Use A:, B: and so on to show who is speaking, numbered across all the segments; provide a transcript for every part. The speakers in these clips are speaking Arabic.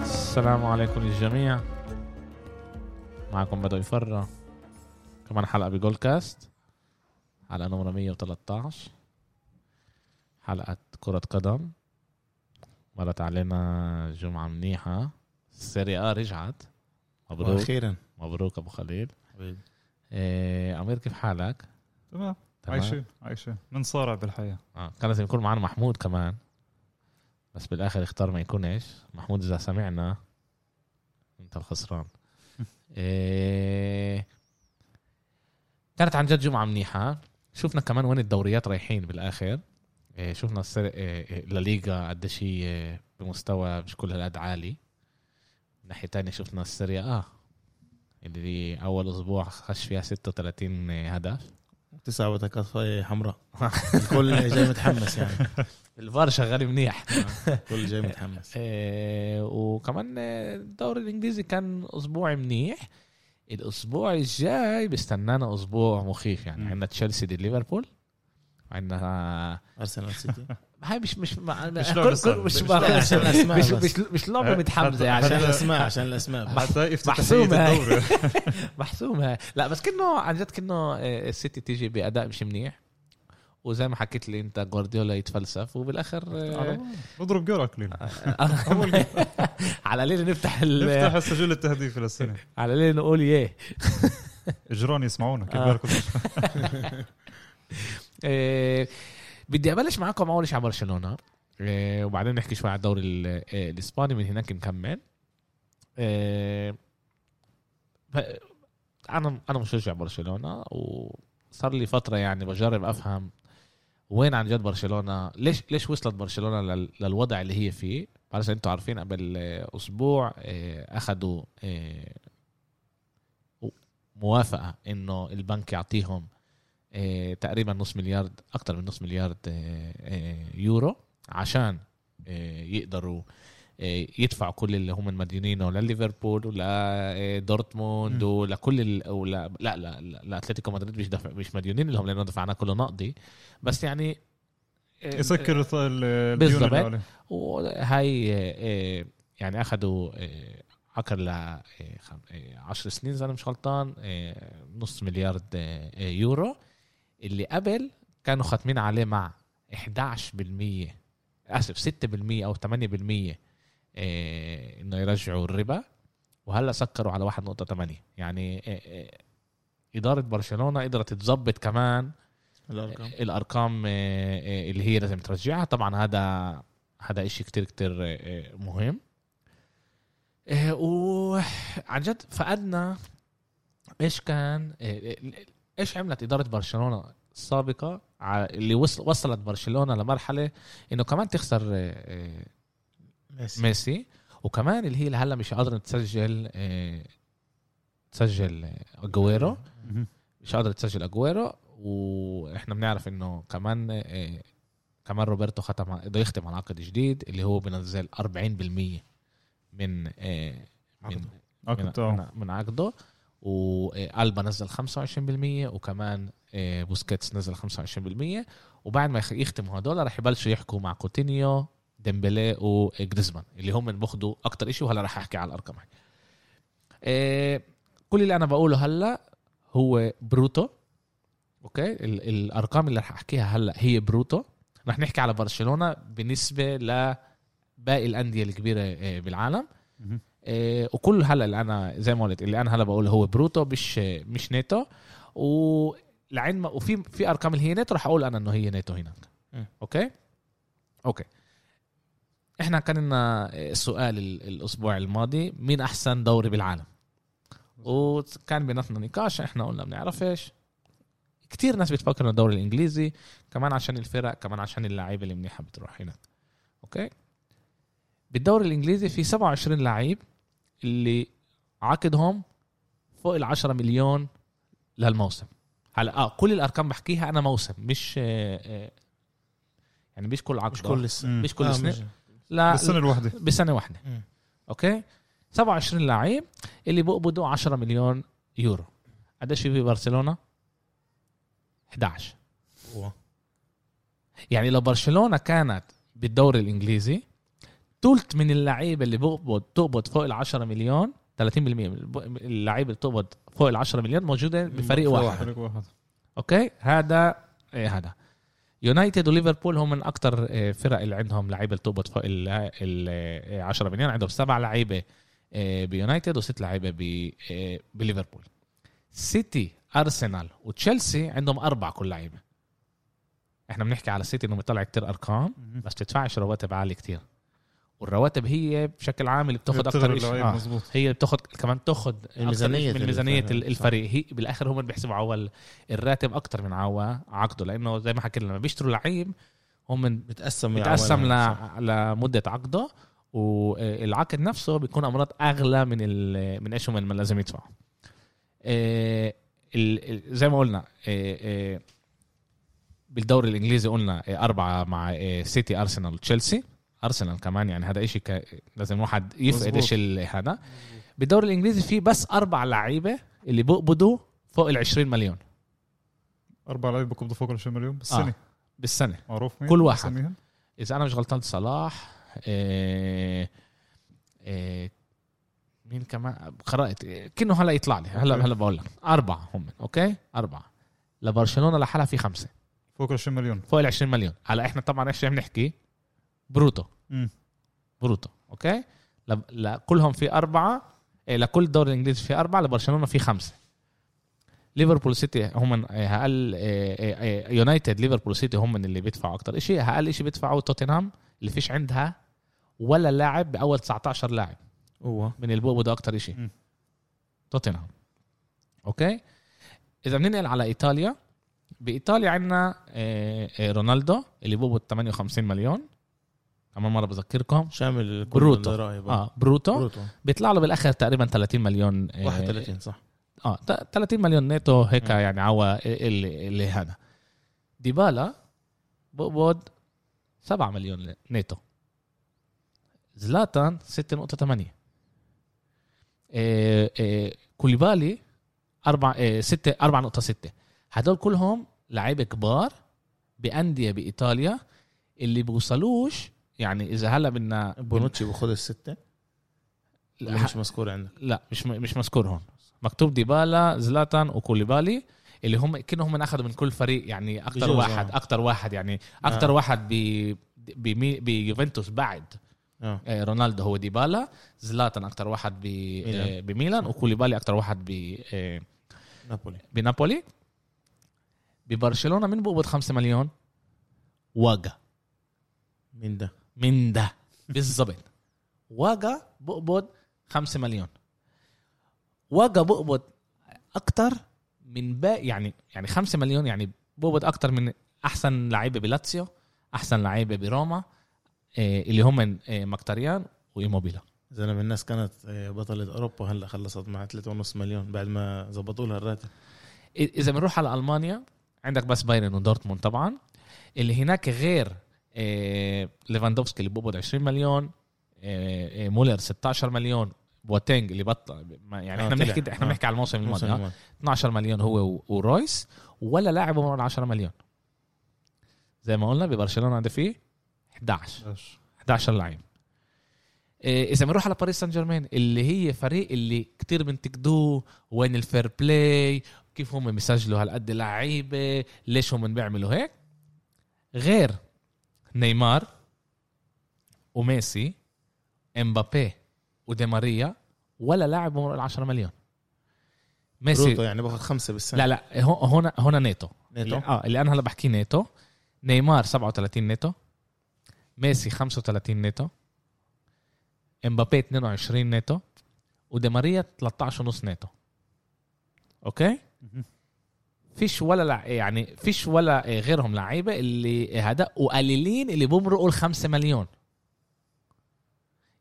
A: السلام عليكم للجميع معكم بدو يفرى كمان حلقة بجول كاست حلقة نمرة 113 حلقة كرة قدم مرت علينا جمعة منيحة السيري آ رجعت مبروك
B: واخيرا
A: مبروك أبو خليل
C: حبيبي
A: إيه أمير كيف حالك؟
C: تمام
A: تمام؟
C: عايشين عايشين بنصارع بالحياه
A: آه. كان لازم يكون معنا محمود كمان بس بالآخر اختار ما يكونش محمود إذا سمعنا أنت الخسران إيه... كانت عن جد جمعة منيحة شفنا كمان وين الدوريات رايحين بالآخر إيه شفنا السر... إيه إيه، الليغا قديش هي إيه، بمستوى مش كل هالقد عالي من ناحية تانية شفنا السيريا آه اللي أول أسبوع خش فيها 36 هدف
B: تسعة وتكاثة حمراء الكل جاي متحمس يعني
A: الفار شغال منيح
B: الكل جاي متحمس
A: آه، وكمان آه، الدوري الانجليزي كان اسبوع منيح الاسبوع الجاي بيستنانا اسبوع مخيف يعني
C: مم.
A: عندنا تشيلسي ضد ليفربول عندنا
B: ارسنال سيتي
A: هاي مش مش ما...
C: مش
A: كل-
C: لعبة
A: كل-
C: سهلة.
A: مش
C: مش
A: ما-
B: لعبة
A: مش
B: سهلة. أسماء
A: مش
B: بس.
A: مش, مش لعبه
C: آه،
A: متحمزه يعني
B: عشان
C: حتى-
B: الاسماء عشان الاسماء
C: حتى يفتح
A: محسومة.
C: تحية الدوري
A: محسومه لا بس كنه عن جد كنه آه، السيتي تيجي باداء مش منيح وزي ما حكيت لي انت جوارديولا يتفلسف وبالاخر
C: على
A: آه،
C: الله. بضرب جول اكلين
A: على ليه نفتح ال...
C: نفتح السجل التهديفي للسنه
A: على ليه نقول إيه. ياه
C: اجرون يسمعونا كيف
A: آه.
C: بالكم
A: إيه، بدي ابلش معكم اول شيء على برشلونه إيه، وبعدين نحكي شوي على الدوري ال- إيه، الاسباني من هناك نكمل إيه، ب- انا انا مشجع برشلونه وصار لي فتره يعني بجرب افهم وين عن جد برشلونه ليش ليش وصلت برشلونه لل- للوضع اللي هي فيه بعرف انتم عارفين قبل آه، اسبوع آه، اخذوا آه، موافقه انه البنك يعطيهم آه، تقريبا نص مليار اكثر من نص مليار آه، آه، يورو عشان آه، يقدروا آه، يدفعوا كل اللي هم مديونينه لليفربول ولدورتموند
C: مم.
A: ولكل ال... ولا... لا لا لا لاتلتيكو مدريد مش دفع... مش مديونين لهم لانه دفعنا كله نقدي بس يعني آه،
C: يسكر الط- ال- الديون
A: بالضبط.
C: اللي آه، عليه
A: وهاي آه، آه، يعني اخذوا آه، عقد ل آه، خم- آه، عشر سنين اذا انا مش غلطان آه، نص مليار آه، آه، يورو اللي قبل كانوا ختمين عليه مع 11% اسف 6% او 8% آه، انه يرجعوا الربا وهلا سكروا على 1.8 يعني آه، آه، اداره برشلونه قدرت تظبط كمان
B: الارقام
A: الارقام آه، آه، اللي هي لازم ترجعها طبعا هذا هذا شيء كتير كتير آه، آه، مهم آه، وعن جد فقدنا ايش كان آه، آه، ايش عملت اداره برشلونه السابقه ع- اللي وصل وصلت برشلونه لمرحله انه كمان تخسر آه، آه،
B: ميسي
A: ميسي وكمان اللي هي لهلا مش قادره تسجل آه، تسجل آه، اجويرو مش قادر تسجل اجويرو واحنا بنعرف انه كمان آه، كمان روبرتو ختم ع- بده يختم على عقد جديد اللي هو بنزل 40% من آه، من
B: عقده.
A: من-
C: عقد تاعه
A: من- من عقده والبا نزل 25% وكمان آه، بوسكيتس نزل 25% وبعد ما يخ- يختموا هدول رح يبلشوا يحكوا مع كوتينيو ديمبلي وجريزمان اللي هم اللي بياخدوا اكتر شيء وهلا رح احكي على الارقام هاي آه، كل اللي انا بقوله هلا هو بروتو اوكي ال- الارقام اللي رح احكيها هلا هي بروتو رح نحكي على برشلونه بالنسبه لباقي الانديه الكبيره آه، بالعالم
C: مهم.
A: آه، وكل هلا اللي انا زي ما قلت اللي انا هلا بقوله هو بروتو مش آه، مش نيتو ولعلم وفي في ارقام اللي هي نيتو رح اقول انا انه هي نيتو هناك
B: مم.
A: اوكي اوكي احنا كان لنا آه، سؤال ال- الاسبوع الماضي مين احسن دوري بالعالم وكان بيناتنا نقاش احنا قلنا بنعرفش كتير ناس بتفكر انه الدوري الانجليزي كمان عشان الفرق كمان عشان اللعيبه اللي منيحه بتروح هناك اوكي بالدوري الانجليزي في 27 لعيب اللي عقدهم فوق ال 10 مليون للموسم هلا اه كل الارقام بحكيها انا موسم مش آه، آه، يعني مش كل عقد
B: مش كل السنة
C: مم.
A: مش كل
B: آه،
A: سنه
B: مش-
A: لا
C: بالسنه الواحده
A: بسنه واحده
B: مم.
A: اوكي 27 لعيب اللي بقبضوا 10 مليون يورو قديش في برشلونه 11
B: هو.
A: يعني لو برشلونه كانت بالدوري الانجليزي ثلث من اللعيبه اللي بقبض تقبض فوق ال 10 مليون 30% من الب- اللعيبه اللي بتقبض فوق ال 10 مليون موجوده بفريق
B: فريق
A: واحد
B: واحد.
C: فريق واحد
A: اوكي هذا إيه هذا يونايتد وليفربول هم من اكثر فرق اللي عندهم لعيبه تقبض فوق ال- ال آه، 10 مليون عندهم سبع لعيبه آه، بيونايتد وست لعيبه ب- آه، بليفربول سيتي ارسنال وتشيلسي عندهم اربع كل لعيبه احنا بنحكي على سيتي انه بيطلع كتير ارقام بس تدفعش رواتب عاليه كتير والرواتب هي بشكل عام اللي بتاخد اكثر شيء
C: آه. مزبوط
A: هي اللي بتاخد كمان بتاخد
B: الميزانية
A: أكتر من
B: الفريق.
A: ميزانيه
B: صح.
A: الفريق هي بالاخر هم اللي بيحسبوا عوال الراتب اكتر من عوا عقده لانه زي ما حكينا لما بيشتروا لعيب هم من-
B: بتقسم
A: بتقسم ل...
B: يعني صح.
A: لمده عقده والعقد نفسه بيكون امراض اغلى من ال... من ايش هم اللي لازم يدفعوا إيه، ال... ال- زي ما قلنا إيه، إيه، بالدوري الانجليزي قلنا إيه، اربعه مع إيه، سيتي ارسنال وتشيلسي ارسنال كمان يعني هذا شيء ك... لازم واحد يفقد
C: مظبوط.
A: ايش ال- هذا بالدوري الانجليزي في بس اربع لعيبه اللي بقبضوا فوق ال 20 مليون
C: اربع لعيبه بيقبضوا فوق ال 20 مليون بالسنه
A: بالسنه
C: معروف مين
A: كل واحد.
C: أساميهم؟
A: اذا انا مش غلطان صلاح إيه إيه مين كمان قرات إيه، كأنه هلا يطلع لي هلا
C: أوكي.
A: هلا بقول لك اربعه هم اوكي اربعه لبرشلونه لحالها في خمسه
C: فوق ال 20 مليون
A: فوق ال 20 مليون هلا احنا طبعا ايش عم نحكي بروتو
C: مم.
A: بروتو اوكي لب- لكلهم في اربعه إيه، لكل الدوري الانجليزي في اربعه لبرشلونه في خمسه ليفربول سيتي هم من إيه، اقل إيه، إيه، إيه، يونايتد ليفربول سيتي هم من اللي بيدفعوا اكثر شيء اقل شيء بيدفعوا توتنهام اللي فيش عندها ولا لاعب باول 19 لاعب
B: هو
A: من البوق بده اكثر شيء
C: مم.
A: توتنهام اوكي اذا بننقل على ايطاليا بايطاليا عندنا آه، رونالدو اللي بقبض 58 مليون كمان مره بذكركم
B: شامل
A: بروتو.
B: الضرائب
A: اه بروتو
B: بروتو
A: بيطلع له بالاخر تقريبا 30 مليون آه،
B: 31 صح
A: اه ت- 30 مليون نيتو هيك
B: مم.
A: يعني عوا اللي, اللي هذا ديبالا بقبض 7 مليون نيتو زلاتان 6.8 إيه إيه كوليبالي 4 إيه 6 4.6 هدول كلهم لعيبه كبار بانديه بايطاليا اللي بوصلوش يعني اذا هلا بدنا
B: بونوتشي بخد السته اللي مش مذكور عندك
A: لا مش مش مذكور هون مكتوب ديبالا زلاتان وكوليبالي اللي هم كانهم من اخذوا من كل فريق يعني اكثر
B: بجوز،
A: واحد
B: آه.
A: اكثر واحد يعني اكثر
B: آه.
A: واحد ب بمي- بيوفنتوس بعد
B: اه
A: آه، رونالدو هو ديبالا زلاتان اكثر واحد ب-
B: ميلان.
A: آه، بميلان وكوليبالي اكثر واحد ب آه،
B: نابولي
A: بنابولي ببرشلونه مين بقبض 5 مليون؟ واجا
B: مين ده؟
A: من ده بالظبط واجا بقبض 5 مليون واجا بقبض اكتر من باقي يعني يعني 5 مليون يعني بقبض اكتر من احسن لعيبه بلاتسيو احسن لعيبه بروما إيه، اللي هم إيه، مكتريان وايموبيلا
B: زلمه الناس كانت آه، بطلة اوروبا هلا خلصت مع 3.5 مليون بعد ما زبطوا لها الراتب
A: إيه، اذا بنروح على المانيا عندك بس بايرن ودورتموند طبعا اللي هناك غير إيه، ليفاندوفسكي اللي بقبض 20 مليون إيه، إيه، مولر 16 مليون بوتينج اللي بطل ما- يعني
B: آه،
A: احنا
B: طلع.
A: بنحكي احنا
B: آه.
A: بنحكي على الموسم الماضي آه.
B: موسم
A: 12 مليون هو و- ورويس ولا لاعب عمره 10 مليون زي ما قلنا ببرشلونه ده فيه 11
C: إيش.
A: 11 لعيب إيه، اذا بنروح على باريس سان جيرمان اللي هي فريق اللي كتير بنتقدوه وين الفير بلاي كيف هم بيسجلوا هالقد لعيبه ليش هم بيعملوا هيك غير نيمار وميسي امبابي ودي ماريا ولا لاعب عمره 10 مليون ميسي
B: بروتو يعني باخذ خمسه بالسنه
A: لا لا هو- هون هون نيتو
B: نيتو
A: اللي- اه اللي انا هلا بحكي نيتو نيمار 37 نيتو ميسي 35 نيتو امبابي 22 نيتو ودي ماريا 13 ونص نيتو اوكي
C: مهم.
A: فيش ولا لع... يعني فيش ولا آه، غيرهم لعيبه اللي هذا وقليلين اللي بمرقوا ال 5 مليون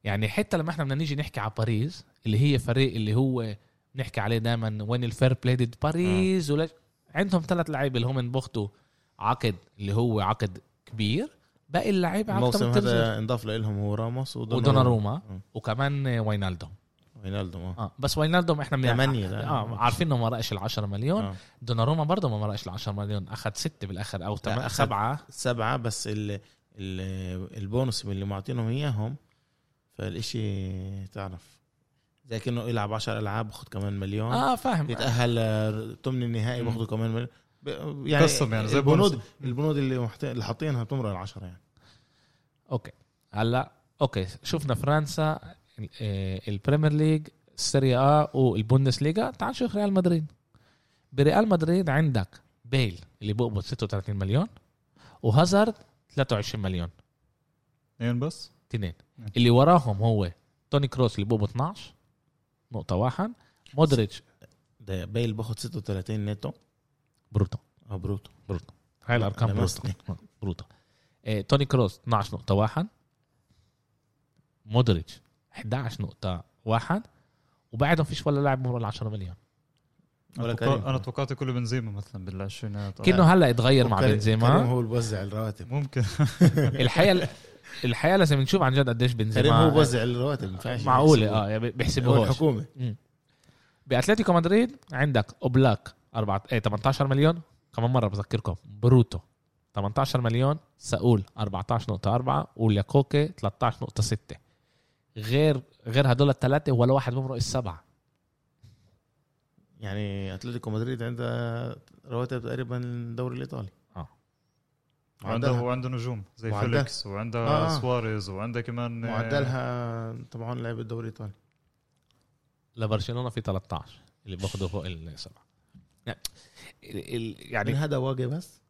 A: يعني حتى لما احنا بدنا نيجي نحكي على باريس اللي هي فريق اللي هو نحكي عليه دائما وين الفير بلاي ضد باريس ولا عندهم ثلاث لعيبه اللي هم انبخطوا عقد اللي هو عقد كبير باقي اللعيبه عقد
B: الموسم هذا انضاف لهم هو راموس
A: ودوناروما
B: مم.
A: وكمان آه، واينالدوم
B: وينالدوم اه
A: اه بس واينالدوم احنا من
B: ثمانية لا.
A: اه عارفين انه ما مرقش ال 10 مليون
B: آه.
A: دوناروما برضه ما مرقش ال 10 مليون اخذ ستة بالاخر او
B: أخد-
A: ثمانية سبعة
B: سبعه بس ال ال- البونص اللي معطينهم اياهم فالإشي تعرف زي كأنه يلعب 10 ألعاب باخد كمان مليون
A: اه فاهم
B: يتأهل ثمن النهائي
C: مم.
B: باخده كمان مليون ب-
C: قسم يعني زي
B: البنود
C: بونص.
B: البنود اللي محت... اللي حاطينها بتمرق ال 10 يعني
A: اوكي هلا اوكي شفنا فرنسا ال- آه، البريمير ليج السيريا ا والبوندس ليجا تعال نشوف ريال مدريد بريال مدريد عندك بيل اللي بقبض 36 مليون وهازارد 23 مليون
C: اثنين إيه، بس
A: اثنين
C: نعم.
A: اللي وراهم هو توني كروس اللي بقبض 12 نقطة واحد مودريتش
B: ده بايل باخد 36 نيتو
A: بروتو
B: اه بروتو
A: هاي الارقام بروتو
B: لمسني.
A: بروتو إيه، توني كروس 12 نقطة واحد مودريتش 11 نقطة واحد وبعدهم فيش ولا لاعب مرة ال 10 مليون
C: انا
B: ولا
C: توقع-
B: كريم.
C: أنا توقعت كله بنزيما مثلا بالعشرينات آه،
A: كأنه هلا اتغير مع
B: وكريم- كريم
A: بنزيما
B: هو اللي بوزع الرواتب
C: ممكن
A: الحقيقة الحقيقة لازم نشوف عن جد قديش
B: كريم هو
A: بنزيما
B: بوزع الرواتب ما ينفعش
A: معقولة
B: يحسبوه.
A: اه يعني
B: هو
A: بيحسبوهاش
B: الحكومة
A: باتلتيكو مدريد عندك اوبلاك 4 ايه 18 مليون كمان مره بذكركم بروتو 18 مليون ساول 14.4 ولياكوكي 13.6 غير غير هدول الثلاثه ولا واحد بمرق السبعه
B: يعني اتلتيكو مدريد عندها رواتب تقريبا الدوري الايطالي
A: آه.
B: معدلها
C: وعنده وعنده نجوم زي
B: معدل.
C: فيليكس وعنده
B: آه.
C: سواريز وعنده كمان آه،
B: معدلها طبعا لعب الدوري الايطالي
A: لبرشلونه في 13 اللي باخذوا فوق السبعه يعني ال-
B: يعني
A: يعني
B: هذا واقع بس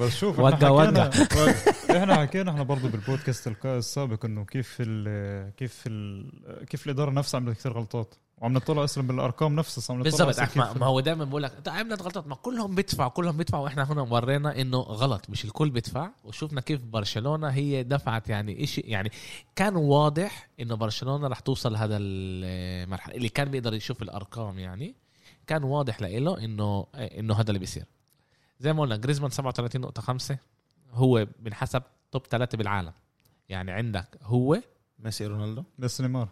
C: بس شوف
A: وقع-
C: احنا
A: وقع.
C: حكينا احنا حكينا احنا برضه بالبودكاست الك- السابق انه كيف ال كيف ال كيف الاداره نفسها عملت كثير غلطات وعم نطلع اصلا بالارقام نفسها أصلاً عم نطلع
A: بالضبط
C: أصلاً
A: احنا
C: كيف-
A: ما هو دائما بقول لك "طيب عملت غلطات ما كلهم بيدفعوا كلهم بيدفعوا واحنا هنا ورينا انه غلط مش الكل بيدفع وشفنا كيف برشلونه هي دفعت يعني إشي يعني كان واضح انه برشلونه رح توصل هذا المرحله اللي كان بيقدر يشوف الارقام يعني كان واضح لإله انه انه هذا اللي بيصير زي ما قلنا جريزمان 37.5 هو بنحسب توب ثلاثه بالعالم يعني عندك هو
B: ميسي رونالدو
C: بس نيمار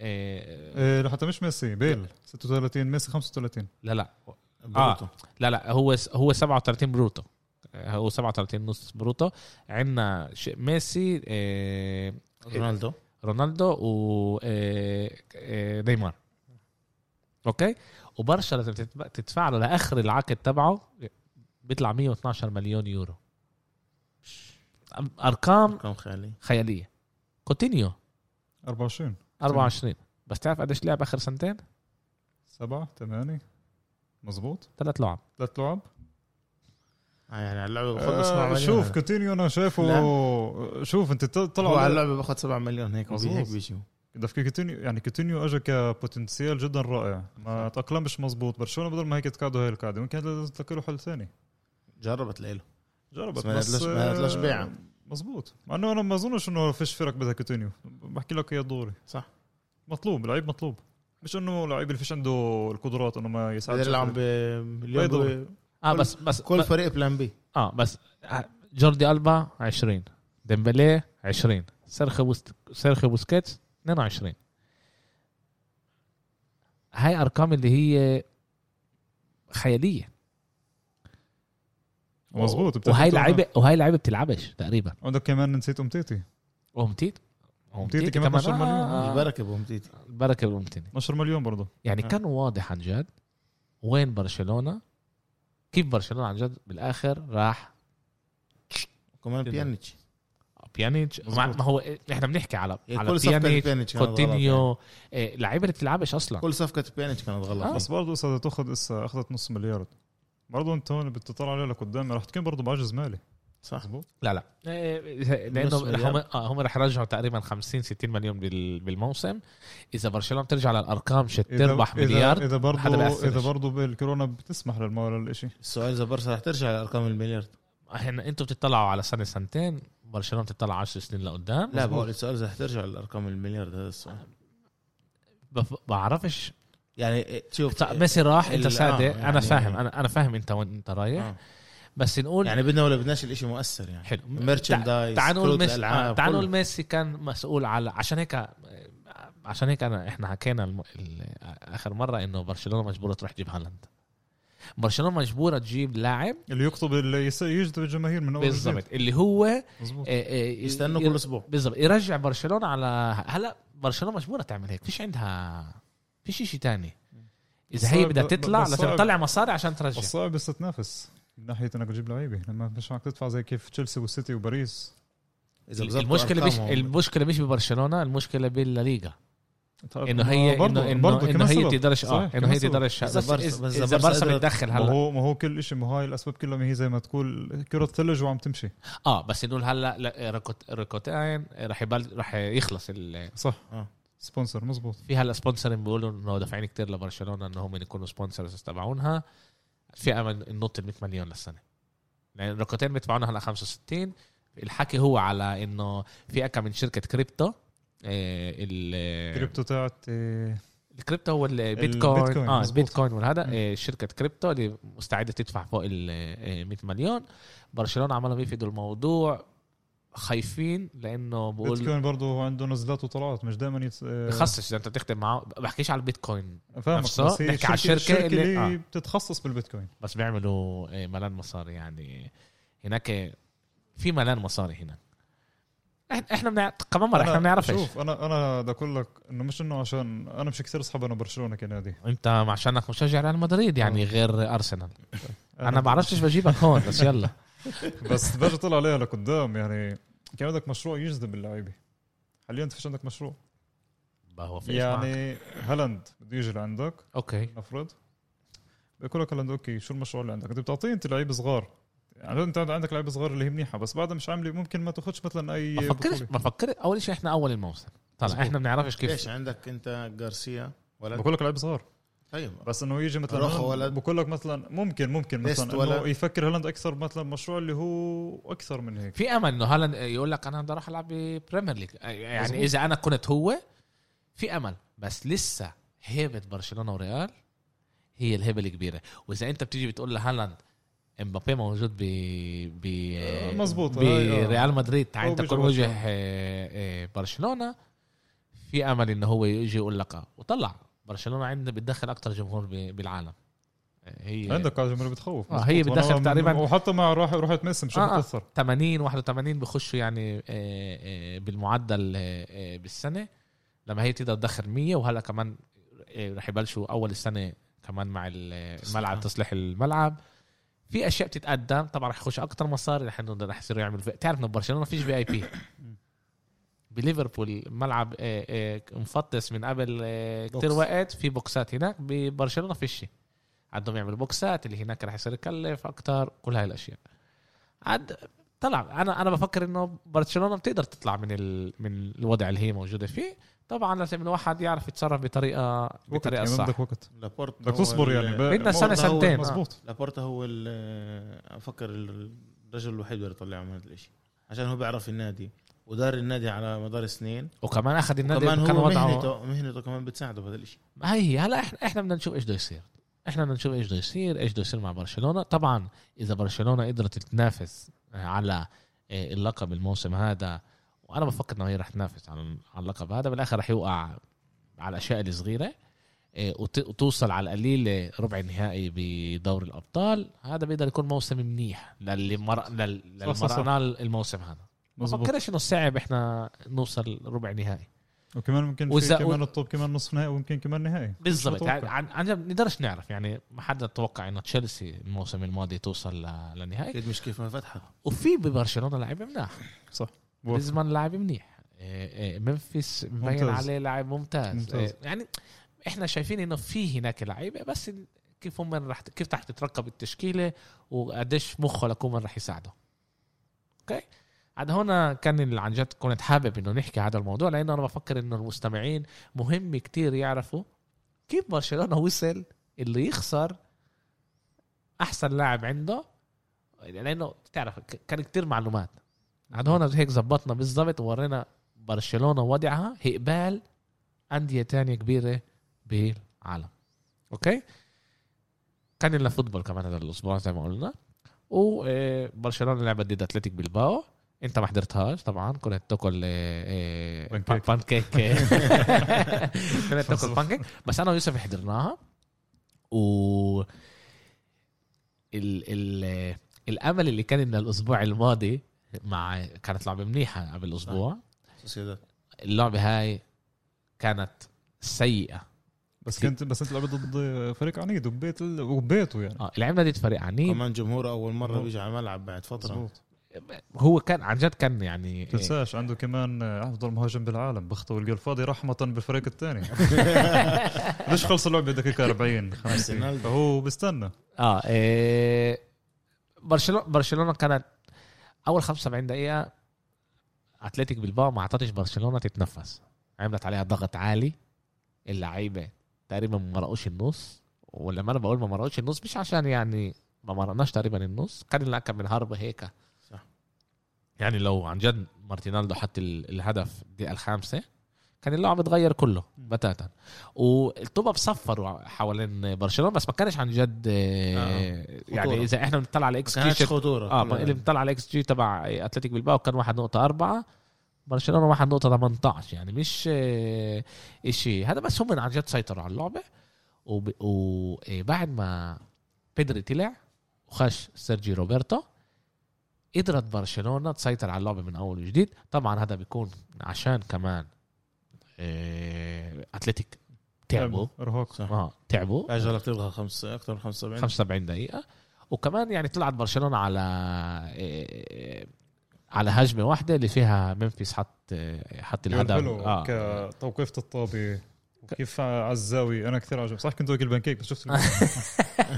A: آه،
C: إيه حتى مش ميسي بيل 36 ميسي 35
A: لا لا
B: بروتو
A: لا لا هو هو 37 بروتو آه، هو 37 نص بروتو عندنا ميسي آه،
B: رونالدو
A: رونالدو و آه، آه، نيمار اوكي وبرشا لازم تتب- تدفع له لاخر العقد تبعه بيطلع 112 مليون يورو ارقام
B: ارقام خيالية
A: خياليه كوتينيو
C: 24
A: 24 بس تعرف قديش لعب اخر سنتين؟
C: 7 8 مزبوط
A: ثلاث لعب
C: ثلاث لعب
B: آه يعني على اللعبة باخد 7
C: آه
B: مليون
C: شوف كوتينيو انا شايفه شوف انت ط-
B: هو على
C: طلع
B: اللعبة باخد 7 مليون هيك
C: مظبوط.
B: هيك بيجي
C: دفك كوتينيو يعني كوتينيو اجى كبوتنسيال جدا رائع ما تاقلمش مزبوط برشلونه بدل ما هيك تقعدوا هاي القاعده ممكن هذا لازم تلاقي له حل ثاني
B: جربت لإله
C: جربت
B: بس ما نادلش- ما نادلش بيعة.
C: مزبوط آه، مع انه انا ما اظنش انه فيش فرق بدها كوتينيو بحكي لك هي دوري
B: صح.
C: مطلوب لعيب مطلوب مش انه لعيب اللي فيش عنده القدرات انه ما يساعدش
B: بيلعب
C: بيض
B: باليوم
A: اه
B: كل-
A: بس بس
B: كل فريق بلان بي
A: اه بس جوردي البا 20 ديمبلي 20 سيرخيو بوست... سيرخيو بوسكيتس 22 هاي ارقام اللي هي خياليه
C: مزبوط بتحكي
A: وهاي
C: أنه-
A: لعيبه وهاي لعيبه بتلعبش تقريبا
C: عندك كمان نسيت امتيتي
A: ومتيت
C: أومتيتي كمان 12 مليون.
B: البركة بومتيتي
A: البركه بالأومتيتي
C: 12 مليون برضه
A: آه. يعني
B: آه.
A: كان واضح عن جد وين برشلونه كيف برشلونه عن جد بالاخر راح
B: كمان
A: كده.
B: بيانيتش
A: بيانيتش مع-
B: مظبوط.
A: ما هو احنا بنحكي على على
B: إيه، كل صفقة
A: بيانيتش
B: بيانيتش كانت غلط يعني.
A: كوتينيو إيه، لعيبه اللي بتلعبش اصلا
B: كل صفقة بيانيتش كانت
A: آه.
B: غلط
C: بس برضه اذا تاخذ اسا اخذت نص مليار برضه انت هون بتطلع عليه لقدام رح تكون برضه بعجز مالي
B: صح
C: مزبوط
A: لا لا إيه، لانه
B: نص
A: رح
B: مليار.
A: هم آه، هم رح يرجعوا تقريبا 50 60 مليون بال- بالموسم اذا برشلونه بترجع للارقام شت تربح مليار
C: اذا
A: حدا
C: برضه
A: بيأثرش.
C: اذا برضه بالكورونا بتسمح للمال الاشي
B: السؤال اذا برشا رح ترجع لارقام المليار
A: احنا انتم بتطلعوا على سنه سنتين برشلونه بتطلع 10 سنين لقدام
B: لا بقول السؤال اذا رح ترجع لارقام المليار هذا السؤال
A: بف- بعرفش
B: يعني إيه، شوف
A: طيب ميسي راح
B: ال-
A: انت
B: آه،
A: صادق
B: يعني-
A: انا فاهم انا انا فاهم انت وين انت رايح
B: آه.
A: بس نقول
B: يعني بدنا ولا بدناش الاشي مؤثر يعني
A: حلو
B: merchandise،
A: تعال نقول
B: كروت
A: ميسي
B: الألعاب،
A: آه، تعال
B: كله.
A: نقول ميسي كان مسؤول على عشان هيك آه، عشان هيك انا احنا حكينا الم... ال... اخر مره انه برشلونه مجبوره تروح تجيب هالاند برشلونه مجبوره تجيب لاعب
C: اللي يقطب اللي يس- يجذب الجماهير من اول
A: بالضبط اللي هو آه،
C: وجديد. مظبوط
A: آه،
B: يستنوا
A: ير-
B: كل اسبوع
A: بالضبط يرجع برشلونه على هلا برشلونه مجبوره تعمل هيك فيش عندها فيش شيء تاني اذا هي
C: بس-
A: بدها
C: بس-
A: تطلع
C: بس
A: لازم
C: صعب.
A: تطلع مصاري عشان ترجع
C: بس صعب بس تنافس من ناحيه انك تجيب لعيبه لما مش معك تدفع زي كيف تشيلسي والسيتي وباريس
B: اذا بظبطوا
A: المشكله مش
B: أرقامهم.
A: المشكله مش ببرشلونه المشكله بالليغا
C: طيب
A: انه
C: ما
A: هي
C: برضو-
A: انه
C: برضو
A: انه
C: كمان
A: انه هي
C: سبب.
A: بتقدرش اه
C: صحيح،
A: انه
C: كمان
A: هي
C: سبب.
A: بتقدرش
B: إذا برشا- بس إذا
A: اذا
B: برشا
A: برشا
B: قدرت-
A: بتدخل
C: ما
A: هلا
C: هو ما هو كل شيء ما هاي الاسباب كلها ما هي زي ما تقول كره ثلج وعم تمشي
A: اه بس انه هلا لا، ركوت- ركوتين رح يبل رح يخلص ال...
C: صح
B: آه.
C: سبونسر مزبوط
A: في هلا سبونسرين بيقولوا انه دافعين كتير لبرشلونه انه هم يكونوا سبونسرز تبعونها في امل ننط ال 100 مليون للسنه لان ركوتين بيدفعونا هلا 65 الحكي هو على انه في كم من شركه كريبتو آه، ال-
C: كريبتو تاعت آه،
A: الكريبتو هو البيتكوين
C: البيتكوين،
A: اه
C: مزبوط.
A: البيتكوين والهذا
C: مم.
A: آه، شركه كريبتو اللي مستعده تدفع فوق ال آه، 100 مليون برشلونه عمالهم يفيدوا الموضوع خايفين لانه بقول
C: بيتكوين برضه عنده نزلات وطلعات مش دائما يت... آه،
A: بخصص اذا انت بتخدم معه بحكيش على البيتكوين
C: فاهمك
A: نفسه.
C: بس هي
A: نحكي على
C: الشركة-
A: الشركة
C: الشركة
A: اللي-
C: اللي,
A: آه.
C: بتتخصص بالبيتكوين
A: بس بيعملوا آه، ملان مصاري يعني هناك في ملان مصاري هنا إح- احنا بنع... كمان مره احنا
C: أنا-
A: بنعرفش
C: شوف انا انا بدي اقول لك انه مش انه عشان انا مش كثير اصحاب انا برشلونه كنادي
A: انت عشانك مشجع ريال مدريد يعني
C: آه.
A: غير ارسنال انا بعرفش بجيبك هون بس يلا
C: بس باجي اطلع عليها لقدام يعني كان عندك مشروع يجذب اللعيبه حاليا انت فيش عندك مشروع
A: هو فيش معك.
C: يعني هالاند بده يجي لعندك
A: اوكي
C: نفرض بيقول لك هالاند اوكي شو المشروع اللي عندك انت بتعطيه انت لعيب صغار يعني انت عندك لعيب صغار اللي هي منيحه بس بعدها مش عامله ممكن ما تاخذش مثلا اي
A: ما فكرش
C: بطوله
A: ما فكرت اول شيء احنا اول الموسم
C: مظبوط.
A: طلع احنا بنعرفش
B: ليش
A: كيف
B: عندك انت جارسيا ولا
C: بقول لك لعيب صغار
B: طيب
C: بس انه يجي مثلا
B: روخو
C: هالاند
B: ولد.
C: بقول لك مثلا ممكن ممكن
B: ليست
C: مثلا
B: ولد.
C: انه يفكر هالاند اكثر مثلا مشروع اللي هو اكثر من هيك
A: في امل انه هالاند يقول لك انا بدي اروح العب ببريمير ليج يعني
C: مظبوط.
A: اذا انا كنت هو في امل بس لسه هيبه برشلونه وريال هي الهيبه الكبيره واذا انت بتيجي بتقول لهالاند امبابي موجود ب ب
C: آه، مظبوط. هاي، آه.
A: بريال مدريد تعال
C: هو
A: انت
C: بيجي
A: كن
C: برشلونة.
A: وجه آه، آه، برشلونه في امل انه هو يجي يقول لك آه. وطلع برشلونه عندنا بتدخل اكثر جمهور ب- بالعالم آه، هي
C: عندك قاعده جمهوريه بتخوف
A: آه، هي
C: مظبوط. وأنا
A: بتدخل
C: من-
A: تقريباً-
C: وحتى مع راح روحت ميسي مش
A: آه،
C: رح
A: آه.
C: تاثر
A: 80 81 بخشوا يعني آه، آه، بالمعدل آه، آه، بالسنه لما هي تقدر تدخل 100 وهلا كمان آه، رح يبلشوا اول السنه كمان مع الملعب تصليح الملعب في اشياء بتتقدم طبعا رح يخش اكثر مصاري رح إنه رح يصيروا يعملوا في- تعرف انه برشلونه فيش في اي بي بليفربول ملعب آه، آه، مفطس من قبل كثير
B: بوكس.
A: وقت في بوكسات هناك ببرشلونه فيش شيء عندهم يعملوا بوكسات اللي هناك رح يصير يكلف اكثر كل هاي الاشياء عاد طلع انا انا بفكر انه برشلونه بتقدر تطلع من ال... من الوضع اللي هي موجوده فيه طبعا لازم الواحد يعرف يتصرف بطريقه
C: وقت
A: بطريقه
C: يعني
A: صح
C: بدك وقت
B: لابورتا
C: بدك
B: هو
C: تصبر
B: ال-
C: يعني
A: بدنا سنة
B: هو
A: سنتين.
C: مضبوط
B: لابورتا هو ال- افكر الرجل الوحيد اللي يطلعه من هذا الشيء عشان هو بيعرف النادي ودار النادي على مدار سنين
A: وكمان اخذ النادي
B: كمان
A: كان
B: هو
A: وضعه
B: مهنته مهنته كمان بتساعده بهذا الشيء
A: ما هي هي هلا احنا احنا بدنا نشوف ايش بده يصير احنا بدنا نشوف ايش بده يصير ايش بده يصير مع برشلونه طبعا اذا برشلونه قدرت تنافس على آه، اللقب الموسم هذا وانا بفكر انه هي رح تنافس على على اللقب هذا بالاخر رح يوقع على الاشياء الصغيره آه، وت- وتوصل على القليل ربع نهائي بدور الابطال هذا بيقدر يكون موسم منيح للي مر... لل...
C: صح، صح، صح.
A: للمرأة الموسم هذا ما
C: مزبوط
A: بفكرش انه صعب احنا نوصل ربع نهائي
C: وكمان ممكن
A: وإذا-
C: في كمان الطب كمان نصف نهائي ويمكن كمان نهائي
A: بالضبط يعني
C: متوقع.
A: عن عن جد نقدرش نعرف يعني ما حدا توقع انه تشيلسي الموسم الماضي توصل ل- للنهائي
B: اكيد مش كيف ما فتحه
A: وفي ببرشلونه لاعب منيح
C: بوافق.
A: ريزمان لاعب منيح إيه، إيه، ممفيس مبين
C: ممتاز.
A: عليه لاعب ممتاز,
C: ممتاز.
A: إيه، يعني احنا شايفين انه في هناك لعيبه بس ال- كيف هم رح ت- كيف رح تتركب التشكيله وقديش مخه لكم رح يساعده اوكي عاد هنا كان اللي عن جد كنت حابب انه نحكي هذا الموضوع لانه انا بفكر انه المستمعين مهم كتير يعرفوا كيف برشلونه وصل اللي يخسر احسن لاعب عنده لانه بتعرف يعني ك- كان كتير معلومات عاد هون هيك زبطنا بالضبط وورينا برشلونه وضعها هقبال انديه تانية كبيره بالعالم اوكي كان لنا فوتبول كمان هذا الاسبوع زي ما قلنا وبرشلونه لعبت ضد اتلتيك بالباو انت ما حضرتهاش طبعا كنت تاكل آه، آه،
C: بانكيك.
A: بانكيك كنت تاكل بانكيك بس انا ويوسف حضرناها و ال ال الامل اللي كان لنا الاسبوع الماضي مع كانت لعبه منيحه قبل اسبوع
B: سوسيداد
A: اللعبه هاي كانت سيئه
C: بس كنت بس انت لعبت ضد فريق عنيد وبيت ال... وبيته يعني
A: اه لعبنا ضد فريق عنيد
B: كمان جمهور اول مره بيجي على الملعب بعد فتره
C: مظبوط
A: هو كان عن جد كان يعني
C: تنساش عنده كمان افضل مهاجم بالعالم بخطه الجول فاضي رحمه بالفريق الثاني ليش خلص اللعبه دقيقه 40 50
B: رونالدو.
C: فهو بيستنى
A: اه إيه برشلونه برشلونه كانت اول 75 دقيقه اتلتيك بالباو ما اعطتش برشلونه تتنفس عملت عليها ضغط عالي اللعيبه تقريبا ما مرقوش النص ولما انا بقول ما مرقوش النص مش عشان يعني ما مرقناش تقريبا النص كان لا كان من هرب هيك
B: صح.
A: يعني لو عن جد مارتينالدو حط ال- الهدف الدقيقه الخامسه كان اللعب اتغير كله بتاتا والطوبة صفروا حوالين برشلونه بس ما كانش عن جد آه،
B: آه.
A: يعني
B: خطورة.
A: اذا احنا بنطلع على
B: ما
A: الاكس
B: كانتش
A: جي
B: خطوره
A: اه
B: كلها.
A: ما- اللي بنطلع على الاكس جي تبع اتلتيك بالباو كان 1.4 برشلونه 1.18 يعني مش آه، اشي هذا بس هم عن جد سيطروا على اللعبه وب- وبعد ما بيدري طلع وخش سيرجي روبرتو قدرت برشلونه تسيطر على اللعبه من اول وجديد طبعا هذا بيكون عشان كمان آه، اتلتيك تعبوا
C: ارهاق
B: صح
A: اه تعبوا
B: اجلك تلغى خمس اكثر من 75
A: 75 دقيقة وكمان يعني طلعت برشلونة على إيه إيه على هجمة واحدة اللي فيها ممفيس حط إيه، حط
C: جول
A: الهدف
C: حلو
A: اه
B: آه.
C: كتوقيفة الطابة وكيف عزاوي انا كثير عجب صح كنت واكل بانكيك بس شفت
B: آه.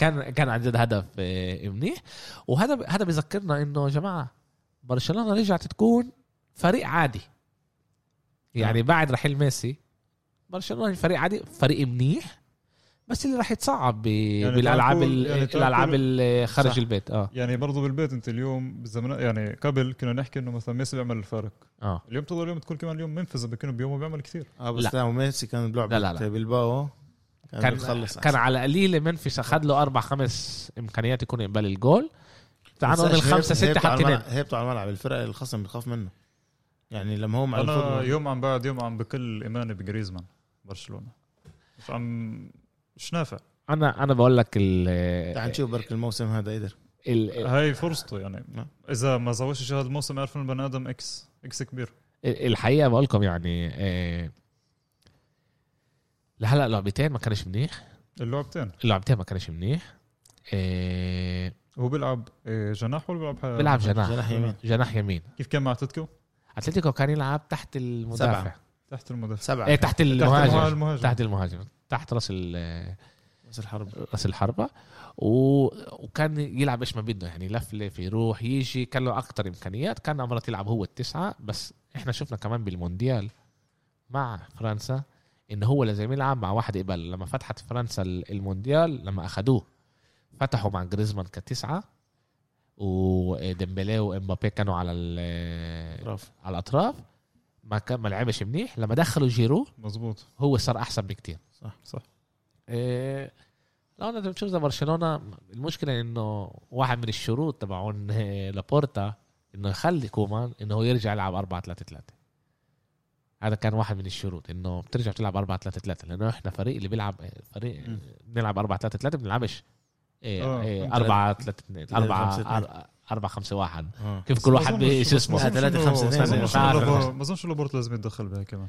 A: كان كان عن جد هدف إيه، منيح وهذا ب- هذا بذكرنا انه يا جماعة برشلونة رجعت تكون فريق عادي
C: نعم.
A: يعني بعد رحيل ميسي برشلونة فريق عادي فريق منيح بس اللي راح يتصعب ب-
C: تعال
A: بالالعاب
C: نقول-
A: ال-
C: يعني تعال
A: الالعاب
C: نقول-
A: اللي خارج
B: صح.
A: البيت اه
C: يعني برضو بالبيت انت اليوم بالزمن يعني قبل كنا نحكي انه مثلا ميسي بيعمل الفرق
A: اه
C: اليوم تقدر اليوم تكون كمان اليوم منفذ بكونه بيومه بيعمل كثير
B: اه بس
A: لا.
B: لا ميسي كان بلعب
A: لا، لا، لا.
B: بالباو كان
A: كان
B: بيخلص
A: كان على قليله منفس اخذ له اربع خمس امكانيات يكون يقبل الجول تعال نقول من خمسه سته حاطين
B: هيبته على الملعب الفرق الخصم بتخاف منه يعني لما هو مع
C: انا
B: الفرقة-
C: يوم عن بعد يوم عم بكل ايماني بجريزمان برشلونه مش عم مش نافع
A: انا انا بقول لك ال
B: تعال نشوف برك الموسم هذا قدر
A: ال-
C: هاي فرصته يعني
B: إيه. نعم.
C: اذا ما زوجش هذا الموسم يعرف انه البني ادم اكس اكس كبير
A: الحقيقه بقول لكم يعني آه، لهلا لعبتين ما كانش منيح
C: اللعبتين
A: اللعبتين ما كانش منيح آه،
C: هو بيلعب آه، جناح ولا بيلعب ح-
A: بيلعب جناح
B: جناح يمين
A: جناح يمين
C: كيف كان مع تتكو
A: اتلتيكو كان يلعب تحت المدافع
C: تحت المدافع
B: سبعه
A: إيه تحت
C: المها-
A: المهاجم
C: المهاجم
A: تحت المهاجم تحت راس ال-
B: بس الحرب
A: راس الحربة و... وكان يلعب ايش ما بده يعني يلفلف يروح يجي كان له اكثر امكانيات كان مرات يلعب هو التسعه بس احنا شفنا كمان بالمونديال مع فرنسا ان هو لازم يلعب مع واحد قبل لما فتحت فرنسا ال- المونديال لما اخذوه فتحوا مع جريزمان كتسعه وديمبلي وامبابي كانوا على ال-
B: برافو
A: على الاطراف ما كان ما لعبش منيح لما دخلوا جيرو
C: مزبوط
A: هو صار احسن بكتير
B: صح
C: صح
A: إيه، لو انا بتشوف زي برشلونه المشكله انه واحد من الشروط تبعون إيه، لابورتا انه يخلي كومان انه هو يرجع يلعب 4 3 3 هذا كان واحد من الشروط انه بترجع بتلعب 4 3 3 لانه احنا فريق اللي بيلعب فريق
B: م.
A: بنلعب 4 3 3 بنلعبش إيه،
C: آه،
A: 4 3 2 4
B: خمسة، اتنين.
A: 4 5 1
B: اه
A: كيف
C: بس
A: كل
C: ما
A: واحد
C: أظنش-
A: بي- شو
C: ما
A: اسمه
B: لا،
C: أظنش
B: تلاتة،
C: إنه-
B: خمسة، اثنين،
C: ما أظنش
A: أربعة.
C: إنه- ما اظنش انه بورت لازم يتدخل بها كمان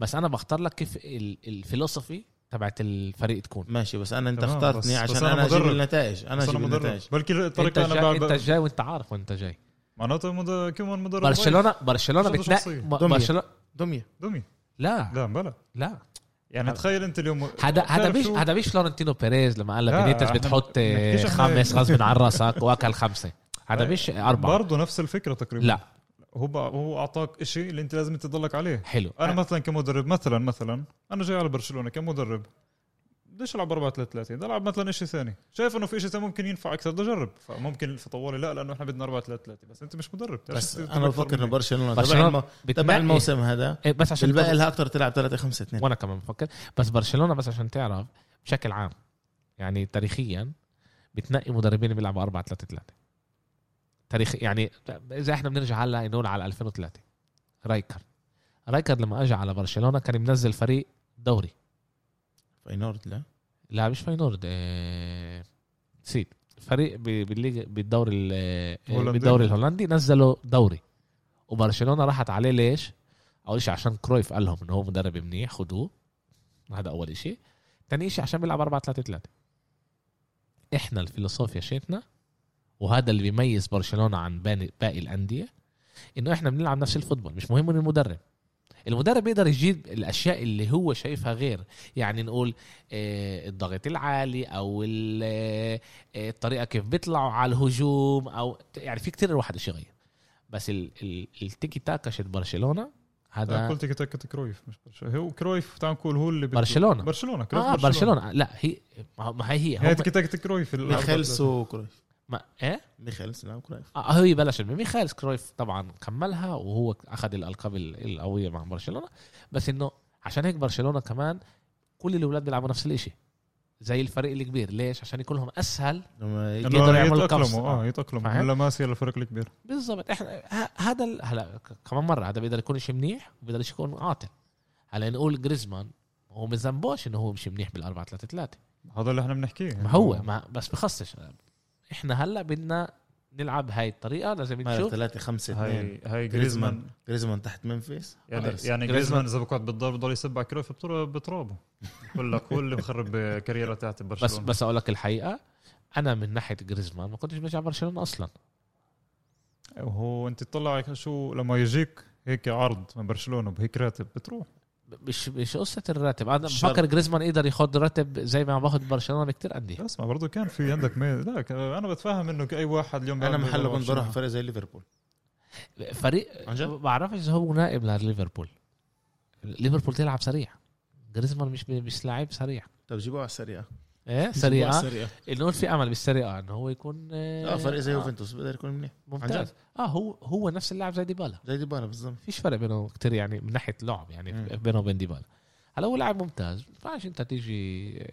A: بس انا بختار لك كيف ال... الفلسفي تبعت الفريق تكون
B: ماشي بس انا انت
C: تمام،
B: اخترتني
C: بس- بس
B: عشان
C: أنا
B: انا اجيب
C: مدرب.
B: النتائج انا
C: بس
B: اجيب
C: انا مدرب
B: النتائج
C: بلكي
A: انت
C: الطريقه
A: جاي...
C: انا بعمل
A: انت جاي وانت عارف وانت جاي
C: معناته مد... كمان مدرب
A: برشلونه برشلونه
C: عنده
A: بتنقي
C: شخصية.
A: ب-
B: دمية.
A: برشلونه
B: دميه
C: دمي
A: لا
C: لا بلا
A: لا
C: يعني
A: هذا-
C: تخيل انت اليوم
A: هذا هذا
C: بتعرف
A: مش
C: شو؟
A: هذا مش لورنتينو بيريز لما قال
C: لا،
A: بنيتس
C: إحنا
A: بتحط آه،
C: بنحكيش إحنا-
A: خمس غصب عن راسك واكل خمسه هذا مش اربعه
C: برضه نفس الفكره تقريبا
A: لا
C: هو بقى- هو اعطاك شيء اللي انت لازم تضلك عليه
A: حلو
C: انا مثلا كمدرب مثلا مثلا انا جاي على برشلونه كمدرب بديش العب 4 3 3 بدي العب مثلا شيء ثاني شايف انه في شيء ثاني ممكن ينفع اكثر بدي اجرب فممكن في طوالي لا لانه احنا بدنا 4 3 3 بس انت مش مدرب بتعرفش
B: بس
C: أنت
B: انا
C: أكثر
B: بفكر انه
C: مني.
B: برشلونه تبع
A: برشلونة
B: الم... تبع
A: بتنقي-
B: الموسم هذا
A: إيه، بس عشان
B: الباقي
A: تاخد-
B: لها اكثر تلعب 3 5 2
A: وانا كمان بفكر بس برشلونه بس عشان تعرف بشكل عام يعني تاريخيا بتنقي مدربين اللي بيلعبوا 4 3 3 تاريخ يعني اذا احنا بنرجع هلا نقول على 2003 رايكر رايكر لما اجى على برشلونه كان منزل فريق دوري
B: فاينورد لا
A: لا مش فاينورد آه، نسيت فريق ب- بالليج بالدوري ال- آه،
C: هولندي.
A: بالدوري الهولندي نزلوا دوري وبرشلونه راحت عليه ليش؟ اول شيء عشان كرويف قال لهم انه هو مدرب منيح خدوه هذا اول شيء ثاني شيء عشان بيلعب 4 3 3 احنا الفلسوفيا شيتنا وهذا اللي بيميز برشلونه عن باني- باقي الانديه انه احنا بنلعب نفس الفوتبول مش مهم من المدرب المدرب بيقدر يجيب الاشياء اللي هو شايفها غير يعني نقول آه، الضغط العالي او ال- آه، آه، الطريقه كيف بيطلعوا على الهجوم او يعني في كتير الواحد يشغل بس ال- ال- التيكي تاكا شت برشلونه
C: تعال
A: هذا
C: قلت تيك تاك كرويف مش برشلونه هو كرويف تعال نقول هو اللي بده-
A: برشلونة.
C: برشلونه كرويف
A: اه برشلونه لا هي ما هي هي
C: هي
A: هم-
C: تيك تاك كرويف ال 4 3
B: ميخيلس
C: 3.
B: وكرويف
A: ما ايه
B: ميخيلس لا وكرويف
A: آه هو بلش بميخائيل كرويف طبعا كملها وهو اخذ الالقاب ال- القويه مع برشلونه بس انه عشان هيك برشلونه كمان كل الاولاد بيلعبوا نفس الاشي زي الفريق الكبير ليش عشان يكون لهم اسهل
B: لما
C: إنه
B: يجي
A: يقدروا يعملوا القفز.
C: يتاقلموا اه يتاقلموا
A: فاهم؟
C: من لاماسيا للفرق الكبير
A: بالضبط احنا ه- هذا ال- هلا ك- كمان مره هذا بيقدر يكون شيء منيح وبيقدر يكون قاتل هلا نقول جريزمان هو ما ذنبوش انه هو مش منيح بال 4 3 3
C: هذا اللي احنا بنحكيه يعني
A: ما هو ما بس بخصش احنا هلا بدنا نلعب هاي الطريقه لازم نشوف
B: 3 5 2
C: هاي
B: جريزمان.
C: هاي جريزمان
B: جريزمان تحت منفيس
C: يعني
B: خلاص.
C: يعني
A: جريزمان.
C: جريزمان اذا بقعد بالدار بضل يسبع كرويف بطر- بترابه بقول لك هو اللي مخرب كاريره تاعت برشلونه
A: بس بس اقول لك الحقيقه انا من ناحيه جريزمان ما كنتش بشجع برشلونه اصلا
C: هو انت تطلع شو لما يجيك هيك عرض من برشلونه بهيك راتب بتروح
A: مش مش قصه الراتب انا
B: شر-
A: بفكر جريزمان يقدر ياخذ راتب زي ما باخذ برشلونه بكتير انديه
C: اسمع برضه كان في عندك مي... لا ك- انا بتفهم انه اي واحد اليوم
B: انا
C: بيعمل
B: محله كنت
C: برشلونة. آه،
B: بروح فريق زي ليفربول
A: فريق
B: عن جد؟
A: ما بعرفش اذا هو نائب لليفربول ليفربول تلعب سريع جريزمان مش مش لاعب سريع
B: طب جيبوه على السريع
A: ايه
B: جيبوه على
A: سريع
B: السريع
A: نقول في امل بالسريع انه هو يكون آه،
B: اه فريق
C: آه.
B: زي يوفنتوس بقدر يكون منيح عن
A: ممتاز
B: جد.
A: اه هو هو نفس اللاعب زي ديبالا
B: زي ديبالا بالظبط
A: فيش فرق بينه كتير يعني من ناحيه لعب يعني
B: مم.
A: بينه وبين ديبالا هلا هو لاعب ممتاز ما ينفعش انت تيجي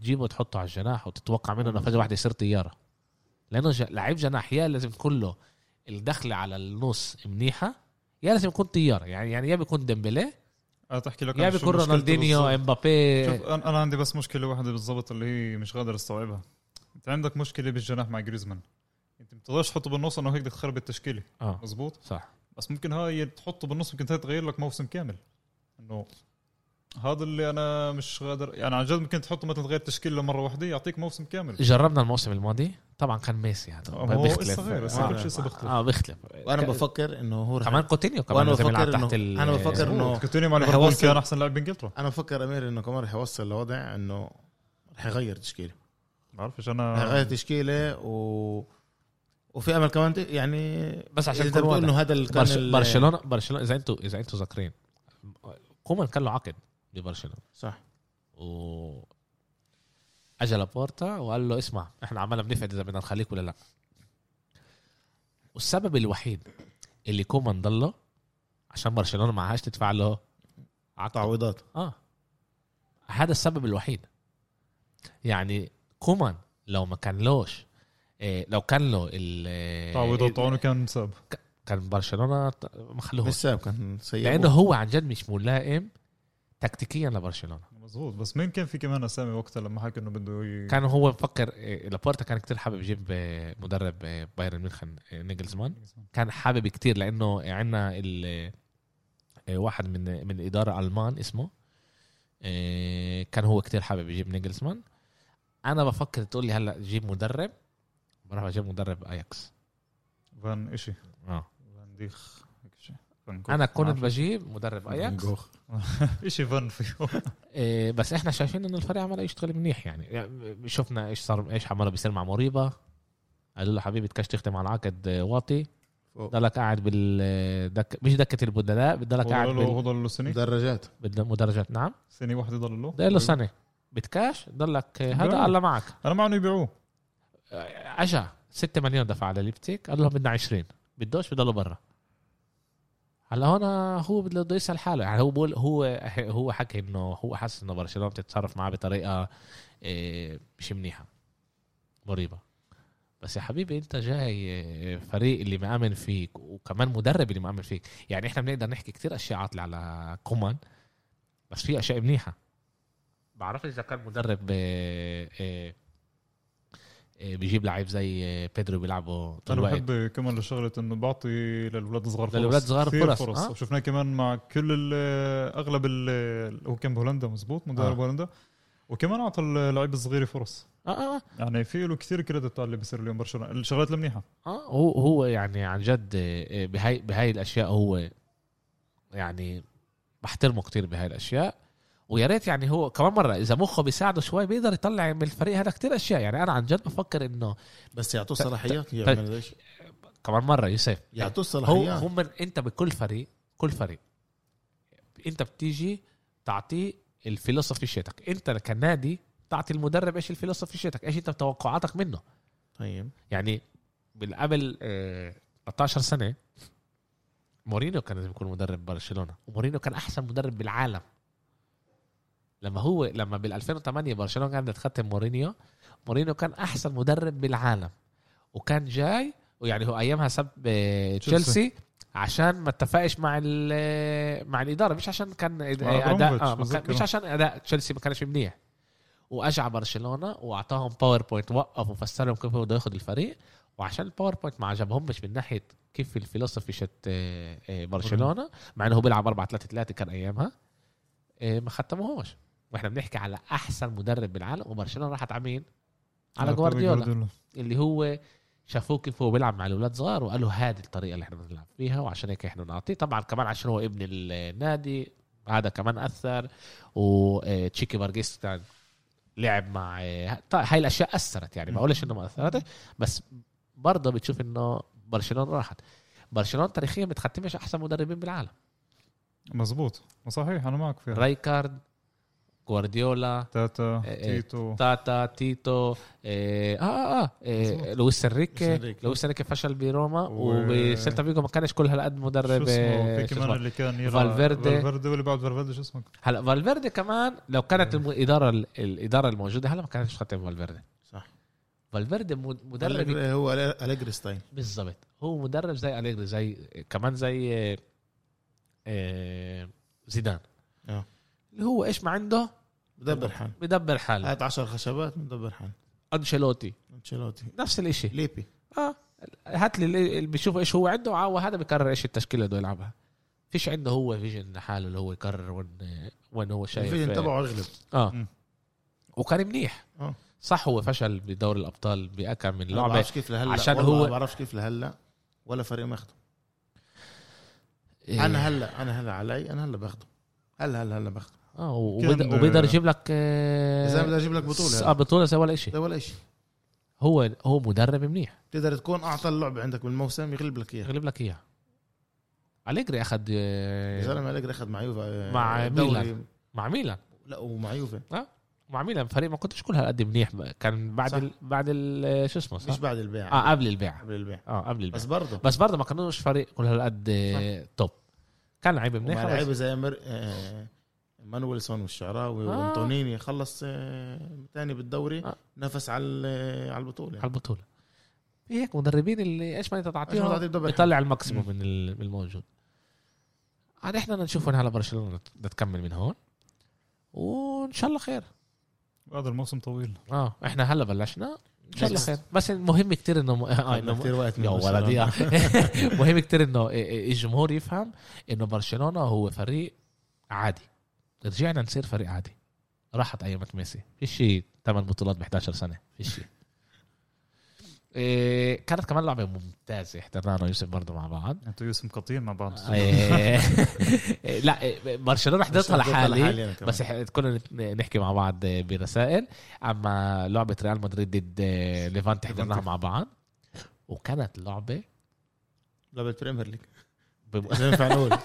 A: تجيبه تحطه على الجناح وتتوقع منه انه فجاه واحده يصير طياره لانه ج- لعيب جناح يا لازم كله الدخله على النص منيحه يا لازم يكون طياره يعني يعني يا بيكون ديمبلي
C: اه تحكي لك
A: يا
C: أنا شو
A: بيكون
C: مشكلته
A: رونالدينيو
C: بالظبط.
A: امبابي
C: شوف انا أنا عندي بس مشكله واحده بالضبط اللي هي مش قادر استوعبها انت عندك مشكله بالجناح مع جريزمان انت ما بتقدرش تحطه بالنص انه هيك بدك تخرب التشكيله
A: اه
C: مزبوط
A: صح
C: بس ممكن هاي تحطه بالنص ممكن هاي تغير لك موسم كامل انه هذا اللي انا مش قادر يعني عن جد ممكن تحطه مثلا تغير تشكيله مره واحده يعطيك موسم كامل
A: جربنا الموسم الماضي طبعا كان ميسي هذا
C: آه، ما هو صغير، بس
A: آه،
C: كل شيء لسه بيختلف.
A: اه بيختلف
B: وانا بفكر انه هو رح-
A: كمان كوتينيو كمان
B: وأنا
A: لازم يلعب
B: بفكر
A: تحت
B: إنه-
A: ال-
B: أنا بفكر إنه-
C: مظبوط. كوتينيو مع
B: رح
C: ليفربول
B: يوصل-
C: كان احسن لاعب بانجلترا
B: انا بفكر امير انه كمان رح يوصل لوضع انه رح يغير تشكيله
C: بعرفش
A: آه.
B: رح يغير
C: انا
B: تشكيله و وفي امل كمان ت- يعني
A: بس عشان
B: إذا
A: نكون
B: بتقول
A: واضح.
B: انه هذا اللي كان
A: برش...
B: ال-
A: برشلونه برشلونه اذا انتوا اذا انتوا ذاكرين كومان كان له عقد ببرشلونه
B: صح
A: و اجى لابورتا وقال له اسمع احنا عمالنا بنفقد اذا بدنا نخليك ولا لا والسبب الوحيد اللي كومان ضله عشان برشلونه ما عادش تدفع له عقد
B: تعويضات
A: اه هذا السبب الوحيد يعني كومان لو ما كان لوش إيه لو كان له ال
C: تعويضات
A: إيه،
C: طعونه كان ساب
A: كان برشلونه ط- ما خلوه
B: مش ساب كان سيء
A: لانه هو عن جد مش ملائم تكتيكيا لبرشلونه
C: مزبوط بس مين كان في كمان اسامي وقتها لما حكى انه بده ي...
A: كان هو مفكر إيه، لابورتا كان كتير حابب يجيب إيه، مدرب إيه، بايرن ميونخن إيه، نيجلزمان كان حابب كتير لانه عندنا ال إيه، واحد من من الاداره المان اسمه إيه، كان هو كتير حابب يجيب نيجلزمان انا بفكر تقول لي هلا جيب مدرب بروح اجيب مدرب اياكس
C: فان اشي
A: اه
C: فان ديخ هيك شي. فان
A: انا
C: كوخ.
A: كنت
C: معرفش.
A: بجيب مدرب اياكس
C: اشي فان فيه
A: إيه، بس احنا شايفين انه الفريق عمال يشتغل منيح يعني. يعني شفنا ايش صار ايش عماله بيصير مع مريبا قالوا له حبيبي تكش تختم على عقد آه، واطي ضلك قاعد بال آه، دك... مش دكه البدلاء بضلك قاعد
C: هو
A: بال...
C: ضل له سنه
B: درجات
A: بالمدرجات نعم
C: سنه واحده ضل له
A: ده له سنه بتكاش ضلك هذا
C: جميل.
A: الله معك
C: انا مع انه يبيعوه
A: اجا 6 مليون دفع على ليبتيك قال لهم بدنا 20 بدوش بضلوا برا هلا هون هو بده يسال حاله يعني هو بقول هو هو حكى انه هو حاسس انه برشلونه بتتصرف معاه بطريقه إيه، مش منيحه مريبه بس يا حبيبي انت جاي إيه، فريق اللي مآمن فيك وكمان مدرب اللي مآمن فيك يعني احنا بنقدر نحكي كتير اشياء عاطله على كومان بس في اشياء منيحه بعرفش اذا كان مدرب إيه، إيه، إيه، بيجيب لعيب زي إيه، بيدرو بيلعبه طول
C: انا
A: الوقت
C: بحب كمان لشغله انه بعطي للاولاد الصغار فرص
A: للأولاد الصغار
C: كثير
A: فرص،
C: فرص
A: آه.
C: وشفناه كمان مع كل ال- اغلب ال- هو كان بهولندا مزبوط مدرب
A: آه.
C: هولندا وكمان اعطى اللعيب الصغير فرص
A: اه اه آه.
C: يعني في له كثير كريدت على اللي بيصير اليوم برشلونه الشغلات المنيحه
A: اه هو هو يعني عن جد آه، آه، بهاي بهاي الاشياء هو يعني بحترمه كتير بهاي الاشياء ويا ريت يعني هو كمان مره اذا مخه بيساعده شوي بيقدر يطلع من الفريق هذا كتير اشياء يعني انا عن جد بفكر انه
B: بس يعطوه صلاحيات يعمل هذا الشيء
A: كمان مره يوسف
B: يعطوه
A: هو
B: الصلاحيات
A: هم انت بكل فريق كل فريق انت بتيجي تعطيه الفلسفي شتك انت كنادي تعطي المدرب ايش الفلسفي شتك ايش انت توقعاتك منه
B: طيب
A: يعني من قبل آه، 13 سنه مورينيو كان لازم يكون مدرب برشلونه ومورينيو كان احسن مدرب بالعالم لما هو لما بال 2008 برشلونه كانت تختم مورينيو مورينيو كان احسن مدرب بالعالم وكان جاي ويعني هو ايامها سب آه، تشيلسي عشان ما اتفقش مع ال- مع الاداره مش عشان كان إد-
C: مع
A: اداء
C: أبراموفيتش،
A: آه، ما كان-
C: بتذكره.
A: مش عشان اداء تشيلسي ما كانش منيح واجع برشلونه واعطاهم باوربوينت وقف وفسر لهم كيف هو بده ياخذ الفريق وعشان الباوربوينت ما عجبهمش من ناحيه كيف الفلسفي شت آه، آه، برشلونه مع انه هو بيلعب 4 3 3 كان ايامها آه، ما ختموهوش واحنا بنحكي على احسن مدرب بالعالم وبرشلونه راحت على مين؟ على
C: طيب
A: جوارديولا اللي هو شافوه كيف هو بيلعب مع الاولاد صغار وقالوا هذه الطريقه اللي احنا بدنا نلعب فيها وعشان هيك احنا نعطيه طبعا كمان عشان هو ابن النادي هذا كمان اثر وتشيكي بارجيس كان لعب مع طيب هاي الاشياء اثرت يعني ما اقولش انه ما اثرتش بس برضه بتشوف انه برشلونه راحت برشلونه تاريخيا متختمش احسن مدربين بالعالم
C: مزبوط صحيح انا معك فيها
A: رايكارد جوارديولا
C: تاتا
A: إيه.
C: تيتو
A: تاتا تيتو إيه، اه اه اه إيه،
C: مظبوط.
A: لويس
B: لويس
A: انريكي
B: إنريكي.
A: لويس انريكي فشل بروما
C: و-
A: وبسيلتا فيجو ما كانش كل هالقد
C: شو
A: مدرب
C: اسمه
A: إيه، شو
C: في كمان
A: اسمه؟
C: اللي كان يلعب
A: فالفيردي.
C: فالفيردي واللي بعد فالفيردي شو اسمه
A: هلا فالفيردي كمان لو كانت الم- الاداره الاداره الموجوده هلا ما كانتش ختم فالفيردي
B: صح
A: فالفيردي مد- مدرب
B: مدرب هو اليجري ستايل
A: بالظبط هو مدرب زي أليجري زي كمان زي آه، آه، زيدان
B: آه.
A: اللي هو ايش ما عنده
B: مدبر حال
A: بدبر حاله
B: هات 10 خشبات مدبر حال
A: انشيلوتي
B: انشيلوتي
A: نفس الاشي
B: ليبي
A: اه هات لي اللي اللي بيشوف ايش هو عنده وعا- وهذا بيقرر ايش التشكيله بده يلعبها فيش عنده هو فيجن لحاله اللي هو يقرر وين وين هو شايف
B: الفيجن تبعه اغلب
A: اه
C: مم.
A: وكان منيح
B: آه.
A: صح هو فشل بدور الابطال باكم من
B: أنا ما
A: لعبه
B: بعرفش كيف لهلا
A: عشان
B: عشان
A: هو-
B: هو ما بعرفش كيف لهلا ولا فريق ماخده
A: إيه.
B: انا هلا انا هلا علي انا هلا باخده هلا هلا هلا باخده
A: اه
C: كان-
A: وبيقدر وبيقدر يجيب لك آه،
B: اذا بدي اجيب لك
A: س-
B: بطوله
A: اه
B: هلأ.
A: بطوله زي ولا شيء
B: ده ولا شيء
A: هو هو مدرب منيح
B: تقدر تكون اعطى اللعبه عندك بالموسم يغلب لك اياها
A: يغلب لك اياها أليجري اخذ آه،
B: يا زلمه اليجري اخذ مع يوفا آه،
A: مع
B: دوري.
A: ميلان. مع ميلان
B: لا ومع يوفا
A: مع ميلان فريق ما كنتش كل هالقد منيح كان بعد
B: صح.
A: ال... بعد ال... شو اسمه صح؟
B: مش بعد البيع
A: اه قبل البيع
B: قبل البيع
A: اه قبل البيع
B: بس
A: بس,
B: برضه
A: بس برضه ما كانوش فريق كل هالقد آه، توب كان لعيبه
B: ومع
A: منيحه
B: لعيبه
A: بس-
B: زي مر... آه، مانويلسون والشعراوي
A: آه.
B: آه. وانطونيني خلص آه، تاني بالدوري
A: آه.
B: آه. نفس على ال- على البطوله
A: على البطوله في هيك مدربين اللي ايش ما انت
B: عشان
A: تعطيهم
B: تعطيه دبل
A: بيطلع الماكسيموم من ال- من الموجود عاد احنا بدنا نشوف وين هلا برشلونه نت- بدها تكمل من هون وان شاء الله خير
C: هذا الموسم طويل
A: اه احنا هلا بلشنا ان شاء الله
B: بس.
A: خير بس المهم كتير انه م... آه
B: خدنا
A: انه م...
B: كتير وقت من
A: يا
B: برشلونة.
A: ولدي آه، مهم كتير انه الجمهور يفهم انه برشلونه هو فريق عادي رجعنا نصير فريق عادي راحت ايامات ميسي في شيء ثمان بطولات ب 11 سنه في شيء إيه كانت كمان لعبه ممتازه احضرناها انا ويوسف برضه مع بعض
C: انتوا يوسف قطيع مع بعض
A: إيه لا إيه، برشلونه حضرتها
B: بس حضرتها
A: لحالي
B: أنا كمان.
A: بس إح- كنا نت- نحكي مع بعض برسائل اما لعبه ريال مدريد ضد ليفانتي حضرناها مع بعض وكانت لعبه
B: لا بالبريمير ليج
A: بم...
B: اذا ينفع نقول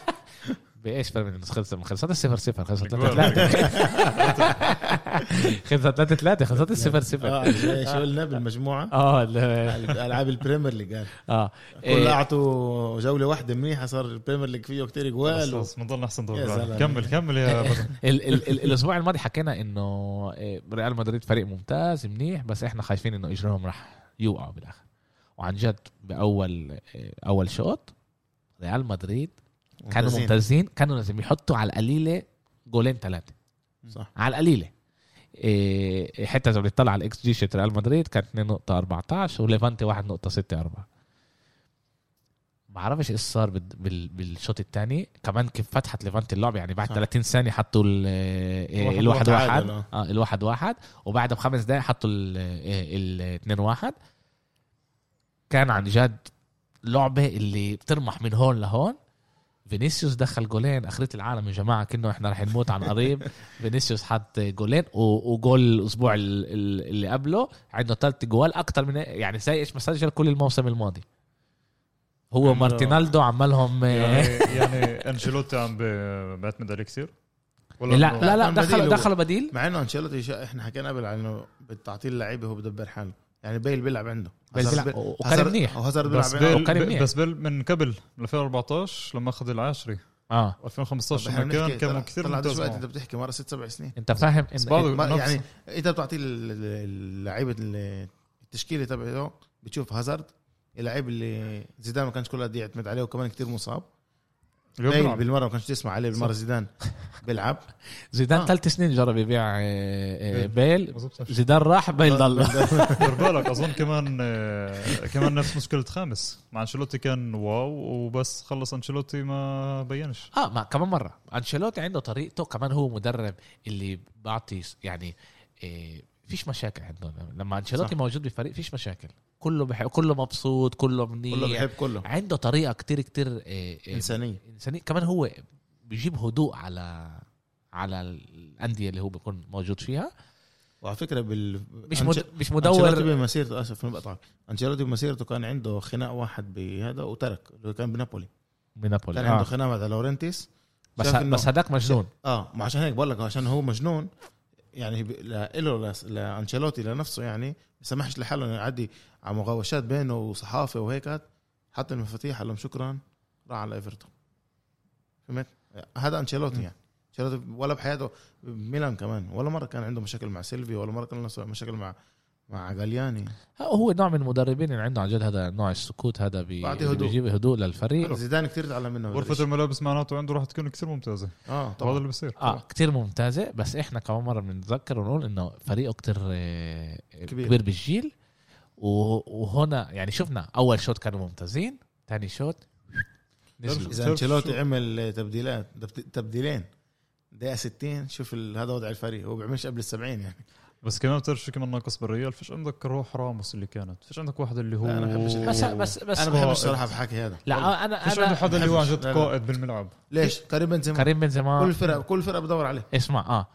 A: بايش فرق النص خلصت من خلصت 0 0 خلصت 3
C: الجوال.
A: 3 خلصت 3 3 خلصت 0 0
B: اه إيش قلنا بالمجموعه
A: اه لا-
B: العاب البريمير ليج آه.
A: اه
B: كل
A: إيه،
B: اعطوا جوله واحده منيحه صار البريمير ليج فيه كتير
C: خلص،
B: جوال و...
C: خلص بنضل احسن دور
B: يا
C: بعد.
B: زلمة.
C: كمل كمل يا بدر.
A: ال- ال- ال- الاسبوع الماضي حكينا انه إيه، ريال مدريد فريق ممتاز منيح بس احنا خايفين انه اجرهم راح يوقعوا بالاخر وعن جد باول إيه، اول شوط ريال مدريد كانوا ممتازين كانوا لازم يحطوا على القليله جولين ثلاثه
B: صح
A: على القليله إيه حتى اذا بنطلع على الاكس جي شت ريال مدريد كانت 2.14 وليفانتي 1.64 بعرفش ايش صار بال- بال- بالشوط الثاني كمان كيف فتحت ليفانتي اللعبه يعني بعد
B: صح.
A: 30 ثانيه حطوا ال- إيه،
B: واحد
A: الواحد
B: واحد
A: واحد
B: عادل، آه.
A: اه الواحد واحد وبعد بخمس دقائق حطوا ال- إيه، ال 2 واحد كان عن جد لعبه اللي بترمح من هون لهون فينيسيوس دخل جولين اخرة العالم يا جماعه كنا احنا رح نموت عن قريب فينيسيوس حط جولين و- وجول الاسبوع ال- ال- اللي قبله عنده ثلاث جوال اكتر من يعني زي ايش ما سجل كل الموسم الماضي هو
B: عمله-
A: مارتينالدو آه، عمالهم لا
C: يعني يعني انشيلوتي عم ب- بيعتمد عليه كثير إنه-
A: لا لا
B: عمل
A: دخل
B: بديل هو.
A: دخل بديل
B: مع انه انشيلوتي شا- احنا حكينا قبل عن انه بالتعطيل اللعيبه هو بدبر حاله يعني بيل بيلعب عنده
A: بيل
B: هازارد
A: بيلعب،
B: بي-
A: وكان
B: هازارد-
A: منيح.
B: وهازارد
C: بس
B: بيلعب عنده
A: بيل- وكان
C: بيل
A: منيح.
C: بس بيل من قبل 2014 لما اخذ العاشري
A: اه
B: طب
C: 2015
B: إحنا
C: لما كان
B: بنحكي-
C: كان
B: طلع-
C: كثير
B: طلع
C: ممتاز طيب،
B: دلوقتي انت
C: معه.
B: بتحكي مره ست سبع سنين
A: انت فاهم
C: بس
A: إن
C: برضه
B: ما
C: نفس-
B: يعني انت بتعطي ال- ال- اللعيبه ال- التشكيله تبعه بتشوف هازارد اللعيب اللي زيدان ما كانش كل قد يعتمد عليه وكمان كتير مصاب
C: اليوم
B: بيل
C: بيلعب.
B: بالمره إيه، ما كانش تسمع عليه بالمره زيدان بيلعب
A: زيدان
B: آه. إيه.
A: ثلاث سنين جرب يبيع آه، آه،
C: بيل.
A: بيل
C: مظبوط صح.
A: زيدان راح بيل ضل
C: دير بالك اظن كمان آه، كمان نفس مشكله خامس مع انشيلوتي كان واو وبس خلص انشيلوتي ما بينش
A: اه ما كمان مره انشيلوتي عنده طريقته كمان هو مدرب اللي بعطي س- يعني إيه فيش مشاكل عندهم لما انشيلوتي
B: صح.
A: موجود بفريق فيش مشاكل كله بح... كله مبسوط كله
B: كله
A: منيح
B: بيحب كله
A: عنده طريقه كتير كتير إيه إيه،
B: انسانيه
A: انسانيه كمان هو بيجيب هدوء على على الانديه اللي هو بيكون موجود فيها
B: وعلى فكره بال
A: مش
B: أنش-
A: مد... مش
B: انشيلوتي
A: مدور
B: بمسيرته اسف ما بقطعك انشيلوتي بمسيرته كان عنده خناق واحد بهذا وترك اللي كان بنابولي
A: من نابولي
B: كان عنده
A: آه.
B: خناق مع لورنتيس
A: بس
B: شاف
A: ه...
B: إنه-
A: بس هداك مجنون
B: اه ما عشان هيك بقول لك عشان هو مجنون يعني ب- لا- له لس- لانشيلوتي لنفسه يعني ما سمحش لحاله انه يعدي على مغاوشات بينه وصحافه وهيك هاد. حط المفاتيح قال لهم شكرا راح على ايفرتون فهمت؟ هذا انشيلوتي
C: مم.
B: يعني انشيلوتي ولا بحياته ميلان كمان ولا مره كان عنده مشاكل مع سيلفي ولا مره كان له مشاكل مع مع جالياني
A: هو نوع من المدربين اللي عنده عن جد هذا نوع السكوت هذا بي...
B: بعطيه
A: اللي
B: هدوء.
A: بيجيب هدوء للفريق
B: زيدان كثير تعلم منه هذا
C: غرفه
B: الإشي.
C: الملابس معناته عنده راح تكون كثير ممتازه
B: اه
C: هذا
B: طبعا
C: اللي بصير
A: اه كتير ممتازه بس احنا كمان مره بنتذكر ونقول انه فريقه كتير آه،
B: كبير.
A: كبير, كبير بالجيل و- وهنا يعني شفنا اول شوط كانوا ممتازين ثاني شوط نزلوا
B: اذا انشيلوتي عمل تبديلات دبت- تبديلين دقيقه 60 شوف ال- هذا وضع الفريق هو بيعملش قبل ال 70 يعني
C: بس كمان بتعرف شو كمان ناقص بالريال فيش عندك روح راموس اللي كانت فيش عندك واحد اللي هو
B: لا، أنا بحبش الحكي.
A: بس بس بس
B: انا بحب الصراحه في حكي هذا
A: لا انا
C: فيش عنده
A: انا
C: حدا اللي هو عن
B: لا،
C: جد
B: لا.
C: قائد بالملعب
B: ليش كريم بنزيما
A: كريم
B: كل
A: بنزيما
B: فرق كل فرق بدور عليه
A: اسمع اه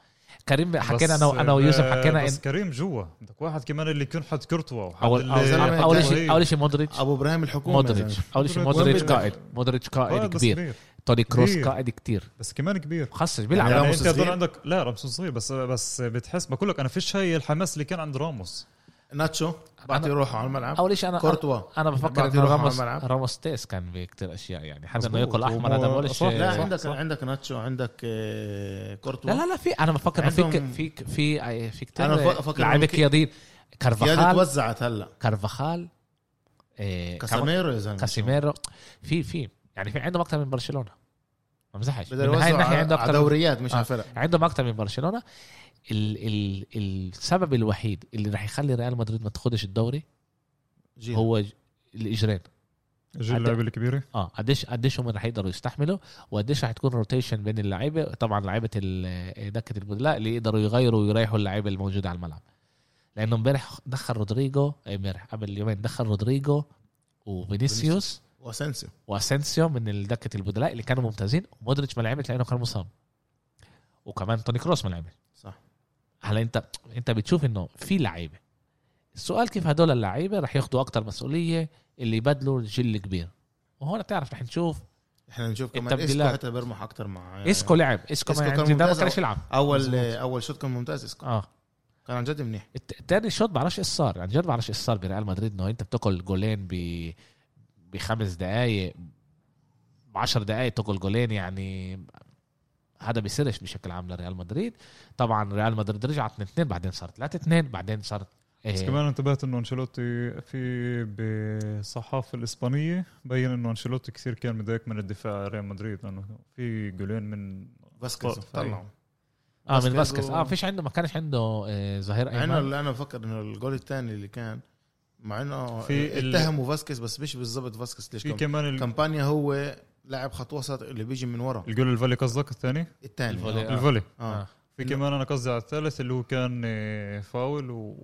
A: كريم حكينا
C: بس- آه،
A: انا انا ويوسف حكينا
C: بس
A: إن
C: كريم جوا بدك واحد كمان اللي يكون حد كورتوا وحد
A: اول
C: اللي-
A: اول
B: زلمة
A: اول
B: جاي.
A: شيء اول شيء مودريتش
B: ابو ابراهيم الحكومه
A: مودريتش اول شيء
C: مودريتش.
A: مودريتش
B: وين بدك؟
A: قائد مودريتش
C: آه،
A: قائد
C: بس
A: كبير
C: كبير.
A: توني كروس
C: كبير.
A: قائد كتير
C: بس كمان كبير
A: خصص
C: يعني,
A: بيلعب
B: يعني راموس
C: انت هدول
B: صغير.
C: عندك لا راموس صغير بس بس بتحس بقول لك انا فيش هاي الحماس اللي كان عند راموس
B: ناتشو بعطي
A: أنا-
B: روحه على الملعب
A: اول شيء انا
B: كورتوا
A: انا بفكر
B: بعطي
A: انه
B: روحه على
A: راموس
B: الملعب.
A: راموس تيس كان بكتير اشياء يعني حتى انه
C: مظبوط.
A: ياكل احمر هذا
C: هو-
A: بقولش
C: صح.
B: لا
A: لا
B: عندك
C: صح.
B: عندك ناتشو عندك آه، كورتوا
A: لا لا في انا بفكر انه في ك-
B: عندهم-
A: في ك- في في
B: أنا
A: كتير
B: بفكر إنه
A: لعيبه
B: كي-
A: قيادين
B: زياده
A: كارفاخال
B: توزعت هلا
A: كارفاخال إيه، كمان
B: كاسيميرو يا زلمه
A: كاسيميرو في في يعني في عندهم اكثر من برشلونه ما بمزحش من
B: بدهم
A: هاي
B: يوزعوا
A: الناحيه
B: على
A: عندهم
B: على
A: اكثر
B: دوريات مش
A: آه.
B: على فرق
A: عندهم اكثر من برشلونه ال ال السبب الوحيد اللي رح يخلي ريال مدريد ما تاخدش الدوري
B: جيل.
A: هو ج- الاجرين
C: جيل
A: عد-
C: اللعيبه الكبيره
A: اه قديش قديش هم رح يقدروا يستحملوا وقديش رح تكون روتيشن بين اللعيبه طبعا لعيبه ال- دكه البدلاء اللي يقدروا يغيروا ويريحوا اللعيبه الموجوده على الملعب لانه امبارح دخل رودريجو إيه، امبارح قبل يومين دخل رودريجو وفينيسيوس
B: واسنسيو
A: واسنسيو من دكه البدلاء اللي كانوا ممتازين ومودريتش ما لعبش لانه كان مصاب وكمان توني كروس ما لعبش
B: صح
A: هلا انت انت بتشوف انه في لعيبه السؤال كيف هدول اللعيبه رح ياخدوا اكتر مسؤوليه اللي يبدلوا الجيل الكبير وهون بتعرف رح نشوف
B: احنا نشوف كمان اسكو
A: التبديلات.
B: حتى بيرمح اكثر مع
A: اسكو لعب اسكو,
B: آه. إسكو
A: ما
B: كان
A: يعني ده ما
B: ممتاز.
A: كانش يلعب
B: اول
A: مظبوط.
B: اول شوط كان ممتاز اسكو
A: اه
B: كان عن جد منيح
A: الت- التاني شوط بعرفش ايش صار عن جد بعرفش ايه ايش صار بريال مدريد انه انت بتاكل جولين ب بخمس دقائق بعشر دقائق تاكل جولين يعني هذا بيصيرش بشكل عام لريال مدريد طبعا ريال مدريد رجع 2 2 بعدين صار 3 2 بعدين صار
C: بس
A: إيه،
C: كمان انتبهت انه انشيلوتي في بالصحافه الاسبانيه بين انه انشيلوتي كثير كان متضايق من الدفاع ريال مدريد لانه في جولين من
B: فاسكيز
C: طيب.
B: طلعوا
A: اه من
B: فاسكيز
A: فاسكيز
B: و-
A: اه فيش عنده ما كانش عنده آه، ظهير
B: مع انه
A: ايمن
B: اللي انا بفكر انه الجول الثاني اللي كان مع انه
C: في ال-
B: اتهموا فاسكيز بس مش بالضبط فاسكيز ليش
C: في
B: كم...
C: كمان ال-
B: كمبانيا هو لاعب خط وسط اللي بيجي من ورا
C: الجول الفولي قصدك الثاني
B: الثاني
A: الفولي. آه.
C: الفولي
B: اه
C: في كمان انا قصدي على الثالث اللي هو كان آه، فاول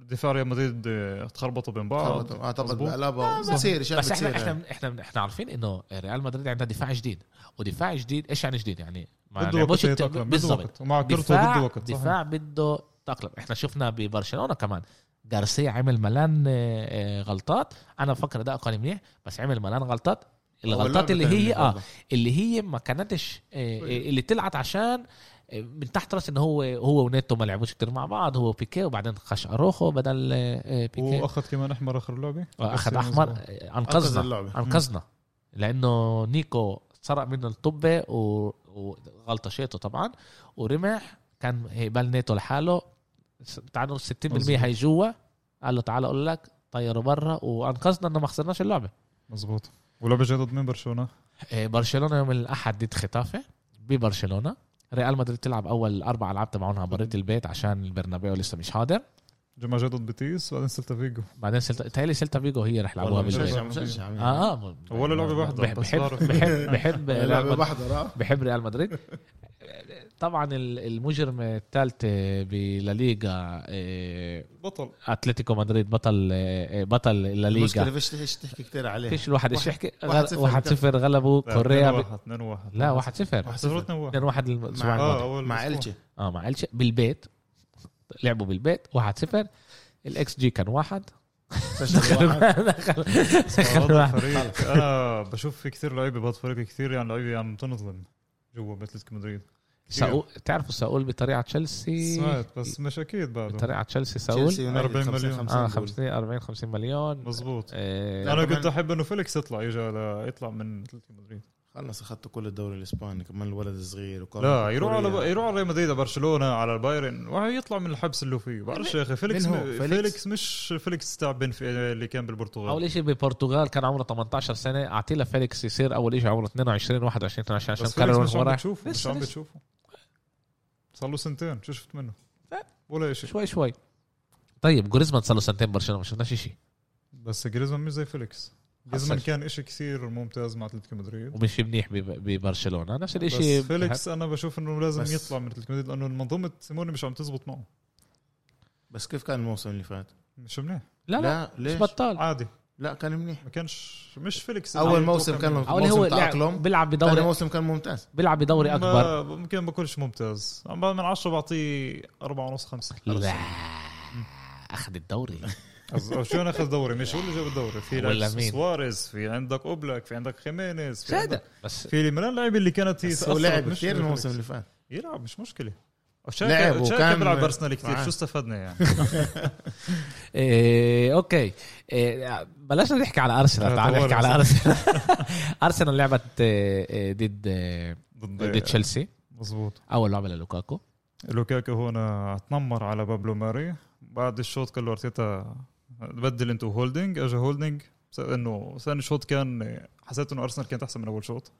C: ودفاع ريال مدريد آه، تخربطوا بين بعض
B: طبعا اه طبعا
C: مظبوط.
B: بقلبها بتصير اشياء
A: بس احنا
B: بتصير
A: احنا
B: يعني.
A: احنا احنا عارفين انه ريال مدريد عندها دفاع جديد ودفاع جديد ايش يعني جديد يعني ما
C: بده وقت
A: لعبوش الت-
C: يتاقلم بده
A: بالضبط
C: وقت ومع كورته
A: دفاع
C: بده وقت صحيح.
A: دفاع بده تأقلم احنا شفنا ببرشلونه كمان جارسيا عمل ملان آه، آه، غلطات انا بفكر ده اقل منيح بس عمل ملان غلطات الغلطات اللي هي اه اللي هي ما كانتش آه، آه، اللي طلعت عشان آه، من تحت راس ان هو هو ونيتو ما لعبوش كتير مع بعض هو بيكي وبعدين خش اروخو بدل آه، آه، بيكي
C: واخذ كمان احمر اخر لعبه
A: اخذ
C: بس
A: احمر
C: مظبوط.
A: آه،
B: انقذ
A: انقذنا
B: اللعبه
A: انقذنا لانه نيكو سرق منه الطبه و... وغلطشيته طبعا ورمح كان هيبال نيتو لحاله س- تعالوا 60%
C: مظبوط.
A: هي جوا قال له تعال اقول لك طيروا برا وانقذنا انه ما خسرناش اللعبه
C: مزبوط ولعبه جاي ضد مين برشلونه؟
A: إيه، برشلونه يوم الاحد ضد ختافه ببرشلونه ريال مدريد تلعب اول اربع العاب تبعهم على بريت البيت عشان البرنابيو لسه مش حاضر
C: جماعه جاي ضد بتيس وبعدين سلتا فيجو
A: بعدين سلتا تهيألي سلتا فيجو هي رح يلعبوها
B: والله
A: بالبيت
B: مشجع مشجع يعني.
A: اه اه
C: ولا لعبة واحدة،
A: بح-
C: بس
A: بحب
C: بعرف.
A: بحب بحب ريال
B: لعبه
A: مدريد.
B: بحضر اه
A: بحب ريال مدريد طبعا ال- المجرم الثالث بالليغا
C: بطل
A: اتلتيكو مدريد بطل آه، بطل
B: المشكله
A: الليغا
B: فيش تحكي- تحكي كثير عليه
A: فيش الواحد ايش
B: إيه. واحد-
A: يحكي
B: واحد صفر.
A: 1 0 غلبوا آه، كوريا ب...
C: 2 1
A: لا 1 0
C: آه،
B: واحد
C: 2
A: 2 1 الاسبوع
B: مع-
A: الماضي
C: اه اول
B: مع
C: أسبوع.
B: التشي
A: اه مع الشيء بالبيت لعبوا بالبيت 1 0 الاكس جي كان واحد دخل دخل دخل
C: هذا
A: واحد
C: الفريق انا آه، بشوف في كثير لعيبه بهذا الفريق كثير يعني لعيبه يعني بتنظلم جوا مثل مدريد
A: ساؤول تعرفوا ساؤول بطريقه تشيلسي
C: سمعت بس مش اكيد بعده
A: بطريقه تشيلسي ساؤول
B: أربعين
C: 40 مليون.
A: اه
B: 50
A: 50 40 50 مليون
C: مزبوط
A: آه،
C: انا
B: يعني كمان-
C: كنت احب انه فيليكس يطلع يجي على يطلع من اتلتيكو مدريد
B: خلص اخذت كل الدوري الاسباني كمان الولد الصغير وكارلوس
C: لا يروح على
B: كوريا.
C: يروح على ريال مدريد على برشلونه على البايرن ويطلع من الحبس اللي هو فيه بعرفش يا اخي فيليكس
B: هو؟
C: فيليكس,
B: فيليكس؟
C: فيليكس مش فيليكس تاع بنف اللي كان بالبرتغال
A: اول شيء بالبرتغال كان عمره 18 سنه اعطيه لفيليكس يصير اول شيء عمره 22 21 22 عشان
C: بس فيليكس
A: كارول
C: مش عم
A: ورا
C: بتشوفه مش
A: لسه-
C: عم
A: لسه.
C: بتشوفه صار له سنتين شو شفت منه؟ ولا شيء
A: شوي شوي طيب جوريزمان صار له سنتين برشلونه ما شفناش شيء
C: بس جريزمان مش زي فيليكس جريزمان
A: حصل.
C: كان إشي كثير ممتاز مع اتلتيكو مدريد
A: ومش منيح بب- ببرشلونه نفس
C: بس
A: الشيء
C: فيليكس انا بشوف انه لازم
B: بس-
C: يطلع من اتلتيكو مدريد لانه منظومه سيموني مش عم تزبط معه
B: بس كيف كان الموسم اللي فات؟
C: مش منيح
A: لا لا مش
B: ليش؟
A: بطال
C: عادي
B: لا كان منيح
C: ما كانش مش فيليكس
B: أول
C: اللي
B: موسم
C: متوقع
B: كان
C: منه.
A: اول هو
B: موسم
A: لعب-
B: تأقلم.
A: بيلعب
B: ثاني
A: بدوري
B: موسم كان ممتاز
A: بيلعب بدوري اكبر
C: ما- ممكن ما بكونش ممتاز أما من عشرة بعطيه أربعة ونص خمسة
A: لا اخذ الدوري
C: أز- أو شو أنا أخذ دوري مش هو اللي جاب الدوري في
A: ولا مين؟
C: لعيب سواريز في عندك أوبلاك في عندك خيمينيز في
A: سادة
C: عندك
A: بس
C: في ملان لعيبة اللي كانت هي
B: بس هو
C: تأثرت،
B: لعب كثير
C: مش فيليكس.
B: الموسم اللي فات
C: يلعب مش مشكلة
B: لعب
C: شاكا
B: وكان-
C: شاكا بيلعب بارسنال كثير
B: معاه.
C: شو استفدنا يعني
A: إيه اوكي إيه بلاش نحكي على
C: آه،
A: ارسنال تعال نحكي على ارسنال ارسنال لعبت إيه، إيه، ضد إيه، ضد
C: ضد
A: تشيلسي
C: مظبوط
A: اول لعبه للوكاكو
C: لوكاكو هون تنمر على بابلو ماري بعد الشوط قال له ارتيتا بدل انتو هولدنج اجى هولدنج س- انه ثاني شوط كان حسيت انه ارسنال كانت احسن من اول شوط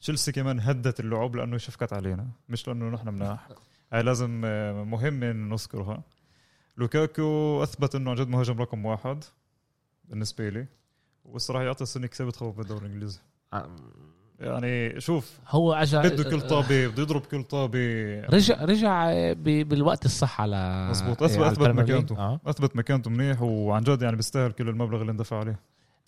C: تشيلسي كمان هدت اللعب لانه شفكت علينا مش لانه نحن مناح هاي لازم آه، مهمه إنه نذكرها لوكاكو اثبت انه عن جد مهاجم رقم واحد بالنسبه لي والصراحه يعطي السنه كسبت خوف بالدوري الانجليزي يعني شوف
A: هو اجى
C: بده كل طابه بده يضرب كل طابه
A: رجع رجع ب- بالوقت الصح على إيه،
C: مظبوط
A: على
C: اثبت اثبت
A: البريمير ليج.
C: مكانته
A: آه.
C: اثبت مكانته منيح وعن جد يعني بيستاهل كل المبلغ اللي اندفع عليه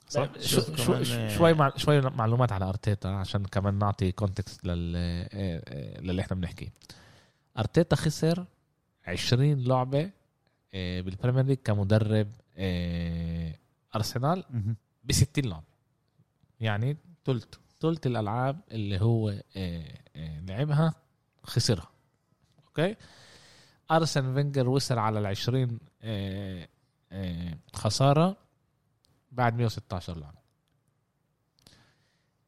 C: صح؟
A: شو- إيه.
B: شوف
A: شو-
B: كمان-
A: شو- شوي مع شوي معلومات على ارتيتا عشان كمان نعطي كونتكست لل إيه، إيه، للي احنا بنحكيه ارتيتا خسر 20 لعبه إيه، بالبريمير ليج كمدرب إيه، ارسنال ب 60 لعبه يعني
B: ثلث
A: ثلث الالعاب اللي هو آه، آه، لعبها خسرها اوكي ارسن فينجر وصل على ال 20 آه، آه، خساره بعد 116 لعبه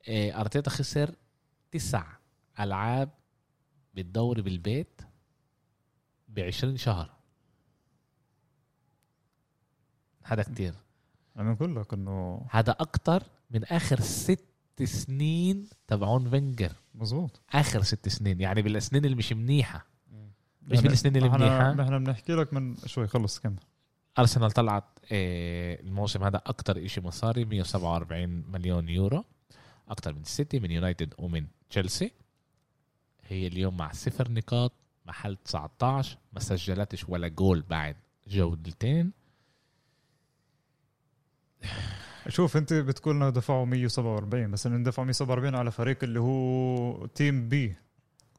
A: آه، ارتيتا خسر تسع العاب بالدوري بالبيت ب 20 شهر هذا كتير
C: عم بقول يعني لك انه
A: هذا اكتر من اخر ست سنين تبعون فينجر
C: مزبوط
A: اخر ست سنين يعني بالسنين اللي مش منيحه مش
C: يعني
A: بالسنين اللي
C: نحن-
A: منيحه
C: نحن بنحكي لك من شوي خلص كمل
A: ارسنال طلعت آه، الموسم هذا اكتر شيء مصاري 147 مليون يورو اكتر من السيتي من يونايتد ومن تشيلسي هي اليوم مع صفر نقاط محل 19 ما سجلتش ولا جول بعد جولتين
C: شوف انت بتقول انه دفعوا 147 بس انه دفعوا 147 على فريق اللي هو تيم بي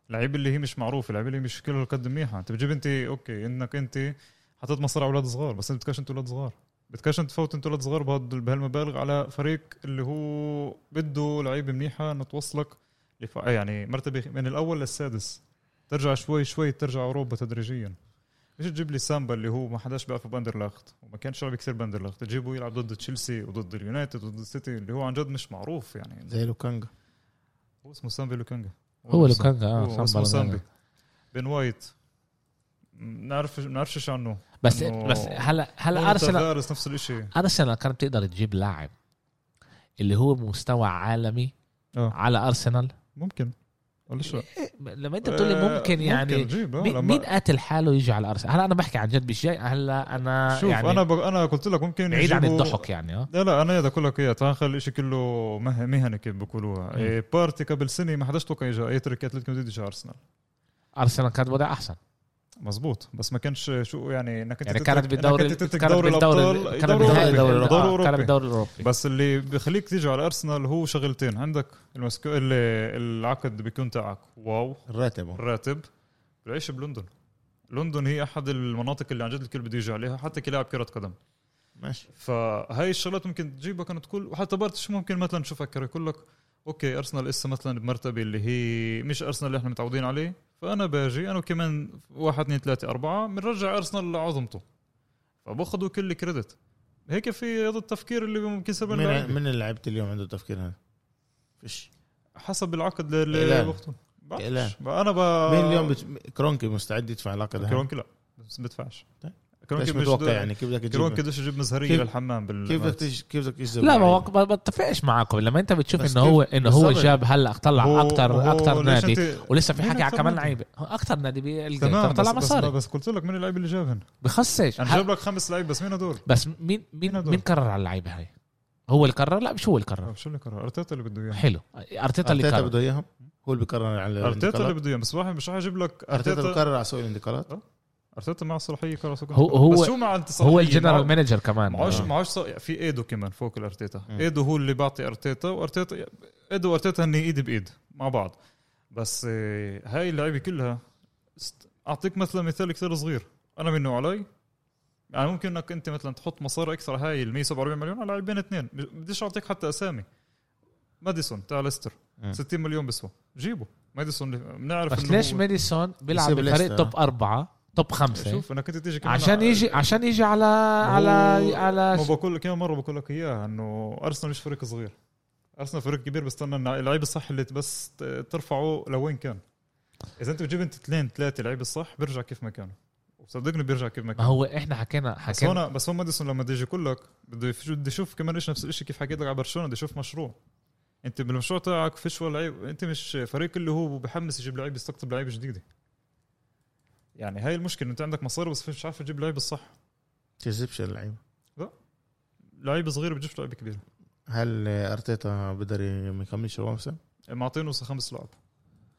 C: لعيب اللي هي مش معروفه لعيب اللي مش كله قد منيحه انت بتجيب انت اوكي انك انت حطيت مصاري على اولاد صغار بس انت بتكاش انت اولاد صغار بتكاش انت تفوت انت اولاد صغار بهد- بهالمبالغ على فريق اللي هو بده لعيبه منيحه انه توصلك لف- يعني مرتبه من الاول للسادس ترجع شوي شوي ترجع اوروبا تدريجيا ليش تجيب لي سامبا اللي هو ما حداش بيعرفه باندرلخت وما كانش يلعب كثير باندرلخت تجيبه يلعب ضد تشيلسي وضد اليونايتد وضد السيتي اللي هو عن جد مش معروف يعني
B: زي لوكانجا
C: هو اسمه سامبي لوكانجا
A: هو لوكانجا اه
C: هو اسمه
A: سامبا
C: سامبي
A: لوكانجا.
C: بين وايت م- نعرف نعرفش عنه
A: بس
C: إنه-
A: بس هلا هلا
C: هلا
A: ارسنال
C: ارسنال نفس الشيء
A: ارسنال كانت بتقدر تجيب لاعب اللي هو مستوى عالمي
C: آه.
A: على ارسنال
C: ممكن ولا شو
A: إيه، لما انت بتقول
C: آه،
A: لي ممكن يعني
C: جيب آه،
A: مين-
C: لما-
A: مين قاتل حاله يجي على ارسنال هلا انا بحكي عن جد مش جاي هلا انا
C: شوف
A: يعني
C: انا ب... انا قلت لك ممكن
A: بعيد عن
C: يجيبوا-
A: الضحك يعني اه
C: لا لا انا بدي اقول لك اياها تعال نخلي الشيء كله مه- مهني كيف بقولوها
A: مم.
C: إيه بارتي قبل سنه ما حداش توقع يجي يترك اتلتيكو مدريد يجي ارسنال
A: ارسنال كانت وضع احسن
C: مزبوط بس ما كانش شو يعني انك
A: يعني
C: تترك-
A: كانت بالدوري
C: إنك تترك
A: كانت
C: دوري
A: بالدوري
C: الابطال
A: كانت
C: دوري
A: بالدوري
C: أوروبي.
A: الدوري-
C: دوري
A: آه، كانت
C: اوروبي
A: بالدوري الاوروبي
C: بس اللي بخليك تيجي على ارسنال هو شغلتين عندك المسك... ال- العقد بيكون تاعك واو
B: الراتب
C: الراتب العيش بلندن لندن هي احد المناطق اللي عن جد الكل بده يجي عليها حتى كلاعب كره قدم
B: ماشي
C: فهاي الشغلات ممكن تجيبك انا تقول وحتى بارتش ممكن مثلا تشوفها كره يقول لك اوكي ارسنال لسه مثلا بمرتبه اللي هي مش ارسنال اللي احنا متعودين عليه فانا باجي انا وكمان واحد اثنين ثلاثه اربعه بنرجع ارسنال لعظمته فباخذوا كل الكريدت هيك في هذا التفكير اللي ممكن يصير بين
B: من
C: اللعيبة.
B: من اللي لعبت اليوم عنده التفكير هذا؟ فيش
C: حسب العقد اللي
B: إعلان.
C: باخذه
B: إعلان.
C: انا ب...
B: مين اليوم بت... كرونكي مستعد يدفع العقد هذا؟
C: آه. كرونكي لا بس بدفعش
B: طيب.
C: كرونكي
B: ليش
C: بدش-
B: متوقع يعني كيف بدك
C: كرونكي
B: تجيب
C: بدش يجيب مزهريه
B: كيف-
C: للحمام بال
B: كيف بدك تج- كيف بدك تجيب
A: لا ما
B: لعيب؟
A: هو- ما بتفقش معكم لما انت بتشوف
B: بس
A: انه هو
B: كيف-
A: انه هو
B: بالضبط.
A: جاب هلا طلع
C: هو-
A: اكثر
C: هو
A: اكثر
C: ليش
A: نادي
C: أنت-
A: ولسه في
C: مين
A: حكي على
C: أكتر
A: كمان
C: نادي؟
A: لعيبه هو اكثر نادي بيلقى
C: تمام
A: طلع
C: بس, بس,
A: مصاري
C: بس قلت لك من اللعيبه اللي جابهن
A: بخسش
C: انا جايب لك خمس لعيب بس مين هدول؟
A: بس مين
C: مين
A: مين
C: هدول؟
A: مين قرر على اللعيبه هاي؟ هو اللي قرر؟ لا مش هو اللي قرر
C: آه، شو اللي قرر؟ ارتيتا اللي بده
B: إيه،
C: اياه
A: حلو ارتيتا اللي
B: ارتيتا
A: قرر
B: بده اياهم هو اللي بيقرر على
C: ارتيتا اللي
B: الانتقالات
C: بده اياه بس واحد مش حيجيب لك
B: ارتيتا
C: ارتيتا
B: بيقرر على سوق الانتقالات
C: ارتيتا مع صلاحيه كره سكن
A: هو- هو-
C: بس شو مع انت صلاحية؟
A: هو الجنرال
C: معه-
A: مانجر كمان
C: معهوش
A: آه.
C: معهوش صلاح- في ايدو كمان فوق الارتيتا
B: مم.
C: ايدو هو اللي بيعطي ارتيتا وارتيتا ايدو وارتيتا هني ايد بايد مع بعض بس آه، هاي اللعيبه كلها است- اعطيك مثلا مثال كثير صغير انا منه علي يعني ممكن انك انت مثلا تحط مصاري اكثر هاي ال 147 مليون على لاعبين اثنين بديش اعطيك حتى اسامي ماديسون تاع ليستر
B: مم.
C: 60 مليون بيسوى جيبه ماديسون اللي- بنعرف
A: بس
C: إنه
A: ليش
C: هو-
A: ميديسون بيلعب
B: يسيب
A: بفريق
B: ليستر.
A: توب اربعه توب خمسه
C: شوف انك انت تيجي كمان
A: عشان
C: على-
A: يجي عشان يجي على على على
C: ما بقول لك كم مره بقول لك اياها انه ارسنال مش فريق صغير ارسنال فريق كبير بستنى إن اللعيبه الصح اللي بس ت- ترفعه لوين كان اذا انت بتجيب انت اثنين ثلاثه لعيبه الصح بيرجع كيف ما كانوا وصدقني بيرجع كيف ما
A: ما
C: كان
A: هو احنا حكينا
C: بس
A: حكينا
C: هون بس هون ماديسون لما بده يجي يقول لك بده يف- بده يشوف كمان ايش نفس الشيء كيف حكيت لك على برشلونه بده يشوف مشروع انت بالمشروع تاعك فيش ولا لعيب انت مش فريق اللي هو بحمس يجيب لعيب يستقطب لعيب جديده يعني هاي المشكله انت عندك مصاري بس مش عارف تجيب لعيب الصح
B: تجذبش اللعيبه
C: لعيب صغير بتجيب لعيب كبير
B: هل ارتيتا بقدر يكملش الموسم؟
C: معطينه خمس لعب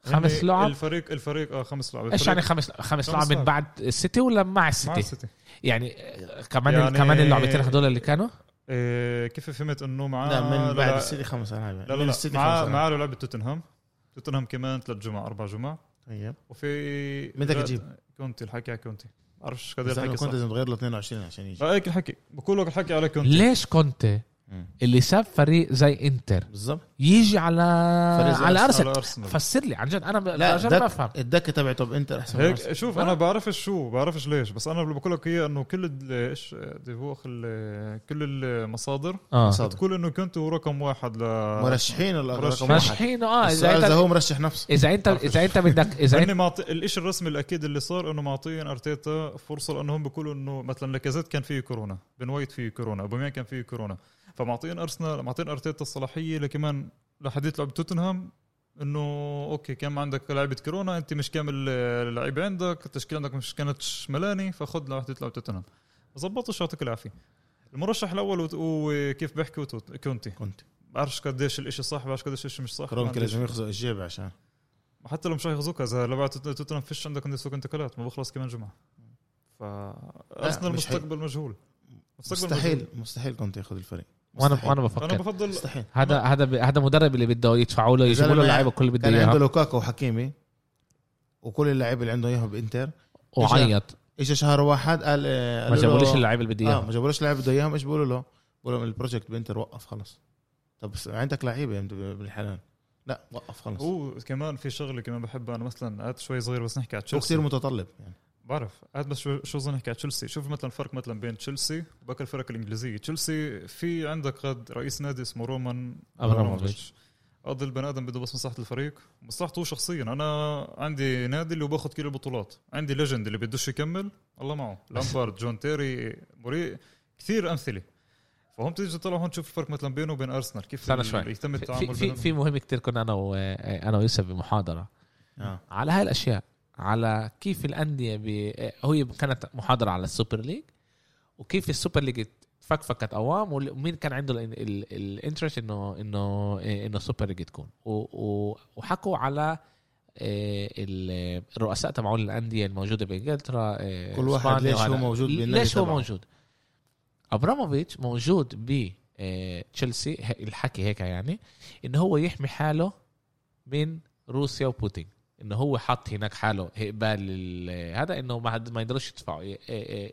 A: خمس
C: يعني
A: لعب؟
C: الفريق الفريق اه خمس لعب
A: ايش
C: الفريق
A: يعني خمس خمس
C: خمس
A: لعب من
C: لعب.
A: بعد السيتي ولا مع
C: مع
A: السيتي؟
C: السيتي
A: يعني آه، كمان
C: يعني-
A: يعني كمان اللعبتين هدول اللي كانوا
C: إيه كيف فهمت انه معاه
B: لا من بعد
C: آه، لا-
B: السيتي خمس العاب
C: لا
B: من
C: لا, لا.
B: السيتي
C: معاه
B: خمس العاب
C: معاه لعبه توتنهام توتنهام كمان ثلاث جمع اربع جمع
B: طيب
C: وفي
B: مين بدك
C: لا،
B: تجيب؟
C: كونتي الحكي على كونتي بعرفش قد
B: بس
C: ايه
B: انا
C: الحكي
B: كنت
C: صح آه.
B: لازم تغير له 22 عشان يجي
C: هيك الحكي بقول لك الحكي على كونتي
A: ليش كونتي
B: مم.
A: اللي ساب فريق زي انتر
B: بالضبط
A: يجي على
B: فريق زي
A: على ارسنال
C: آه، على ارسنال
A: فسر لي عن جد انا ب-
B: لا،
A: عن جد
B: ده-
A: بفهم
B: الدكه تبعته بانتر احسن من أرسنال.
C: هيك شوف انا بعرفش شو بعرفش ليش بس انا اللي بقول لك اياه انه كل ال- ايش ديفوخ ال- كل المصادر
A: اه
B: صح.
C: بتقول انه كنتوا رقم واحد ل
B: مرشحين الرقم واحد
A: مرشحين اه اذا
B: السؤال اذا
A: انت
B: هو مرشح نفسه
A: اذا انت اذا انت بدك اذا
C: هن
A: انت
C: معطي الشيء الرسمي الاكيد اللي صار انه معطيين ارتيتا فرصه لانهم بيقولوا انه مثلا لاكازيت كان فيه كورونا بن وايت فيه كورونا اوباميان كان فيه كورونا فمعطيين ارسنال معطيين ارتيتا الصلاحيه لكمان لحديت لعب توتنهام انه اوكي كان عندك لعبه كورونا انت مش كامل آه، اللعيبه عندك التشكيله عندك مش كانتش ملاني فخذ لحديت لعب توتنهام ظبطش يعطيك العافيه المرشح الاول وت- وكيف بيحكوا توت- كونتي
B: كنت
C: بعرفش قديش الاشي صح بعرفش قديش الاشي مش صح ما
B: كرونكي
C: عنديش-
B: لازم ياخذوا الجيب عشان
C: حتى لو مش هياخذوك اذا لعبت توتنهام فيش عندك عندي سوق انتقالات ما بخلص كمان جمعه ف ارسنال
B: مش حي-
C: مستقبل مجهول مستقبل
B: مستحيل
C: مجهول.
B: مستحيل كنت ياخذ الفريق
A: وانا
B: مستحيل.
A: وانا
C: فانا
A: بفكر
C: بفضل
B: مستحيل
A: هذا هذا ب- هذا مدرب اللي بده يدفعوا له يجيبوا له
B: زلمة
A: اللعيبه كل اللي بده
B: كان عنده
A: اياها
B: لوكاكو وحكيمي وكل اللعيبه اللي عنده اياهم بانتر
A: وعيط
B: اجى شهر واحد قال آه،
A: ما
B: قالوا له-
A: جابوليش اللعيبه اللي بده
B: اه
A: اياها
B: ما جابوليش لعيبه بده اياهم ايش بيقولوا له؟ بيقولوا لهم البروجكت بانتر وقف خلص طب بس عندك لعيبه انت بالحلال لا وقف خلص
C: وكمان في شغله كمان بحبها انا مثلا قعدت شوي صغير بس نحكي على
B: هو كثير
C: تشيلسي
B: متطلب يعني
C: بعرف قعدت بس شو- شو نحكي على تشيلسي شوف مثلا فرق مثلا بين تشيلسي وباقي الفرق الانجليزيه تشيلسي في عندك غد رئيس نادي اسمه رومان
A: أبراموفيتش.
C: قضي البني ادم بده بس مصلحه الفريق مصلحته هو شخصيا انا عندي نادي اللي باخذ كل البطولات عندي ليجند اللي بدوش يكمل الله معه لامبارد جون تيري موري كثير امثله فهم تيجي تطلع هون تشوف الفرق مثلا بينه وبين ارسنال كيف
A: استنى شوي.
C: ال- يتم
A: في
C: التعامل
A: في في مهم كتير كنا انا و- انا ويوسف بمحاضره
B: اه
A: آه. على هاي الاشياء على كيف الانديه ب... آه، هي كانت محاضره على السوبر ليج وكيف السوبر ليج فكفكت اوام وال- ومين كان عنده الانترست انه انه انه إيه، السوبر ليج تكون و... و... وحكوا على آه، ال- الرؤساء تبعون الانديه الموجوده بانجلترا آه،
B: كل واحد
A: إسبانيا
B: ليش هو
A: وهذا.
B: موجود بالنادي
A: ليش هو
B: تبعه.
A: موجود ابراموفيتش موجود ب آه، تشيلسي ه- الحكي هيك يعني انه هو يحمي حاله من روسيا وبوتين انه هو حط هناك حاله هقبال ال- هذا انه ما حد- ما يقدروش يدفعوا ي- آه، آه،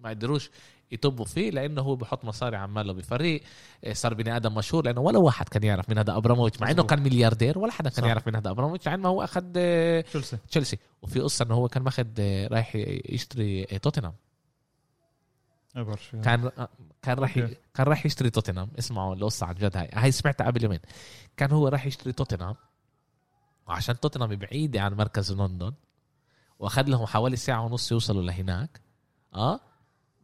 A: ما يقدروش يطبوا فيه لانه هو بحط مصاري عماله بفريق آه، صار بني ادم مشهور لانه ولا واحد كان يعرف من هذا ابراموفيتش مع انه
B: مظبوط.
A: كان ملياردير ولا حدا كان
B: صح.
A: يعرف من هذا ابراموفيتش عن ما هو اخذ آه،
C: تشيلسي
A: تشيلسي وفي قصه انه هو كان ماخذ آه، رايح يشتري آه، توتنهام
C: ما بعرفش
A: كان كان راح
C: أوكي.
A: كان راح يشتري توتنهام اسمعوا القصه عن جد هاي هاي سمعتها قبل يومين كان هو راح يشتري توتنهام وعشان توتنهام بعيده عن مركز لندن واخذ لهم حوالي ساعه ونص يوصلوا لهناك اه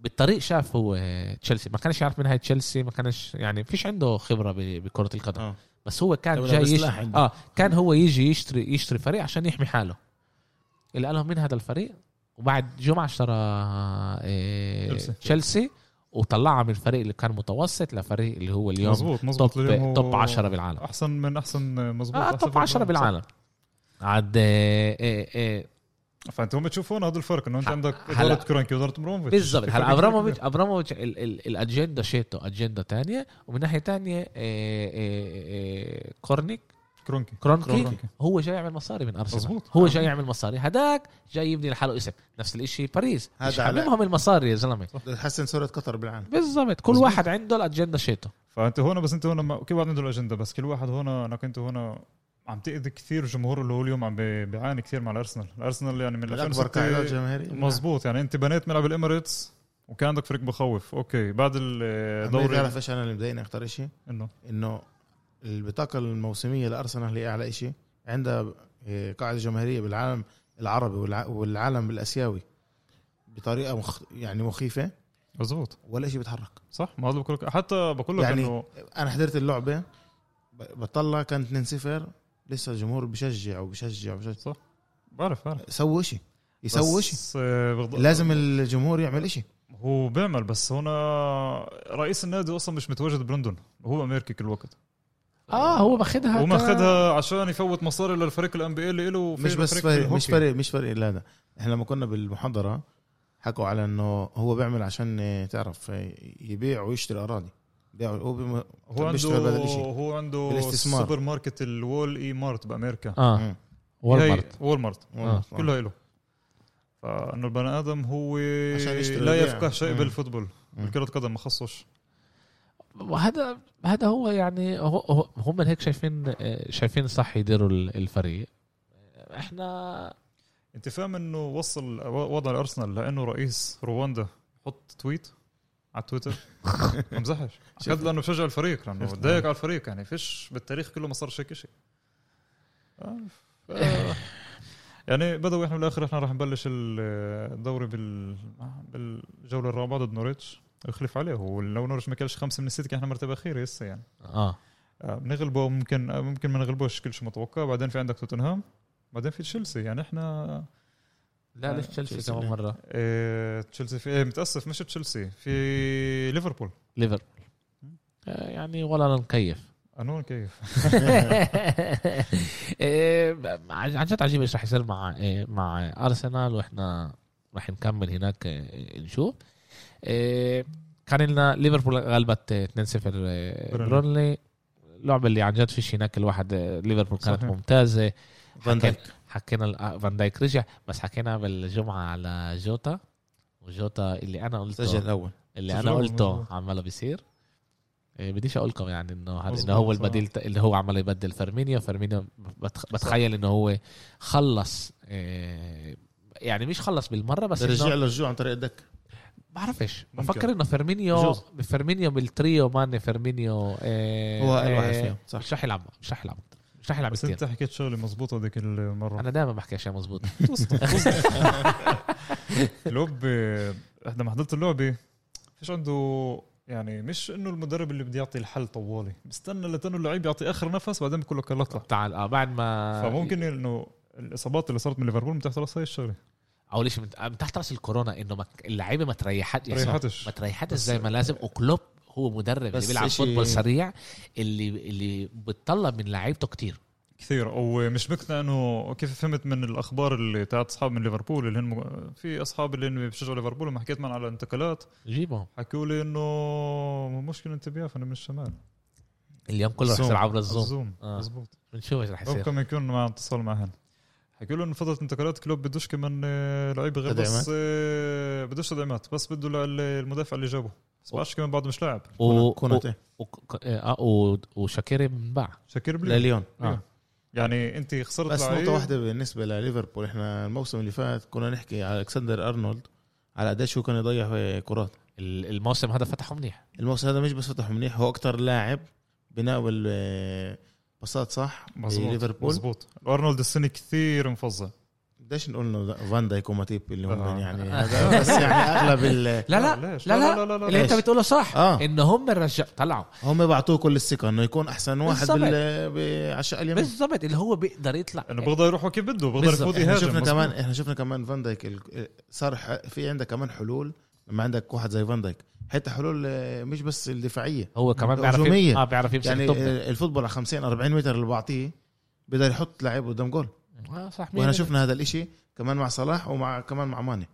A: بالطريق شاف هو آه، تشيلسي ما كانش يعرف من هاي تشيلسي ما كانش يعني فيش عنده خبره ب- بكره القدم
B: آه.
A: بس هو كان
B: طب
A: جاي
B: لو
A: يش...
B: بسلاح عنده.
A: اه كان هو يجي يشتري يشتري فريق عشان يحمي حاله اللي قالهم من هذا الفريق وبعد جمعه اشترى إيه
C: تشيلسي.
A: تشيلسي وطلعها من الفريق اللي كان متوسط لفريق اللي هو اليوم
C: مزبوط
A: توب
C: مزبوط اليوم هو
A: توب 10 بالعالم
C: احسن من احسن مزبوط
A: اه
C: أحسن
A: توب
C: فريق
A: 10 بالعالم عاد إيه إيه إيه
C: فانت هم تشوفون هذا الفرق انه انت
A: ح-
C: عندك
A: هلا-
C: اداره كرونكي واداره ابراموفيتش
A: بالضبط
C: في فرق
A: هلا
C: كبير.
A: ابراموفيتش ابراموفيتش ال- ال- الاجنده شيته اجنده تانية ومن ناحيه تانية إيه إيه إيه كورنيك
C: كرونكي
A: كرونكي
C: كرونكي.
A: هو جاي يعمل مصاري من ارسنال
C: مظبوط.
A: هو جاي يعمل مصاري هداك جاي يبني لحاله اسم نفس الاشي باريس
B: هذا
A: مش
B: على-
A: حبيبهم المصاري يا زلمه
B: بدها تحسن صوره قطر بالعالم
A: بالضبط كل
C: مظبوط.
A: واحد عنده الاجنده شيته
C: فانت هون بس انت هون ما- كل واحد عنده الاجنده بس كل واحد هون انك انت هون عم تاذي كثير جمهور اللي هو اليوم عم بي- بيعاني كثير مع الارسنال الارسنال يعني من
B: الاكبر كعدد
C: 2006
B: جماهيري
C: مزبوط يعني انت بنيت ملعب الاميريتس وكان عندك فريق بخوف اوكي بعد
B: دوري
C: الدوري
B: بتعرف ايش انا اللي مضايقني اكثر شيء
C: انه
B: انه البطاقه الموسميه لارسنال هي اعلى شيء عندها إيه، قاعده جماهيريه بالعالم العربي والع- والعالم الاسيوي بطريقه مخ... يعني مخيفه
C: مزبوط
B: ولا شيء بيتحرك
C: صح ما هذا بقول لك حتى بقول لك
B: يعني-
C: انه
B: انا حضرت اللعبه ب- بطلع كان 2-0 لسه الجمهور بشجع وبشجع وبشجع
C: صح. بعرف بعرف
B: سووا شيء يسووا شيء
C: بس، آه، بغض-
B: لازم الجمهور يعمل شيء
C: هو بيعمل بس هنا رئيس النادي اصلا مش متواجد بلندن هو امريكي كل الوقت آه،
A: اه هو باخذها
C: وما اخذها عشان يفوت مصاري للفريق الان بي اللي له
B: مش بس فريق مش فريق مش فريق لا لا احنا لما كنا بالمحاضره حكوا على انه هو بيعمل عشان آه، تعرف آه، يبيع ويشتري اراضي بيع هو بم...
C: هو عنده
B: بيشتغل بهذا الشيء.
C: هو عنده
B: بالاستثمار.
C: السوبر ماركت الوول اي مارت بامريكا
A: اه
B: مم.
A: والمارت
C: E هي- وول مارت
A: آه.
C: كلها له فانه البني ادم هو
B: عشان يشتري
C: لا
B: ويبيع.
C: يفقه شيء
B: مم.
C: بالفوتبول
B: مم.
C: كرة قدم ما خصوش
A: وهذا هذا هو يعني هو هو- هم اللي هيك شايفين آه، شايفين صح يديروا ال- الفريق احنا
C: انت فاهم انه وصل و- وضع الارسنال لانه رئيس رواندا يحط تويت على تويتر ما امزحش
B: شفت.
C: قد لانه بشجع الفريق لانه
B: شفت.
C: ضايق على الفريق يعني فيش بالتاريخ كله ما صارش هيك شيء آه، ف- يعني بدوي احنا بالاخر احنا راح نبلش الدوري بال بالجوله الرابعه ضد نوريتش يخلف عليه ولو نوريتش ما كانش خمسه من السته كان احنا مرتبه اخيره هسه يعني
A: اه
C: آه، بنغلبه ممكن آه، ممكن ما نغلبوش كل شيء متوقع بعدين في عندك توتنهام بعدين في تشيلسي يعني احنا
A: لا
C: آه،
A: ليش تشيلسي
B: تشيلسي
A: كمان
B: لا.
A: مره
C: إيه، تشيلسي في إيه، متاسف مش تشيلسي في ليفربول
A: ليفربول آه، يعني ولا نكيف
C: انا هون كيف
A: إيه، عن جد عجيب ايش رح يصير مع إيه، مع ارسنال واحنا رح نكمل هناك إيه، نشوف إيه، كان لنا ليفربول غلبت إيه، 2-0 إيه،
C: برونلي.
A: برونلي اللعبه اللي عن جد فيش هناك الواحد إيه، ليفربول كانت
C: صحيح.
A: ممتازه
B: فان
A: حكينا,
B: دايك
A: حكينا ال- فان دايك رجع بس حكينا بالجمعه على جوتا وجوتا اللي انا قلته
B: سجل الاول
A: اللي انا
C: تجربة
A: قلته
C: مظبوط.
A: عماله بيصير إيه، بديش اقولكم يعني انه هذا
C: مظبوط،
A: انه هو
C: صح.
A: البديل ت- اللي هو عمال يبدل فيرمينيو فيرمينيو بتخ- بتخيل انه هو خلص إيه، يعني مش خلص بالمره بس
B: رجع
A: انه
B: له الرجوع عن طريق الدك
A: بعرفش
C: ممكن.
A: بفكر انه فيرمينيو
B: بجوز.
A: فيرمينيو بالتريو ماني فيرمينيو إيه،
B: هو أقل واحد
A: إيه،
B: فيهم، صح.
A: مش رح يلعب مش رح يلعب مش رح يلعب
C: بس
A: كتير
C: انت حكيت شغله مزبوطه هذيك المره
A: انا دائما بحكي اشياء مزبوط
C: اللعب احدى آه، ما حضرت اللعبه فيش عنده يعني مش انه المدرب اللي بده يعطي الحل طوالي بستنى لتنه اللعيب يعطي اخر نفس بعدين بقول لك يلا اطلع
A: تعال اه بعد ما
C: فممكن انه الاصابات اللي صارت من ليفربول من تحت راس هاي الشغله
A: اول شيء من- من تحت راس آه، الكورونا انه ما- اللعيبه ما تريحت
C: ما
A: يعني
C: ريحتش
A: ما تريحتش زي ما لازم وكلوب هو مدرب اللي
B: بس
A: بيلعب
B: إشي-
A: فوتبول سريع اللي اللي بتطلب من لعيبته كتير
C: كثير ومش مقنع انه كيف فهمت من الاخبار اللي تاعت اصحاب من ليفربول اللي هن م- في اصحاب اللي هن بيشجعوا ليفربول لما حكيت معهم على الانتقالات
A: جيبهم
C: حكوا لي انه مشكله انت بيافا انا من الشمال
A: اليوم كله رح
C: الزوم.
A: يصير عبر الزوم
C: الزوم
A: آه.
C: مزبوط
A: بنشوف ايش رح يصير
C: ربكم يكون مع اتصال معهن حكوا له انه فتره انتقالات كلوب بدوش كمان آه، لعيبه غير بس
B: تدعيمات؟
C: آه، بدوش تدعيمات بس بده لل- المدافع اللي جابه بس بعرفش كمان بعده مش لاعب
A: و-
B: كوناتي
A: و- وك- آه، و- وشاكيري منباع
C: شاكير بلي
B: لليون
A: آه.
C: يعني انت خسرت
B: بس
C: لعيب.
B: نقطة واحدة بالنسبة لليفربول احنا الموسم اللي فات كنا نحكي على الكسندر ارنولد على قديش هو كان يضيع في كرات
A: ال- الموسم هذا فتحه منيح
B: الموسم هذا مش بس فتح منيح هو اكثر لاعب بناول آه، باصات صح
C: مزبوط
B: ليفربول
C: مزبوط ارنولد السنه كثير مفظع
B: بديش نقول انه فان دايك وماتيب اللي هم
C: آه.
B: يعني هذا بس يعني اغلب ال
A: لا لا
C: ليش؟
A: لا لا,
C: لا, لا, لا,
A: اللي
C: لا.
A: انت بتقوله صح
B: آه.
A: انه هم الرجع طلعوا
B: هم بعطوه كل الثقه انه يكون احسن واحد
A: بالضبط.
B: بال ب- على الشقه اليمين
A: بالضبط اللي هو بيقدر يطلع
C: انه بقدر يروح وكيف بده بقدر
B: بالضبط.
C: يفوت
B: احنا
C: يهاجم
B: شفنا
C: مظبوط.
B: كمان احنا شفنا كمان فان دايك ال- صار ح- في عندك كمان حلول لما عندك واحد زي فان دايك حتى حلول آه، مش بس الدفاعيه
A: هو كمان بيعرف
B: هجومية.
A: يم- اه بيعرف يمسك
B: يعني
A: الطب
B: آه، الفوتبول على 50 40 متر اللي بعطيه بيقدر يحط لعيب قدام جول
A: آه، صح
B: واحنا شفنا هذا الاشي كمان مع صلاح ومع كمان مع ماني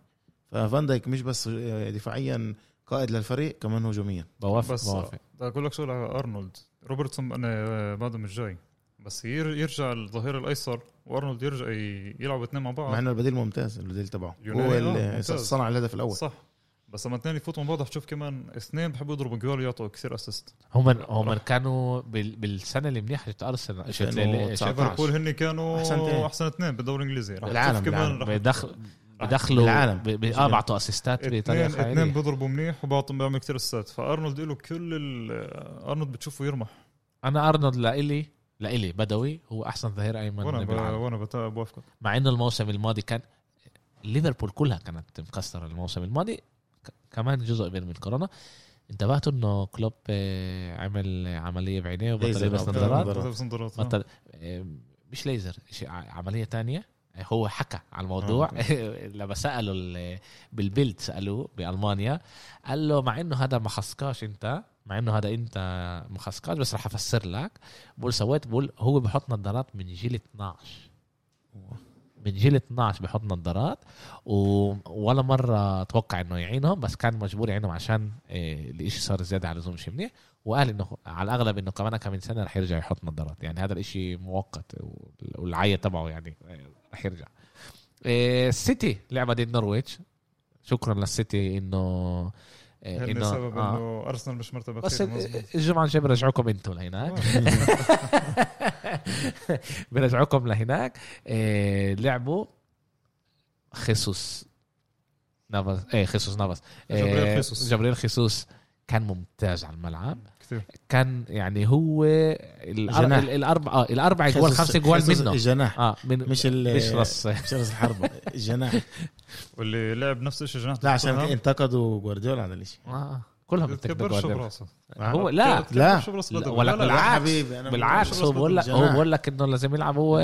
B: ففان دايك مش بس آه، دفاعيا قائد للفريق كمان هجوميا
A: بوافق
C: بس آه.
A: بوافق
C: بدي اقول لك شغله على ارنولد روبرتسون انا بعده مش جاي بس ير- يرجع الظهير الايسر وارنولد يرجع ي- يلعبوا اثنين مع بعض
B: مع انه البديل ممتاز البديل تبعه
C: آه. يوناني،
B: هو
C: آه،
B: اللي
C: ممتاز.
B: صنع الهدف الاول
C: صح بس لما اثنين يفوتوا مع بعض حتشوف كمان اثنين بحبوا يضربوا جول يعطوا كثير اسيست
A: هم هم كانوا بال- بالسنه اللي منيحه شفت ارسنال شفت
B: 2019.
C: ليفربول هن كانوا
B: أحسن اثنين.
C: احسن اثنين بالدوري الانجليزي رح
B: بالعالم،
C: تشوف
B: بالعالم.
C: كمان رح
A: بدخل بدخلوا
B: بالعالم.
A: ب- ب- اه بعطوا اسيستات بطريقه
C: اثنين اثنين
A: خياليه
C: بيضربوا منيح وبعطوا بيعمل كثير اسيست فارنولد له كل ال- ارنولد بتشوفه يرمح
A: انا ارنولد لإلي لإلي بدوي هو احسن ظهير
C: وانا
A: ايمن
C: ب-
A: بالعالم
C: وانا بت- بوافقك
A: مع انه الموسم الماضي كان ليفربول كلها كانت مكسره الموسم الماضي ك- كمان جزء كبير من الكورونا انتبهتوا انه كلوب آه، عمل عمليه بعينيه وبطل
B: ليزر
A: يلبس
B: أو
A: نظارات
B: نظارات.
C: بس نظارات آه.
A: بطل آه، مش ليزر شيء ع- عمليه تانية آه، هو حكى على الموضوع لما سالوا ال- بالبيلد سالوه بالمانيا قال له مع انه هذا ما خصكاش انت مع انه هذا انت ما خصكاش بس رح افسر لك بقول سويت بقول هو بحط نظارات من جيل 12 من جيل 12 بحط نظارات و- ولا مره توقع انه يعينهم بس كان مجبور يعينهم عشان إيه، الاشي صار زياده على اللزوم شي منيح وقال انه على الاغلب انه كمان كم من سنه رح يرجع يحط نظارات يعني هذا الاشي مؤقت وال- والعية تبعه يعني إيه، رح يرجع آه، إيه، السيتي لعبه ضد نورويتش شكرا للسيتي انه آه،
C: هن
A: انه
C: السبب
A: آه.
C: انه ارسنال مش مرتبه
A: بس إيه، آه.
C: كثير مظبوط. آه،
A: الجمعه الجايه برجعوكم انتم لهناك برجعوكم لهناك آه، لعبوا خيسوس نافاس ايه خيسوس نافاس آه،
C: جبريل خيسوس.
A: جبريل خيسوس كان ممتاز على الملعب
C: كثير
A: كان يعني هو الأر-
B: جناح.
A: ال- الاربع اه الاربع جوال
B: خيسوس-
A: خمسة جوال
B: خيسوس
A: منه
B: الجناح
A: اه من
B: مش ال
A: مش رص
B: مش راس الحرب الجناح
C: واللي لعب نفس الشيء جناح
B: لا عشان
A: إيه؟
C: توتنهام،
B: انتقدوا جوارديولا هذا الشيء
A: آه كلهم
C: بتكبرش
A: بتكبروا
C: براسه
A: هو لا
B: لا.
C: بتكبرش براسه
A: لا،
C: بدري.
A: ولك
C: لا، لا،
A: بالعكس.
B: حبيبي أنا
A: بالعكس هو
B: بقول-
A: بقول لك هو
B: جناح.
A: بقول لك انه لازم يلعب هو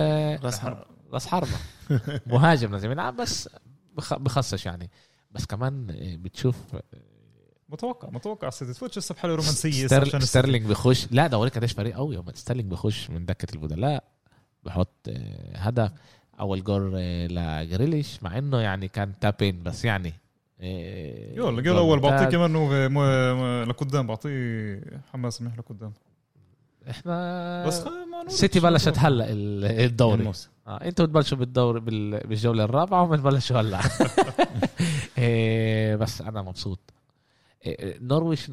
B: راس حرب
A: راس حربة مهاجم لازم يلعب بس بخ- بخصش يعني بس كمان آه، بتشوف
C: متوقع متوقع السيتي تفوتش هسه بحاله رومانسيه هسه عشان
A: ستير-
C: السيتي.
A: ستيرلينج بيخش لا ده اوريك قديش فريق قوي يوم ستيرلينج بيخش من دكه البدلاء بحط آه، هدف اول جول آه، لجريليش مع انه يعني كان تابين بس يعني آه،
C: يلا
A: جول
C: قال اول بعطيه
A: ممتاز.
C: كمان إنه مو- مو- لقدام بعطيه حماس منيح لقدام
A: احنا
C: بس خلينا ما نقول
A: آه، سيتي
C: شو
A: بلشت
C: نقول.
A: هلا ال- الدوري
B: الموسم.
A: آه انتوا بتبلشوا بالدوري بال- بالجوله الرابعه وما بلشوا هلا آه، بس انا مبسوط آه، نورويش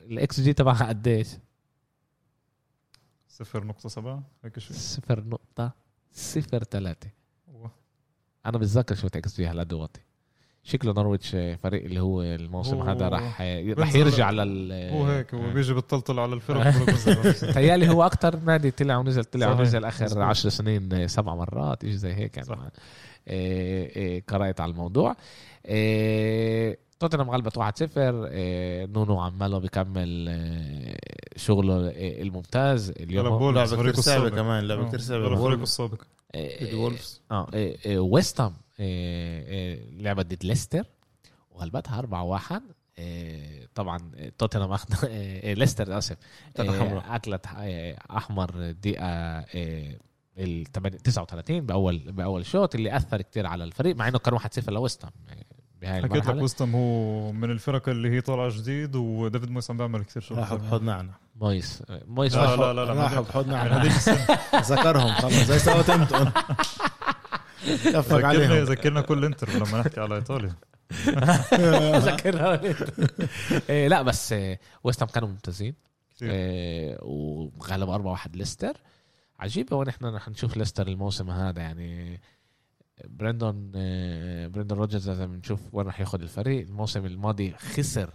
A: الاكس جي تبعها قديش؟
C: 0.7 هيك شيء
A: صفر نقطة صفر ثلاثة انا بتذكر شفت اكس جي هلا دوتي شكله نورويتش فريق اللي هو الموسم
C: هو-
A: هذا راح راح
C: بنزل-
A: يرجع لل
C: هو هيك
A: آه.
C: هو بيجي بتطلطل على الفرق آه، بقول لك بنزل.
A: تهيألي هو اكثر نادي طلع ونزل طلع
C: صحيح.
A: ونزل اخر
C: مظبوط.
A: عشر سنين آه، سبع مرات ايش زي هيك
C: صح.
A: يعني إيه، إيه، قرأت على الموضوع إيه، توتنهام غلبت 1-0 إيه، نونو عماله بكمل إيه، شغله إيه، الممتاز
C: غلب
A: اليوم
C: بول
B: لعبة
C: الفريق
B: كتير
C: السابق.
B: صعبة كمان، لعبة
C: آه،
B: كتير صعبة.
C: غلب
B: وولفز.
C: الفريق السابق
A: إيه،
B: الولفز
A: اه إيه، إيه، ويست هام إيه، إيه، لعبت ضد ليستر وغلبتها 4 1 طبعا إيه، توتنهام اخذ إيه، إيه، ليستر اسف
B: أكلت
A: إيه،
B: حمراء.
A: اكلت إيه، احمر دقيقه إيه، ال 8 39 باول باول شوط اللي اثر كتير على الفريق مع انه كان 1 0 لويست هام إيه، بهاي
C: حكيت لك
A: المرحله
C: وستم هو من الفرق اللي هي طالعه جديد وديفيد مويس عم بيعمل كثير شغل
B: راحوا بحضنعنا
A: مويس آه، مويس
C: لا،
B: آه.
A: راح-
C: لا، لا، ما
B: راحوا
C: يعني
B: بحضنعنا
C: هذيك السنة.
B: ذكرهم خلص زي ساوثهامبتون كفك
C: ذكرنا
B: عليهم
C: ذكرنا كل انتر لما نحكي على ايطاليا
A: ذكرها إيه، لا بس ويست هام كانوا ممتازين
C: كتير.
A: إيه، وغلب 4 1 ليستر عجيب هو نحن رح نشوف ليستر الموسم هذا يعني برندون إيه، برندون روجرز لازم نشوف وين رح ياخذ الفريق الموسم الماضي خسر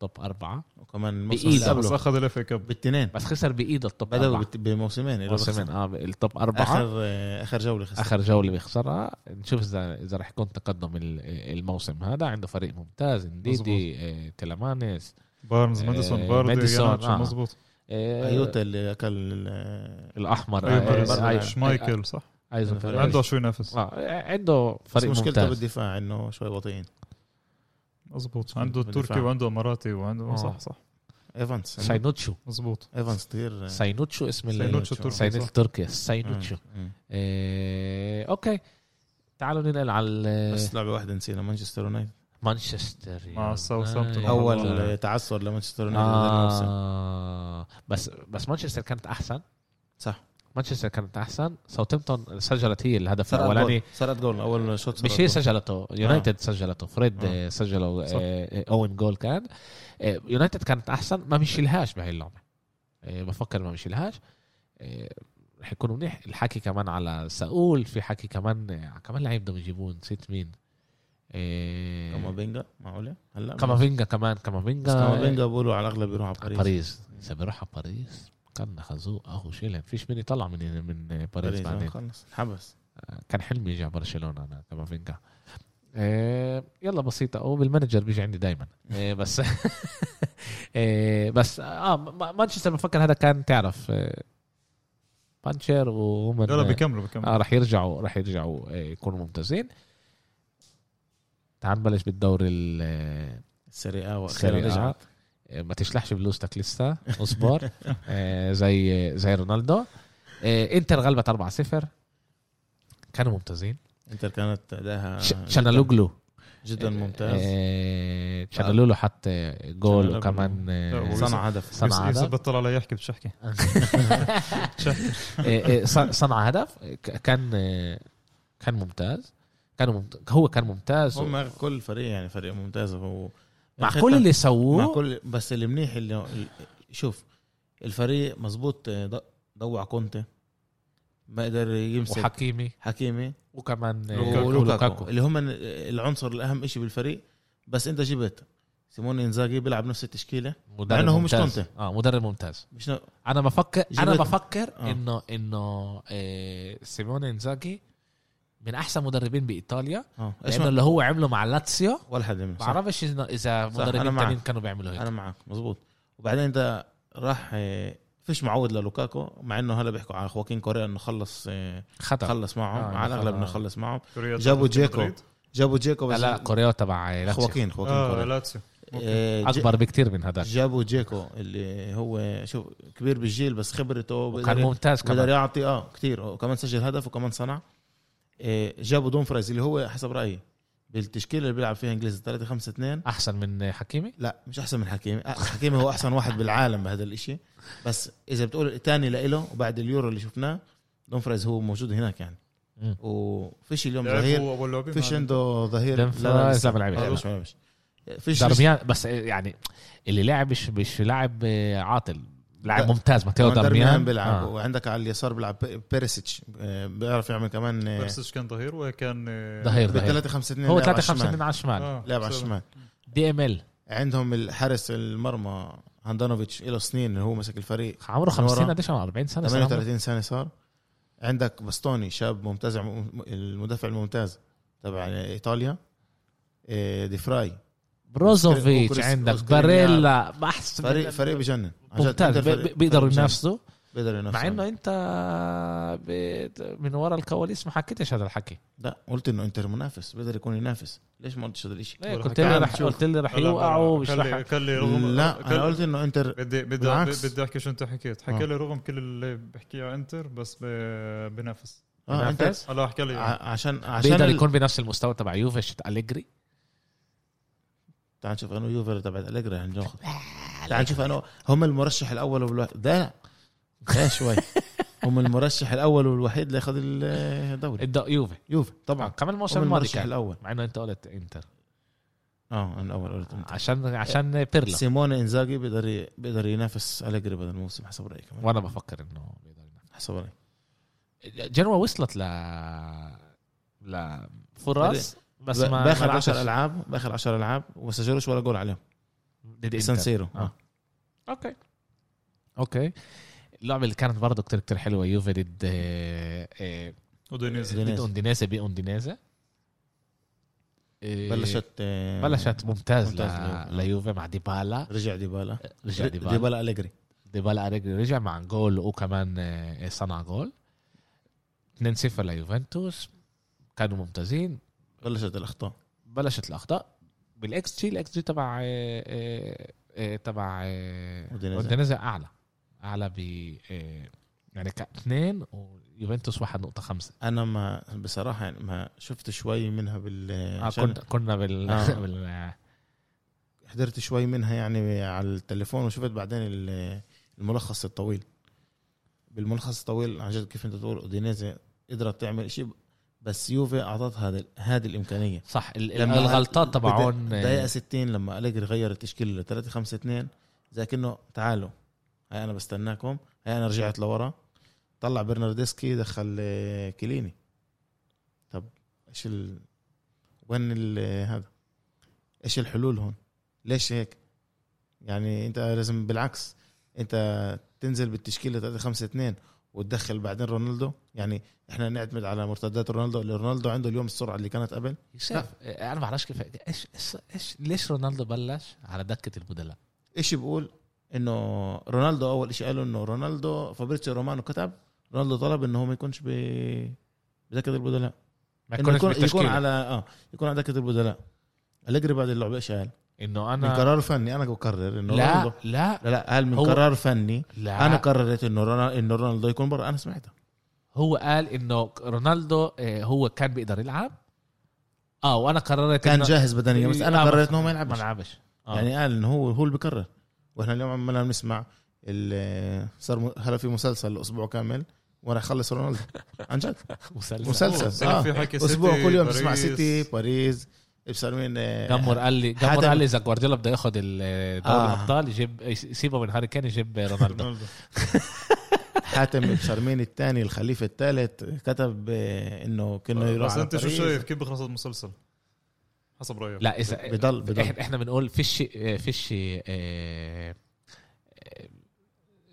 A: توب أربعة
B: وكمان الموسم
A: بإيد
B: اللي
C: لا، بس
B: قبله
C: اخذ الاف كاب
B: بالاثنين
A: بس خسر بايده التوب
B: بدأوا
A: أربعة
B: بت- بموسمين إله بس.
A: موسمين اه التوب أربعة
B: اخر آه، اخر جولة خسر
A: اخر جوله بيخسرها نشوف اذا اذا رح يكون تقدم ال- الموسم هذا عنده فريق ممتاز انديدي إيه، تيلامانيس
C: بارنز
A: آه،
C: ماديسون بارد
A: ماديسون،
C: ياناتش
A: آه.
C: مزبوط
A: إيه،
B: ايوتا اللي اكل آه،
A: الاحمر
B: أيوة، آه،
A: آه،
B: بارز.
A: آه، آه،
C: شمايكل صح
A: ايزن
B: عنده
A: فيريز.
C: عنده شو ينافس
A: آه، عنده
B: بس
A: فريق
B: مشكلته
A: ممتاز
B: بالدفاع انه شوي بطيئين
C: مزبوط عنده
B: بالدفاع.
C: تركي وعنده اماراتي وعنده
A: آه.
C: صح صح
B: ايفانس عنده-
A: ساينوتشو
C: مزبوط
B: ايفانس كثير
A: ساينوتشو اسم ال-
C: ساينوتشو
B: آه. ساينوتشو.
A: ساينوتشو
C: التركي صح.
A: تركيا ساينوتشو آه، اوكي تعالوا ننقل على
B: بس لعبة واحدة نسينا مانشستر يونايتد
A: مانشستر
C: مع
A: يونايتد.
C: ساوثهامبتون.
A: آه،
B: اول
A: آه.
B: آه، تعثر لمانشستر يونايتد هذا الموسم.
A: آه بس بس مانشستر كانت احسن
B: صح
A: مانشستر كانت احسن ساوثهامبتون سجلت هي الهدف
B: سرقت
A: الاولاني
B: جول سرقت جول اول شوط
A: مش
B: سرقت
A: هي
B: جول.
A: سجلته يونايتد سجلته فريد
B: آه.
A: آه، سجله
C: صح.
A: آه، اوين جول كان آه، يونايتد كانت احسن ما مشيلهاش بهي اللعبه آه، بفكر ما مشيلهاش آه، رح يكون منيح الحكي كمان على ساول في حكي كمان آه، كمان لعيب بدهم يجيبوه نسيت مين آه،
B: كامافينجا معقولة هلا
A: كامافينجا كمان
B: بس
A: كامافينجا
B: كامافينجا بيقولوا على الاغلب بيروح على
A: على
B: باريس
A: باريس اذا بيروح على باريس كان خازوق اهو شيلن فيش مين يطلع من من آه، باريس
B: باريس آه،
A: بعدين
B: خلص انحبس
A: كان حلمي يجي على برشلونه انا كافينجا إيه يلا بسيطة أو بالمانجر بيجي عندي دايما إيه بس إيه بس اه ما- مانشستر بفكر هذا كان تعرف إيه بانشر وهم
C: لا لا بيكملوا بيكملوا
A: اه رح يرجعوا رح يرجعوا إيه يكونوا ممتازين تعال نبلش بالدوري ال-
B: السريعة آه
A: السريعة.
B: واخيرا رجعت
A: إيه ما تشلحش بلوزتك لسه اصبر إيه زي زي رونالدو إيه انتر غلبت 4-0 كانوا ممتازين
B: انتر كانت اداها
A: ش-
B: جداً-
A: شانالوجلو
B: آه، جدا ممتاز
A: آه، شانالوجلو حط آه، جول
B: شانالوجلو.
A: وكمان آه،
C: لا، هو
A: صنع
B: صنع هدف
A: صنع
C: يوسف- يوسف
A: هدف
C: بطل علي يحكي بدش احكي
A: آه، آه، ص- صنع هدف ك- كان آه، كان ممتاز كان ممت... هو كان ممتاز
B: هم كل فريق يعني فريق ممتاز هو
A: مع كل اللي
B: مع
A: سووه
B: كل بس اللي منيح اللي ال- شوف الفريق مزبوط آه، ض- ضوع كونتي ما قدر يمسك
A: وحكيمي
B: حكيمي
A: وكمان آه،
C: لوكاكو.
B: ولوكاكو اللي هم العنصر الاهم شيء بالفريق بس انت جبت سيمون انزاجي بيلعب نفس التشكيله مع
A: مدرب
B: إنه هو مش
A: ممتاز.
B: كونتي.
A: اه مدرب ممتاز
B: مش نا...
A: انا بفكر انا
B: جبت-
A: بفكر
B: آه.
A: انه انه آه، سيمون انزاكي من احسن مدربين بايطاليا
B: اه ايش
A: لانه
B: ما-
A: اللي هو عمله مع لاتسيو
B: ولا حد منهم. صح.
A: بعرفش إنه اذا
B: صح، أنا
A: مدربين
B: معك.
A: تانيين كانوا بيعملوا هيك
B: انا معك مزبوط وبعدين انت راح آه، فيش معوض للوكاكو مع انه هلا بيحكوا على خواكين كوريا انه خلص آه،
A: خطا
B: خلص معهم
A: آه،
B: على الاغلب انه
A: خلص.
B: خلص معهم
C: كوريا
B: جابوا
C: تبع
B: جيكو.
C: مدريد.
B: جابوا جيكو بس
A: لا كوريو تبع آه، لاتسيو
B: خواكين خواكين
C: اه
B: كوريا
C: لاتسيو أوكي.
B: آه، جي-
A: اكبر بكتير من هذاك
B: جابوا جيكو اللي هو شوف كبير بالجيل بس خبرته
A: كان
B: بقدر
A: ممتاز
B: بقدر
A: كمان
B: يعطي اه كثير وكمان سجل هدف وكمان صنع آه، جابوا دومفريز اللي هو حسب رايي بالتشكيله اللي بيلعب فيها انجليزي 3 5 2
A: احسن من آه، حكيمي
B: لا مش احسن من حكيمي آه، حكيمي هو احسن واحد بالعالم بهذا الاشي بس اذا بتقول تاني لإله وبعد اليورو اللي شفناه دومفريز هو موجود هناك يعني
A: مم.
B: وفيش اليوم ظهير
C: لعبوا اول لعبه
B: فيش
C: مع-
B: عنده ظهير
A: دومفريز لا ما لعبش.
B: آه، مش ما لعبش. فيش
A: دارميان بس آه، يعني اللي لعب مش مش لاعب آه، عاطل لاعب
B: لا.
A: ممتاز ماتيو
B: كمان
A: دارميان
B: درميان بيلعب
A: آه.
B: وعندك على اليسار بيلعب بي- بيريسيتش آه، بيعرف يعمل كمان آه،
C: بيرسيتش كان ظهير وكان آه،
A: ظهير
B: بال
A: ظهير
B: 3 5 2
A: هو
B: لعب على
A: 3 5
B: الشمال.
A: 2 على الشمال
C: آه،
B: لعب على
C: سبعة.
B: الشمال
A: دي ام ال
B: عندهم الحارس المرمى هاندانوفيتش له سنين اللي هو ماسك الفريق
A: عمره
B: من ورا.
A: 50 قديش عمره 40 سنه صار عمره؟
B: 38 سنه صار عندك باستوني شاب ممتاز عم- المدافع الممتاز تبع ايطاليا آه، ديفراي
A: بروزوفيتش
B: وكريس-
A: عندك
B: وكريس-
A: باريلا احسن
B: فريق فريق بجنن عن جد
A: ممتاز
B: إنتر
A: بي-
B: فريق-
A: بي- بيقدروا
B: فريق بجنن.
A: ينافسوا
B: بيقدروا ينافسوا
A: مع انه انت بت- من ورا الكواليس ما حكيتش هذا الحكي
B: لا قلت انه انتر منافس بيقدر يكون ينافس ليش ما قلتش هذا الشيء
A: ليه،
C: ولا
A: قلت
C: حكي.
A: لي
B: تعال
A: رح
B: نشوف.
A: قلت لي رح
C: لا، لا،
A: يوقعوا مش
C: كان لي-
A: رح
C: كان لي رغم
B: لا
C: كان-
B: انا قلت انه انتر
C: بدي بدي
B: بالعكس.
C: بدي احكي شو انت حكيت
B: آه.
C: حكى لي رغم كل اللي بحكيه على انتر بس ب- بنافس
B: اه انتر
A: ينافس؟
C: هلا حكى لي
B: ع- عشان عشان
A: يعني آه، بيقدر
B: ال-
A: يكون بنفس المستوى تبع يوفي شت اليجري
B: تعال نشوف انه يوفي تبعت اليجري عن جد تعال نشوف انه هم المرشح الاول والوحيد ده ده شوي هم المرشح الاول والوحيد لياخذ الدوري
A: الد- يوفي
B: يوفي
A: طبعا
B: طبعا
A: كمان الموسم
B: هم
A: إيه، الماضي
B: المرشح
A: كان
B: الاول
A: مع انه انت قلت انتر
B: اه انا الاول قلت أنت.
A: عشان عشان بيرلا
B: سيمون انزاجي بيقدر ي- بيقدر ينافس اليجري بهذا الموسم حسب رايي كمان
A: وانا بفكر انه بيقدر ينافس.
B: حسب رايي
A: جنوا وصلت ل لفرص بس ما
B: باخر
A: ما
B: 10
A: جاتش.
B: العاب باخر 10 العاب وما سجلوش ولا جول عليهم
A: ضد إنتر.
B: سانسيرو
A: آه. اوكي اوكي اللعبه اللي كانت برضه كتير كتير حلوه يوفي ضد آه، آه،
C: ودينيز
A: ضد
B: أودينيزي.
A: اوندينيزي باوندينيزي آه،
B: بلشت آه،
A: بلشت ممتاز
B: ممتاز
A: ل-
B: ليوفي.
A: ليوفي مع ديبالا
B: رجع ديبالا
A: رجع ديبالا
B: ديبالا اليجري
A: ديبالا أريجري رجع مع جول وكمان آه، صنع جول 2-0 ليوفنتوس كانوا ممتازين
B: بلشت الاخطاء
A: بلشت الاخطاء بالاكس جي الاكس جي تبع آه، آه، آه، تبع آه،
B: أودينيزي.
A: اودينيزي اعلى اعلى ب آه، يعني كان اثنين ويوفنتوس 1.5
B: انا ما بصراحه يعني ما شفت شوي منها بال
A: آه،
B: عشان
A: كنا كنا بال,
B: آه.
A: بال...
B: حضرت شوي منها يعني على التليفون وشفت بعدين ال- الملخص الطويل بالملخص الطويل عن جد كيف انت تقول اودينيزي قدرت تعمل شيء بس يوفي اعطتها هذه هذه الامكانيه
A: صح ال- الغلطات تبعون آه،
B: بدأ- دقيقه 60 لما اليجري غير التشكيله ل 3 5 2 زي كانه تعالوا هاي انا بستناكم هاي انا رجعت لورا طلع برناردسكي دخل آه، كيليني طب ايش ال وين ال آه، هذا ايش الحلول هون ليش هيك يعني انت لازم بالعكس انت تنزل بالتشكيله 3 5 2 وتدخل بعدين رونالدو يعني احنا نعتمد على مرتدات رونالدو اللي رونالدو عنده اليوم السرعه اللي كانت قبل
A: شاف انا آه، ما بعرفش كيف ايش ايش إيش- ليش رونالدو بلش على دكه البدلاء
B: ايش بقول انه رونالدو اول شيء قالوا انه رونالدو فابريتسيو رومانو كتب رونالدو طلب انه هو ما يكونش ب بدكة البدلاء
A: ما
B: انه
A: يكونش
B: يكون, يكون
A: بالتشكيل
B: على اه يكون على دكة البدلاء اليجري بعد اللعبه ايش قال؟
A: انه
B: من
A: انا
B: قرار فني انا بكرر انه
A: لا
B: رونالدو
A: لا
B: لا لا قال من
A: هو-
B: قرار فني
A: لا
B: انا قررت انه رونا- انه رونالدو يكون برا انا سمعتها
A: هو قال انه رونالدو آه، هو كان بيقدر يلعب اه وانا قررت
B: كان
A: إنه-
B: جاهز بدنيا بس
A: آه،
B: انا قررت انه هو ما
A: ما
B: يلعبش
A: لعبش آه.
B: يعني قال انه هو هو اللي بكرر واحنا اليوم عمالنا بنسمع ال- صار م- هلا في مسلسل اسبوع كامل وانا اخلص رونالدو عن جد
A: مسلسل
B: مسلسل.
C: صار
B: آه.
C: في حكي
B: اسبوع
C: سيتي،
B: كل يوم تسمع
C: باريس.
B: سيتي باريس ابصر مين آه،
A: جمر قال لي جمر
B: حدا-
A: قال لي اذا جوارديولا بده ياخذ ال- دوري
B: آه.
A: الابطال يجيب يسيبه من هاري كين يجيب
B: إيه،
A: رونالدو
C: رونالدو
B: حاتم بشرمين الثاني الخليفة الثالث كتب آه، انه كنا يروح
C: بس
B: على
C: انت شو
B: باريس.
C: شايف كيف بخلص المسلسل؟ حسب رايك
A: لا اذا
B: بضل بضل
A: إحنا- احنا بنقول فيش فيش آه، آه،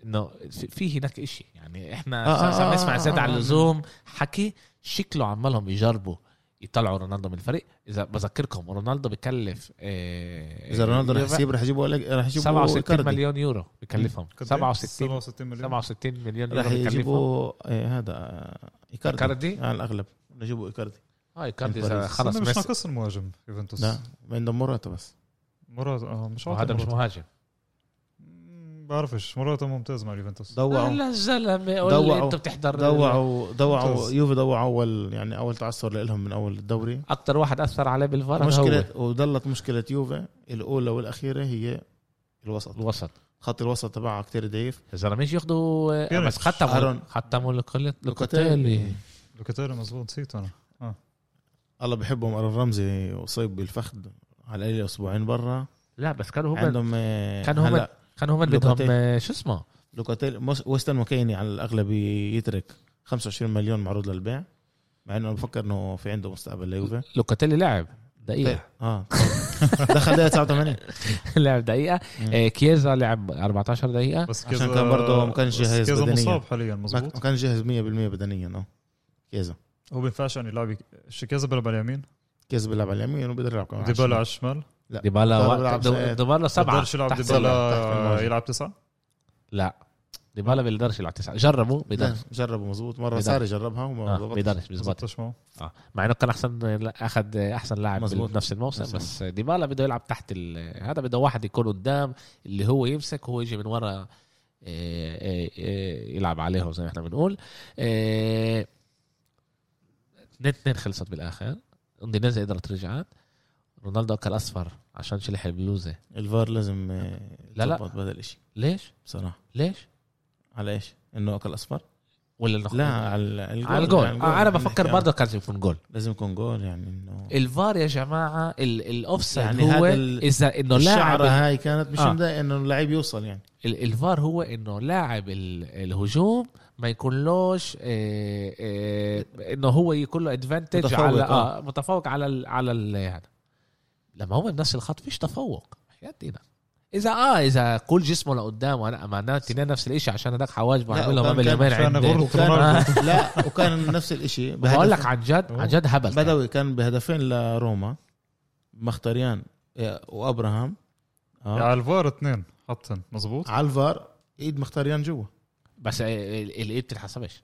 A: انه في- في هناك إشي يعني احنا
B: آه، آه،
A: صار- صار
B: آه،
A: نسمع
B: آه،
A: زاد
B: آه،
A: على
B: آه.
A: اللزوم حكي شكله عمالهم يجربوا يطلعوا رونالدو من الفريق اذا بذكركم رونالدو بكلف آه،
B: اذا رونالدو رح
A: يورو-
B: يسيب رح يجيبوا لك رح يجيبوا
A: 67
B: إيكاردي.
A: مليون يورو بكلفهم
C: قد إيه؟
A: 67
C: 67 مليون
A: 67 مليون يورو
B: رح
A: بكلفهم
B: يجيبوا آه، هذا آه، ايكاردي
A: إيكاردي؟
B: على الاغلب رح يجيبوا ايكاردي
A: اه كاردي
B: من
A: إذا
B: باريس.
A: خلص
C: خلص مش
A: ميسي
C: ناقص المهاجم يوفنتوس
B: لا عندهم مراته بس
C: مرات اه مش عارف
A: وهذا مش مهاجم
C: بعرفش مرات ممتاز مع اليوفنتوس
B: ضوعوا
A: لا الزلمه قول لي
B: ضوعوا.
A: انتم بتحضر
B: ضوعوا ضوعوا
C: ممتاز.
B: يوفي ضوعوا اول يعني اول تعثر لهم من اول الدوري
A: اكثر واحد اثر عليه بالفار هو
B: مشكلة وضلت مشكلة يوفي الأولى والأخيرة هي الوسط
A: الوسط
B: خط الوسط تبعها كتير ضعيف
A: اذا مش ياخذوا آه،
C: فينيكس.
A: بس ختموا
B: أرون.
A: ختموا لوكل- لوكوتيلي
B: لوكاتيلي
C: لوكاتيلي مظبوط نسيته انا
B: الله بحبهم أرون رمزي وصيب بالفخذ على القليل أسبوعين برا
A: لا بس كانوا هم
B: عندهم آه،
A: كان هو
B: هلا
A: كانوا هم بدهم
B: لوكوتيلي.
A: آه، شو اسمه
B: لوكاتيلي موس- ويستن مكيني على الأغلب يترك 25 مليون معروض للبيع مع انه أنا بفكر انه في عنده مستقبل ليوفي
A: لوكاتيلي لعب دقيقه
B: اه دخل دقيقة 89
A: لعب دقيقه
B: طيب. مم.
A: آه، كيزا لعب 14 دقيقه
C: بس
B: عشان كان برضه ما كانش
C: بس
B: جاهز
C: كذا
B: بدنيا.
C: مصاب حاليا
B: ما
C: مظبوط
B: ما كان جاهز 100% بدنيا اه كيزا
C: هو بينفعش يعني يلعب شيكازا بيلعب على اليمين
B: كيزا بيلعب على اليمين وبيقدر يلعب كمان على
C: ديبالا على الشمال
A: ديبالا
B: ديبالا
A: وقت-
B: بيلعب
A: دو-
B: زي-
A: ديبالا سبعه
C: بيقدرش يلعب
A: تحت
B: تحت
C: ديبالا
B: المهاجم.
C: يلعب تسعه
A: لا ديبالا بيقدرش يلعب تسعه جربوا
B: لا
A: بيقدرش
B: جربه مزبوط مرة
A: بيضل.
B: صار يجربها وما
A: آه،
B: ضبط
A: بيقدرش بيزبط
C: مظبطش معه
A: اه مع انه كان احسن اخذ احسن لاعب
B: مظبوط.
A: بنفس الموسم
B: مظبوط.
A: بس ديبالا بده يلعب تحت ال- هذا بده واحد يكون قدام اللي هو يمسك هو يجي من ورا آه، آه، آه، يلعب عليهم زي ما احنا بنقول 2 2 خلصت بالاخر اندونيسيا قدرت رجعت رونالدو اكل اصفر عشان شلح البلوزه
B: الفار لازم آه،
A: لا، لا.
B: يتظبط بهذا الشيء
A: ليش؟
B: بصراحة
A: ليش؟
B: على ايش؟ انه اكل اصفر؟
A: ولا إنه-
B: لا على الجول
A: على الجول
B: يعني
A: آه، انا
B: نحكي
A: بفكر
B: عن-
A: برضه كان يكون جول
B: لازم يكون جول يعني انه
A: الفار يا جماعه الاوف سايد
B: يعني
A: هو
B: هذا ال-
A: اذا انه لاعب
B: الشعرة هاي كانت مش
A: آه.
B: مضايقة انه اللعيب يوصل يعني
A: ال- الفار هو انه لاعب ال- الهجوم ما يكونلوش آه، آه، انه هو يكون له ادفانتج
B: متفوق،
A: على
B: آه.
A: آه متفوق على ال على ال هذا لما هو بنفس الخط فيش تفوق حياة دينا اذا اه اذا كل جسمه لقدام وانا معناه التنين نفس الشيء عشان هذاك حواجبه
B: لا،
A: عاملها ما
B: وكان-
A: باليمين
C: كان
A: عندي
C: غرض
B: وكان-
C: رونالدو
B: لا وكان نفس الشيء
A: بقول لك عن جد عن جد هبل كان.
B: بدوي كان بهدفين لروما مختاريان آه، وابراهام آه.
C: على الفار اثنين حطن مظبوط
B: على الفار ايد مختاريان جوا
A: بس آه، ال- الايد بتنحسبش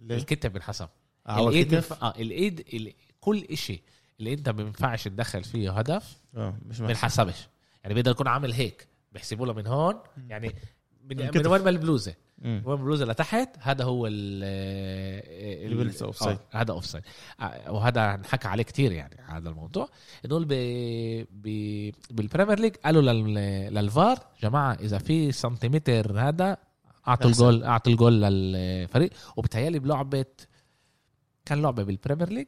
B: ليه؟
A: الكتف بنحسب
B: على
A: الايد
B: الكتف
A: بنف- اه الايد ال- كل شيء اللي انت ما بينفعش تدخل فيه هدف
B: اه مش
A: ما
B: محسوب.
A: بنحسبش يعني بيقدر يكون عامل هيك بيحسبوا له من هون يعني من,
C: الكتف.
A: من وين ما البلوزه
B: مم.
A: من وين البلوزه لتحت هذا هو ال ال-
B: اللي بيلبس أوفسايد.
A: آه، هذا اوف سايد وهذا انحكى عليه كتير يعني هذا الموضوع انه ب... ب... بالبريمير ليج قالوا لل... للفار جماعه اذا في سنتيمتر هذا اعطوا
B: أحسن.
A: الجول اعطوا الجول للفريق وبتهيألي بلعبه كان لعبه بالبريمير ليج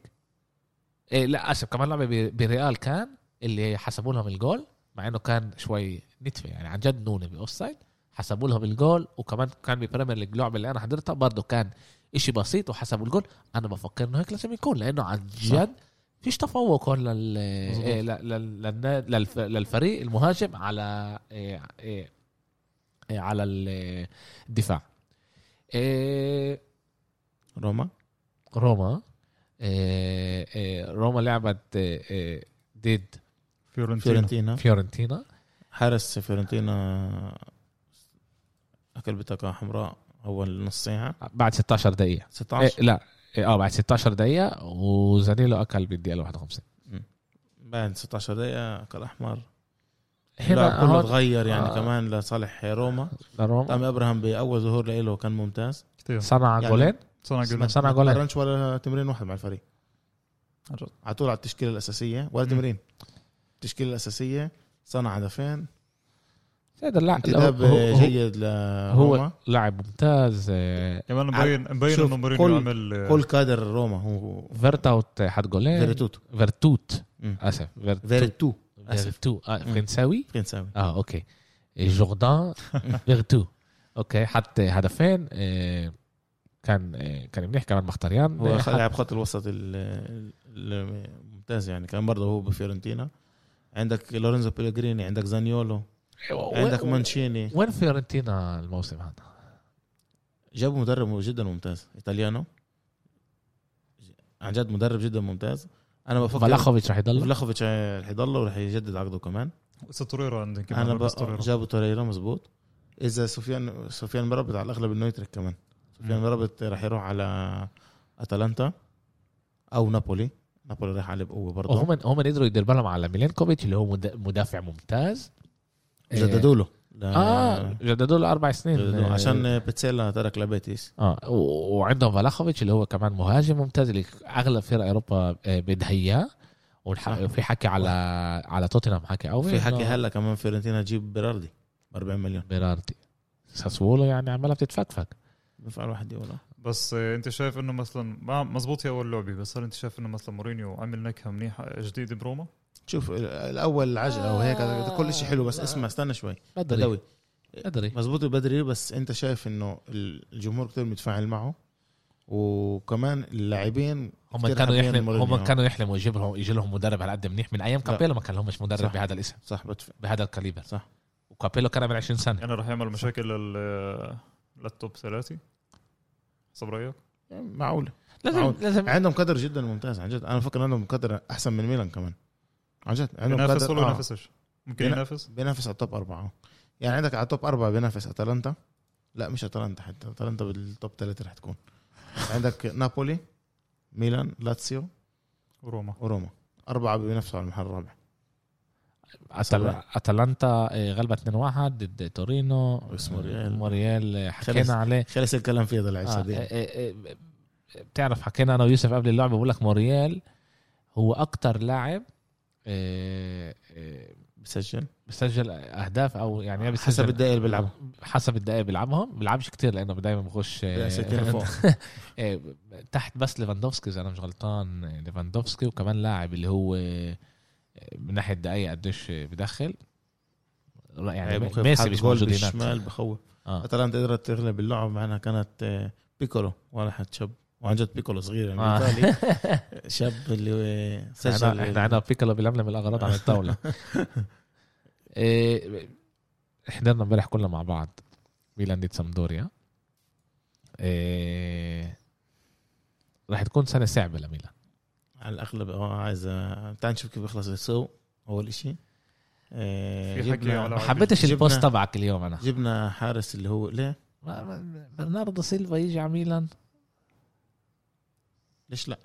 A: إيه لا اسف كمان لعبه ب- بريال كان اللي حسبوا لهم الجول مع انه كان شوي نتفه يعني عن جد نونه باوف سايد حسبوا لهم الجول وكمان كان بالبريمير ليج اللعبه اللي انا حضرتها برضه كان إشي بسيط وحسبوا الجول انا بفكر انه هيك لازم يكون لانه عن جد فيش تفوق هون لل...
C: مظبوط.
A: إيه، لل... لل... للف- للفريق المهاجم على إيه، إيه، إيه، على ال- الدفاع إيه،
B: روما
A: روما إيه، إيه، روما لعبت إيه، إيه، ضد
C: فيورنتينا
B: فيورنتينا
A: فيورنتينا
B: حارس فيورنتينا اكل بطاقه حمراء اول نص ساعه
A: بعد 16 دقيقه إيه
B: 16
A: لا إيه، اه بعد 16 دقيقه وزانيلو اكل بالدقيقه 51
B: بعد 16 دقيقه اكل احمر
A: هنا
B: هنا كله
A: هون
B: تغير يعني
A: آه.
B: آه. كمان لصالح روما
A: لروما
B: طبعا ابراهام باول ظهور له كان ممتاز
C: كثير
A: صنع
B: يعني-
A: جولين
C: صنع جولين
A: صنع
B: ما
A: جولين
B: تمرنش ولا تمرين واحد مع الفريق
C: عن جد.
B: على طول على التشكيله الاساسيه ولا
C: مم.
B: تمرين التشكيله الاساسيه صنع هدفين
A: زيد اللاعب
B: انتداب آه، جيد
A: هو
B: لروما
A: لاعب ممتاز آه،
C: كمان مبين مبين
B: شوف،
C: انه
B: كل-
C: مورينيو آه، عمل
B: كل كادر روما هو
A: فيرتاوت حد جولين
B: فيرتوتو
A: فيرتوت
B: مم.
A: اسف فيرتوت
B: فيرتو اسف
A: فيرتو آه،
B: مم.
A: فرنساوي
B: فرنساوي
A: اه اوكي جوردان فيرتو اوكي حط هدفين آه، كان آه، كان منيح كمان مختاريان
B: هو خ-
A: آه،
B: لاعب خط الوسط ال- ال- الممتاز يعني كان برضه هو بفيورنتينا عندك لورينزو بيلغريني عندك زانيولو عندك مانشيني
A: وين فيورنتينا الموسم هذا؟
B: جابوا مدرب جدا ممتاز ايطاليانو عن جد مدرب جدا ممتاز انا بفكر
A: فلاخوفيتش رح يضل
B: فلاخوفيتش رح يضل ورح يجدد عقده كمان
C: ساتوريرا عندهم كمان
B: انا
C: أنا بس
B: ب-
C: توريرا
B: جابوا توريرا مزبوط اذا سفيان سفيان مربط على الاغلب انه يترك كمان سفيان
C: مم.
B: مربط راح يروح على اتلانتا او نابولي نابولي راح عليه بقوه برضه
A: هم هم قدروا يدير بالهم على ميلينكوفيتش اللي هو مد- مدافع ممتاز إيه.
B: جددوا له
A: اه جددوا له اربع سنين
B: جددوا
A: آه،
B: عشان بتسيلا ترك لبيتيس
A: اه و- وعندهم فلاخوفيتش اللي هو كمان مهاجم ممتاز اللي اغلب فرق اوروبا آه، بدها اياه والح-
B: صح.
A: وفي حكي على على توتنهام حكي قوي
B: في حكي
A: إنه
B: هلا كمان فيورنتينا تجيب بيراردي ب 40 مليون
A: بيراردي ساسولو يعني عمالها بتتفكفك
B: بينفع الواحد يقول
C: بس آه، انت شايف انه مثلا ما- مزبوط هي اول لعبه بس هل انت شايف انه مثلا مورينيو عمل نكهه منيحه جديده بروما؟
B: شوف ال- الاول
A: آه.
B: عجقه وهيك هذا كل شيء حلو بس اسمع استنى شوي
A: بدري
B: بدوي
A: بدري
B: مزبوط البدري بس انت شايف انه الجمهور كتير متفاعل معه وكمان اللاعبين
A: هم
B: كتير
A: كانوا
B: حابين
A: يحلموا
B: مورينيو.
A: هم كانوا يحلموا يجيب لهم يجي لهم مدرب على قد منيح من ايام كابيلو ما كان لهمش مدرب
B: صح.
A: بهذا الاسم
B: صح بتفق
A: بهذا الكاليبر
B: صح.
A: وكابيلو كان من 20 سنه
C: يعني راح يعمل مشاكل لل للتوب ثلاثه حسب رايك؟
B: معقولة
A: لازم
B: معقول.
A: لازم
B: عندهم قدر جدا ممتاز عن جد انا بفكر عندهم قدر احسن من ميلان كمان عن جد عندهم
C: ينافس
B: قدر
C: ولا
B: آه.
C: ينافسش؟ ممكن
B: بينا-
C: ينافس؟
B: بينافس على التوب أربعة يعني عندك على التوب أربعة بينافس أتلانتا لا مش أتلانتا حتى أتلانتا بالتوب ثلاثة رح تكون عندك نابولي ميلان لاتسيو
C: روما
B: وروما أربعة بينافسوا على المحل الرابع
A: أتل... اتلانتا آه، غلبت 2-1 ضد تورينو
B: بس موريال.
A: موريال آه،
B: خلص.
A: حكينا عليه
B: خلص الكلام في هذا
A: آه،
B: العشرة
A: آه،
B: دي
A: آه، آه، بتعرف حكينا انا ويوسف قبل اللعبه بقول لك موريال هو اكتر لاعب آه، آه،
B: بسجل
A: بسجل اهداف او يعني بسجل
B: حسب الدقايق اللي بيلعبها
A: حسب الدقائق بيلعبهم بيلعبش كتير لانه دايما بخش آه،
B: 60 لفوق
A: آه، تحت بس ليفاندوفسكي اذا انا مش غلطان آه، ليفاندوفسكي وكمان لاعب اللي هو آه، من ناحيه دقائق قديش آه، بدخل لا، يعني
B: ممكن
A: ميسي
B: حط
A: مش
B: جول
A: موجود
B: بالشمال
A: هناك
B: بخوف
A: آه.
B: أتلانتا قدرت تغلب اللعب مع انها كانت آه، بيكولو ولا حد شاب وعن جد بيكولو صغير يعني
A: آه. يعني
B: بالتالي شاب اللي آه، سجل
A: احنا احنا عندنا بيكلو بيلملم الاغراض على الطاوله إيه، حضرنا امبارح كلنا مع بعض ميلان ضد سامدوريا إيه، راح تكون سنه صعبه لميلان
B: على الاغلب اه عايز تعال نشوف كيف بيخلص السوق اول اشي آه،
C: في حكي
B: جبنا-
C: على-
A: ما حبيتش
B: جبنا-
A: البوست تبعك اليوم انا
B: جبنا حارس اللي هو ليه
A: ما- ما- برناردو سيلفا يجي على ميلان
B: ليش لا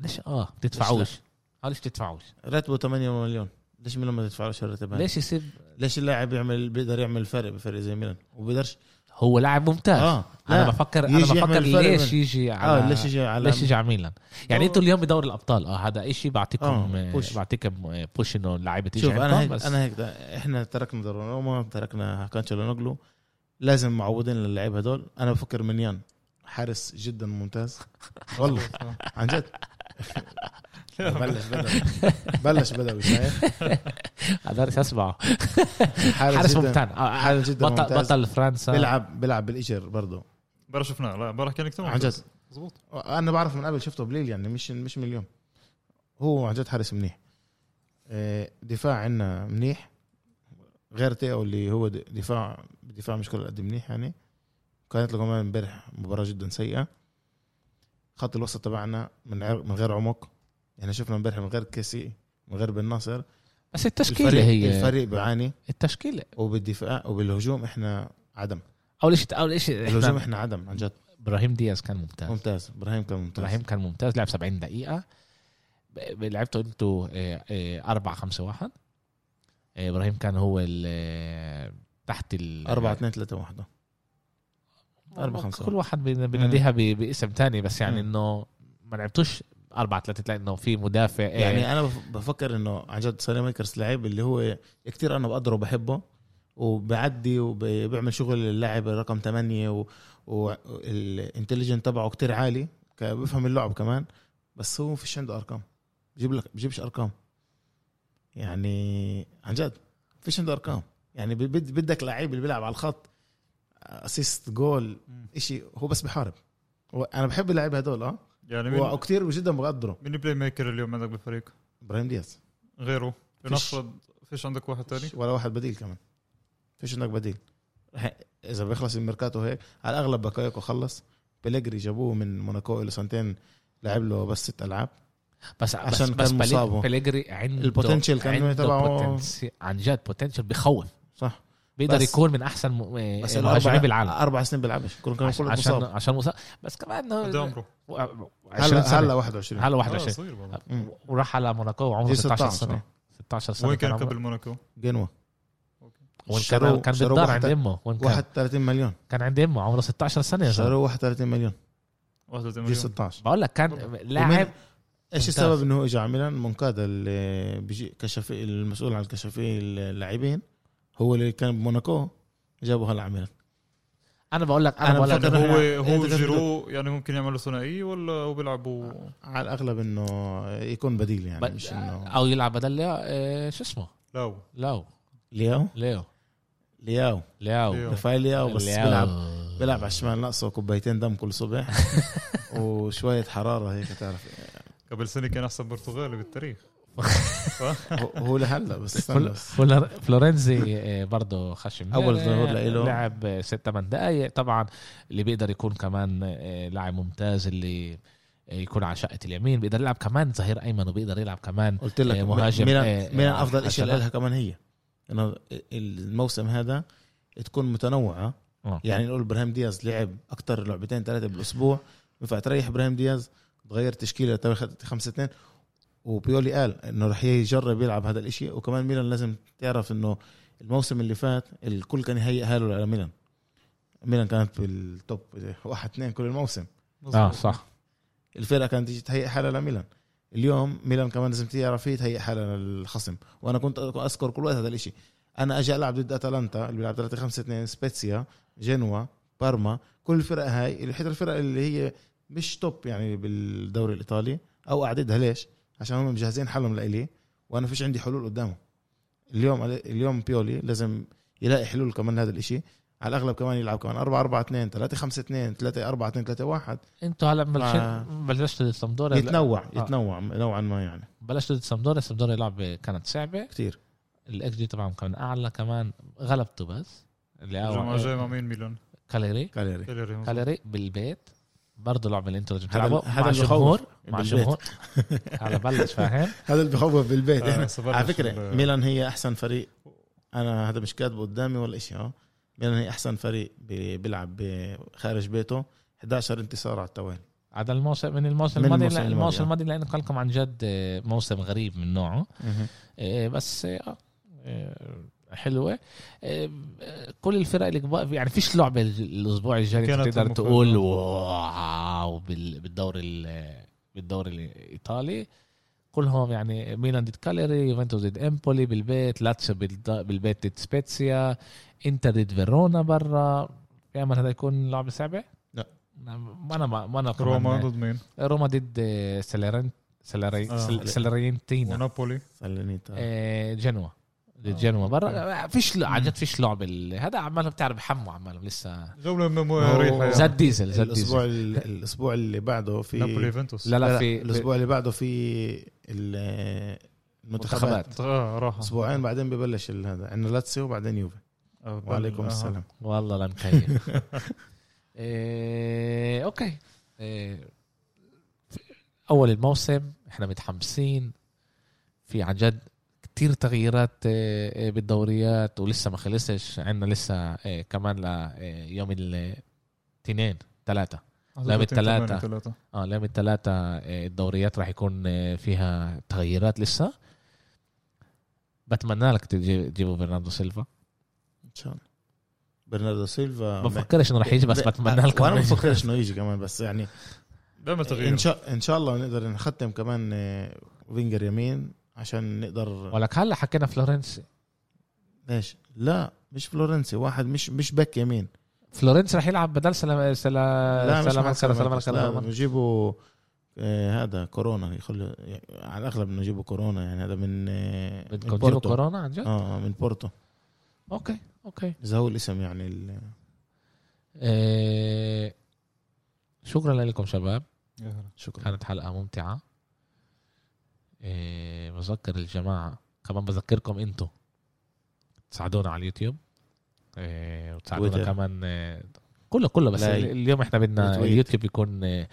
A: ليش اه بتدفعوش اه ليش بتدفعوش
B: راتبه 8 مليون ليش ميلان ما تدفعلوش الراتب هذا
A: ليش يسيب
B: ليش اللاعب يعمل بيقدر يعمل فرق بفريق زي ميلان وبيقدرش
A: هو لاعب ممتاز آه.
B: اه
A: انا
B: لا.
A: بفكر انا
B: يجي
A: بفكر
B: يعمل فرق
A: ليش
B: من-
A: يجي على
B: اه ليش يجي على
A: ليش يجي على ميلان يعني
B: دور-
A: انتوا اليوم بدور الابطال اه هذا شيء بعطيكم
B: آه، push.
A: بعطيكم آه، بوش انه اللعيبه تيجي
B: شوف انا هيك
A: بس
B: انا هيك ده. احنا تركنا دوناروما تركنا كانشالونوغلو لازم معوضين للعيب هدول انا بفكر منيان حارس جدا ممتاز والله عن جد بلش بدوي بلش بدوي شايف
A: قدرت اسمعه حارس
B: جداً-
A: ممتاز آه، آه،
B: حارس جدا
A: بطل
B: ممتاز
A: بطل فرنسا
B: بيلعب بيلعب بالاجر برضه
C: امبارح شفناه لا امبارح كان كتير
B: عن جد
C: ممتاز. مزبوط
B: انا بعرف من قبل شفته بليل يعني مش مش من اليوم هو عن جد حارس منيح آه، دفاع عندنا منيح غير تيو اللي هو د- دفاع دفاع مش كل قد منيح يعني كانت له كمان امبارح مباراه جدا سيئه خط الوسط تبعنا من عر- من غير عمق احنا شفنا امبارح من غير كيسي من غير بن ناصر
A: بس التشكيله
B: الفريق-
A: هي
B: الفريق بعاني
A: التشكيله
B: وبالدفاع وبالهجوم احنا عدم
A: اول شيء اول شيء
B: الهجوم
A: إحنا-
B: احنا عدم عن جد
A: ابراهيم دياز كان ممتاز
B: ممتاز ابراهيم كان ممتاز
A: ابراهيم كان ممتاز لعب 70 دقيقة ب- لعبتوا آه، انتوا 4 5 1 ابراهيم آه، كان هو ال- آه، تحت ال
B: 4 2 3 1 أربعة، خمسة.
A: كل واحد بن- بناديها ب- باسم تاني بس يعني انه ما لعبتوش 4 3 3 انه في مدافع إيه،
B: يعني انا بف- بفكر انه عن جد سوني ميكرز لعيب اللي هو كتير انا بقدره وبحبه وبعدي وبيعمل شغل اللاعب رقم 8 والانتليجنت تبعه كتير عالي ك- بيفهم اللعب كمان بس هو ما فيش عنده ارقام بجيب لك بجيبش ارقام يعني عن جد ما فيش عنده ارقام يعني بد- بدك لعيب اللي بيلعب على الخط اسيست جول اشي هو بس بحارب هو- انا بحب اللعيبه هدول اه
C: يعني مين
B: وكثير جدا بقدره
C: مين البلاي ميكر اليوم عندك بالفريق؟
B: ابراهيم دياز
C: غيره لنفرض فيش عندك واحد تاني
B: ولا واحد بديل كمان فيش عندك بديل رح- اذا بيخلص الميركاتو هيك على الاغلب باكايوكو خلص بليجري جابوه من موناكو له سنتين لعب له بس ست العاب
A: بس
B: عشان
A: بس
B: كان
A: بس بليغ-
B: مصابه.
A: بليغري عنده
B: البوتنشال كان
A: عنده
B: تبعه-
A: بوتنسي- عن جد بوتنشال بخوف
B: صح
A: بيقدر
B: بس-
A: يكون من احسن م- إيه،
B: بس
A: مهاجمين
B: الاربع
A: بالعالم
B: اربع سنين بيلعبش كلهم كانوا
A: عشان
B: كلهم
A: عشان,
B: مصاب
A: عشان مصاب بس كمان
C: قد عمره؟
A: 20
B: هلا
A: سنة.
B: هلا 21
A: هلا
C: آه،
A: 21
C: صغير والله.
B: مم.
A: وراح على موناكو وعمره
B: جيل
A: 16
B: 16
A: سنه
B: آه.
A: 16 سنه
C: وين كان
A: عمره.
C: قبل موناكو؟
B: جنوة
A: وين كان
B: شروه-
A: كان
B: شروه
A: بالدار
B: واحد-
A: عند امه وين كان
B: 31 مليون
A: كان عند امه عمره 16 سنه يا زلمه
B: شروه 31 مليون
C: 31
B: جيل
C: مليون
B: 16
A: بقول لك كان لاعب
B: ومين- ايش
A: ممتاز.
B: السبب انه هو اجى على ميلان منقاذ اللي بيجي كشفي المسؤول عن الكشفي اللاعبين هو اللي كان بموناكو جابه هلا على ميلان
A: انا بقول لك انا
B: أنا
A: بقول
B: بفكر-
A: لك
C: هو
B: أنت
C: هو
B: كده-
C: جيرو يعني ممكن يعملوا ثنائيه ولا هو بيلعبوا
B: على الاغلب انه يكون بديل يعني
A: بد-
B: مش انه
A: او يلعب بدل ليا- آه، شو اسمه
C: لاو
A: لاو
B: لياو
A: ليو
B: لياو
A: لياو
C: لياو.
B: رفائيل لياو بس
A: لياو. آه.
B: بيلعب بيلعب على الشمال ناقصه كوبايتين دم كل صبح وشويه حراره هيك تعرف
C: قبل سنه كان احسن برتغالي بالتاريخ
B: هو- هو لهلا بس استنى
A: فل-
B: بس
A: فل- فلورنزي آه، برضه خشم
B: أول
A: يعني
B: ظهور لإله.
A: لعب آه، ست ثمان دقائق طبعا اللي بيقدر يكون كمان آه، لاعب ممتاز اللي آه، يكون على شقه اليمين بيقدر يلعب كمان ظهير ايمن وبيقدر يلعب كمان
B: قلت لك
A: إيه، مهاجم، إيه،
B: ميلان ميلان
A: إيه،
B: افضل شيء
A: عشان-
B: لها كمان هي انه الموسم هذا تكون متنوعه
A: آه.
B: يعني نقول ابراهيم دياز لعب اكثر لعبتين ثلاثه بالاسبوع ينفع تريح ابراهيم دياز تغير تشكيله تاخذ 5 2 وبيولي قال انه رح يجرب يلعب هذا الاشي وكمان ميلان لازم تعرف انه الموسم اللي فات الكل كان يهيئ حاله على ميلان ميلان كانت بالتوب واحد اثنين كل الموسم آه،
A: اه صح
B: الفرقه كانت تيجي تهيئ حالها لميلان اليوم ميلان كمان لازم تعرف هي تهيئ حالها للخصم وانا كنت اذكر كل وقت هذا الاشي انا اجي العب ضد اتلانتا اللي بيلعب 3 5 2 سبيتسيا جنوا بارما كل الفرق هاي حتى الفرق اللي هي مش توب يعني بالدوري الايطالي او اعدادها ليش عشان هم مجهزين حالهم لإلي وانا فيش عندي حلول قدامه اليوم اليوم بيولي لازم يلاقي حلول كمان لهذا الاشي على الاغلب كمان يلعب كمان 4 4 2 3 5 2 3 4 2 3 1
A: انتوا هلا
B: آه.
A: بلشتوا بلشتوا ضد سامدوريا لا،
B: يتنوع
A: آه.
B: يتنوع نوعا ما يعني
A: بلشتوا ضد سامدوريا سامدوريا لعبه كانت صعبه
B: كثير
A: الاكس جي تبعهم كان اعلى كمان غلبته بس اللي
C: الجمعه
A: هو
C: الجايه مع مين ميلان؟
A: كاليري
B: كاليري
C: كاليري مظبوط.
A: كاليري بالبيت برضه لعبه اللي انتوا لازم
B: هذا-
A: تلعبوا
B: هذا
A: مع
B: اللي
A: الجمهور
B: بخوف.
A: مع
B: بالبيت.
A: الجمهور هلا بلش فاهم
B: هذا اللي بخوف بالبيت
C: آه،
B: احنا
C: صبرنا
B: على
C: شو
B: فكره
C: ال-
B: ميلان هي احسن فريق انا هذا مش كاتبه قدامي ولا شيء اه ميلان هي احسن فريق بي- بيلعب ب- خارج بيته 11 انتصار على التوالي
A: هذا الموسم من الموسم
B: من
A: الماضي
B: الموسم
A: لا،
B: الماضي،
A: الموسم
B: آه.
A: الماضي لانه كان لكم عن جد آه، موسم غريب من نوعه آه، بس آه، آه، حلوه آه، آه، كل الفرق الكبار يعني فيش لعبه الاسبوع الجاي
C: كانت
A: أنت تقدر
C: المفروض.
A: تقول واو بال- بالدوري ال- بالدوري الايطالي كلهم يعني ميلان ضد كاليري يوفنتوس ضد امبولي بالبيت لاتسيو بالد- بالبيت ضد سبيتسيا انتر ضد فيرونا برا في امل هذا يكون لعبه صعبه؟
B: لا.
A: أنا- ما انا ما انا كمان-
C: روما ضد مين؟
A: روما ضد سلارين سلاري
C: آه.
A: سل- سلارينتينا
C: ونابولي
B: سلنيتا
A: آه، جنوا ضد جنوا
C: آه.
A: برا آه، فيش عن جد فيش لعب ال- هذا عمالهم بتعرف حموا عمالهم لسه
C: جوله م-
B: هو-
C: مريحه يعني.
A: زاد ديزل زاد
B: الاسبوع
A: ديزل
B: ال- الاسبوع اللي بعده في
C: نابولي يوفنتوس
A: لا لا في
B: الاسبوع اللي بعده في ال- المنتخبات
A: منتخبات
C: آه، راحه
B: اسبوعين بعدين ببلش ال- هذا عندنا لاتسيو وبعدين يوفي
C: آه، بال-
B: وعليكم
C: آه.
B: السلام
A: والله لا مكيف آه، اوكي آه، في- اول الموسم احنا متحمسين في عن جد كتير تغييرات آه، آه، بالدوريات ولسه ما خلصش عندنا لسه آه، كمان ليوم الاثنين ثلاثة لعبة تلاتة.
C: ثمانية، تلاتة.
A: اه اليوم الثلاثة إيه، الدوريات راح يكون آه، فيها تغييرات لسه بتمنى لك تجي- تجيبوا برناردو سيلفا
B: ان شاء الله برناردو سيلفا
A: ما بفكرش انه راح يجي بس بتمنى لكم
B: وانا ما بفكرش انه يجي كمان بس يعني
C: دائما تغيير
B: ان شاء ان شاء الله نقدر نختم كمان آه، وينجر يمين عشان نقدر
A: ولك هلا حكينا فلورنسي
B: ليش؟ لا مش فلورنسي واحد مش مش باك يمين
A: فلورنس رح يلعب بدل سلام سلام
B: مش
A: سلام سلام
B: مع
A: سلام
B: سلامانكا. لا،
A: سلام
B: بدنا نجيبوا آه، هذا كورونا يخلوا يعني على الاغلب بدنا نجيبوا كورونا يعني هذا من آه، من
A: بدكم تجيبوا
B: بورتو.
A: كورونا عن جد؟
B: اه من بورتو
A: اوكي اوكي
B: اذا هو الاسم يعني ال-
A: آه، شكرا لكم شباب
B: شكرا
A: كانت حلقه ممتعه آه، بذكر الجماعه كمان بذكركم انتم تساعدونا على اليوتيوب آه، وتساعدونا
B: تويتر.
A: كمان آه، كله كله بس
B: لايك.
A: اليوم احنا بدنا
B: وتويت.
A: اليوتيوب يكون آه،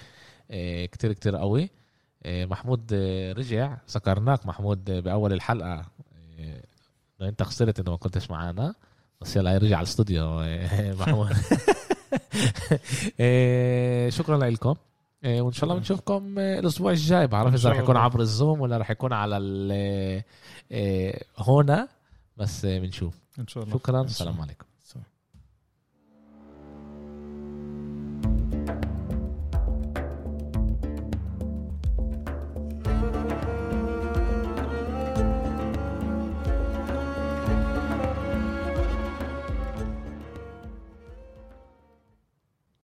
A: آه، كتير كتير قوي آه، محمود آه، رجع سكرناك محمود آه، باول الحلقه آه، إنه انت خسرت انه ما كنتش معانا بس يلا رجع على الاستوديو آه، محمود آه، شكرا لكم آه، وان شاء الله بنشوفكم آه، الاسبوع الجاي بعرف
C: إن
A: اذا
C: شاء
A: رح يكون
C: الله.
A: عبر الزوم ولا رح يكون على ال- آه، آه، هنا بس آه، بنشوف
C: ان شاء الله
A: شكرا
B: شاء
A: السلام
B: الله.
A: عليكم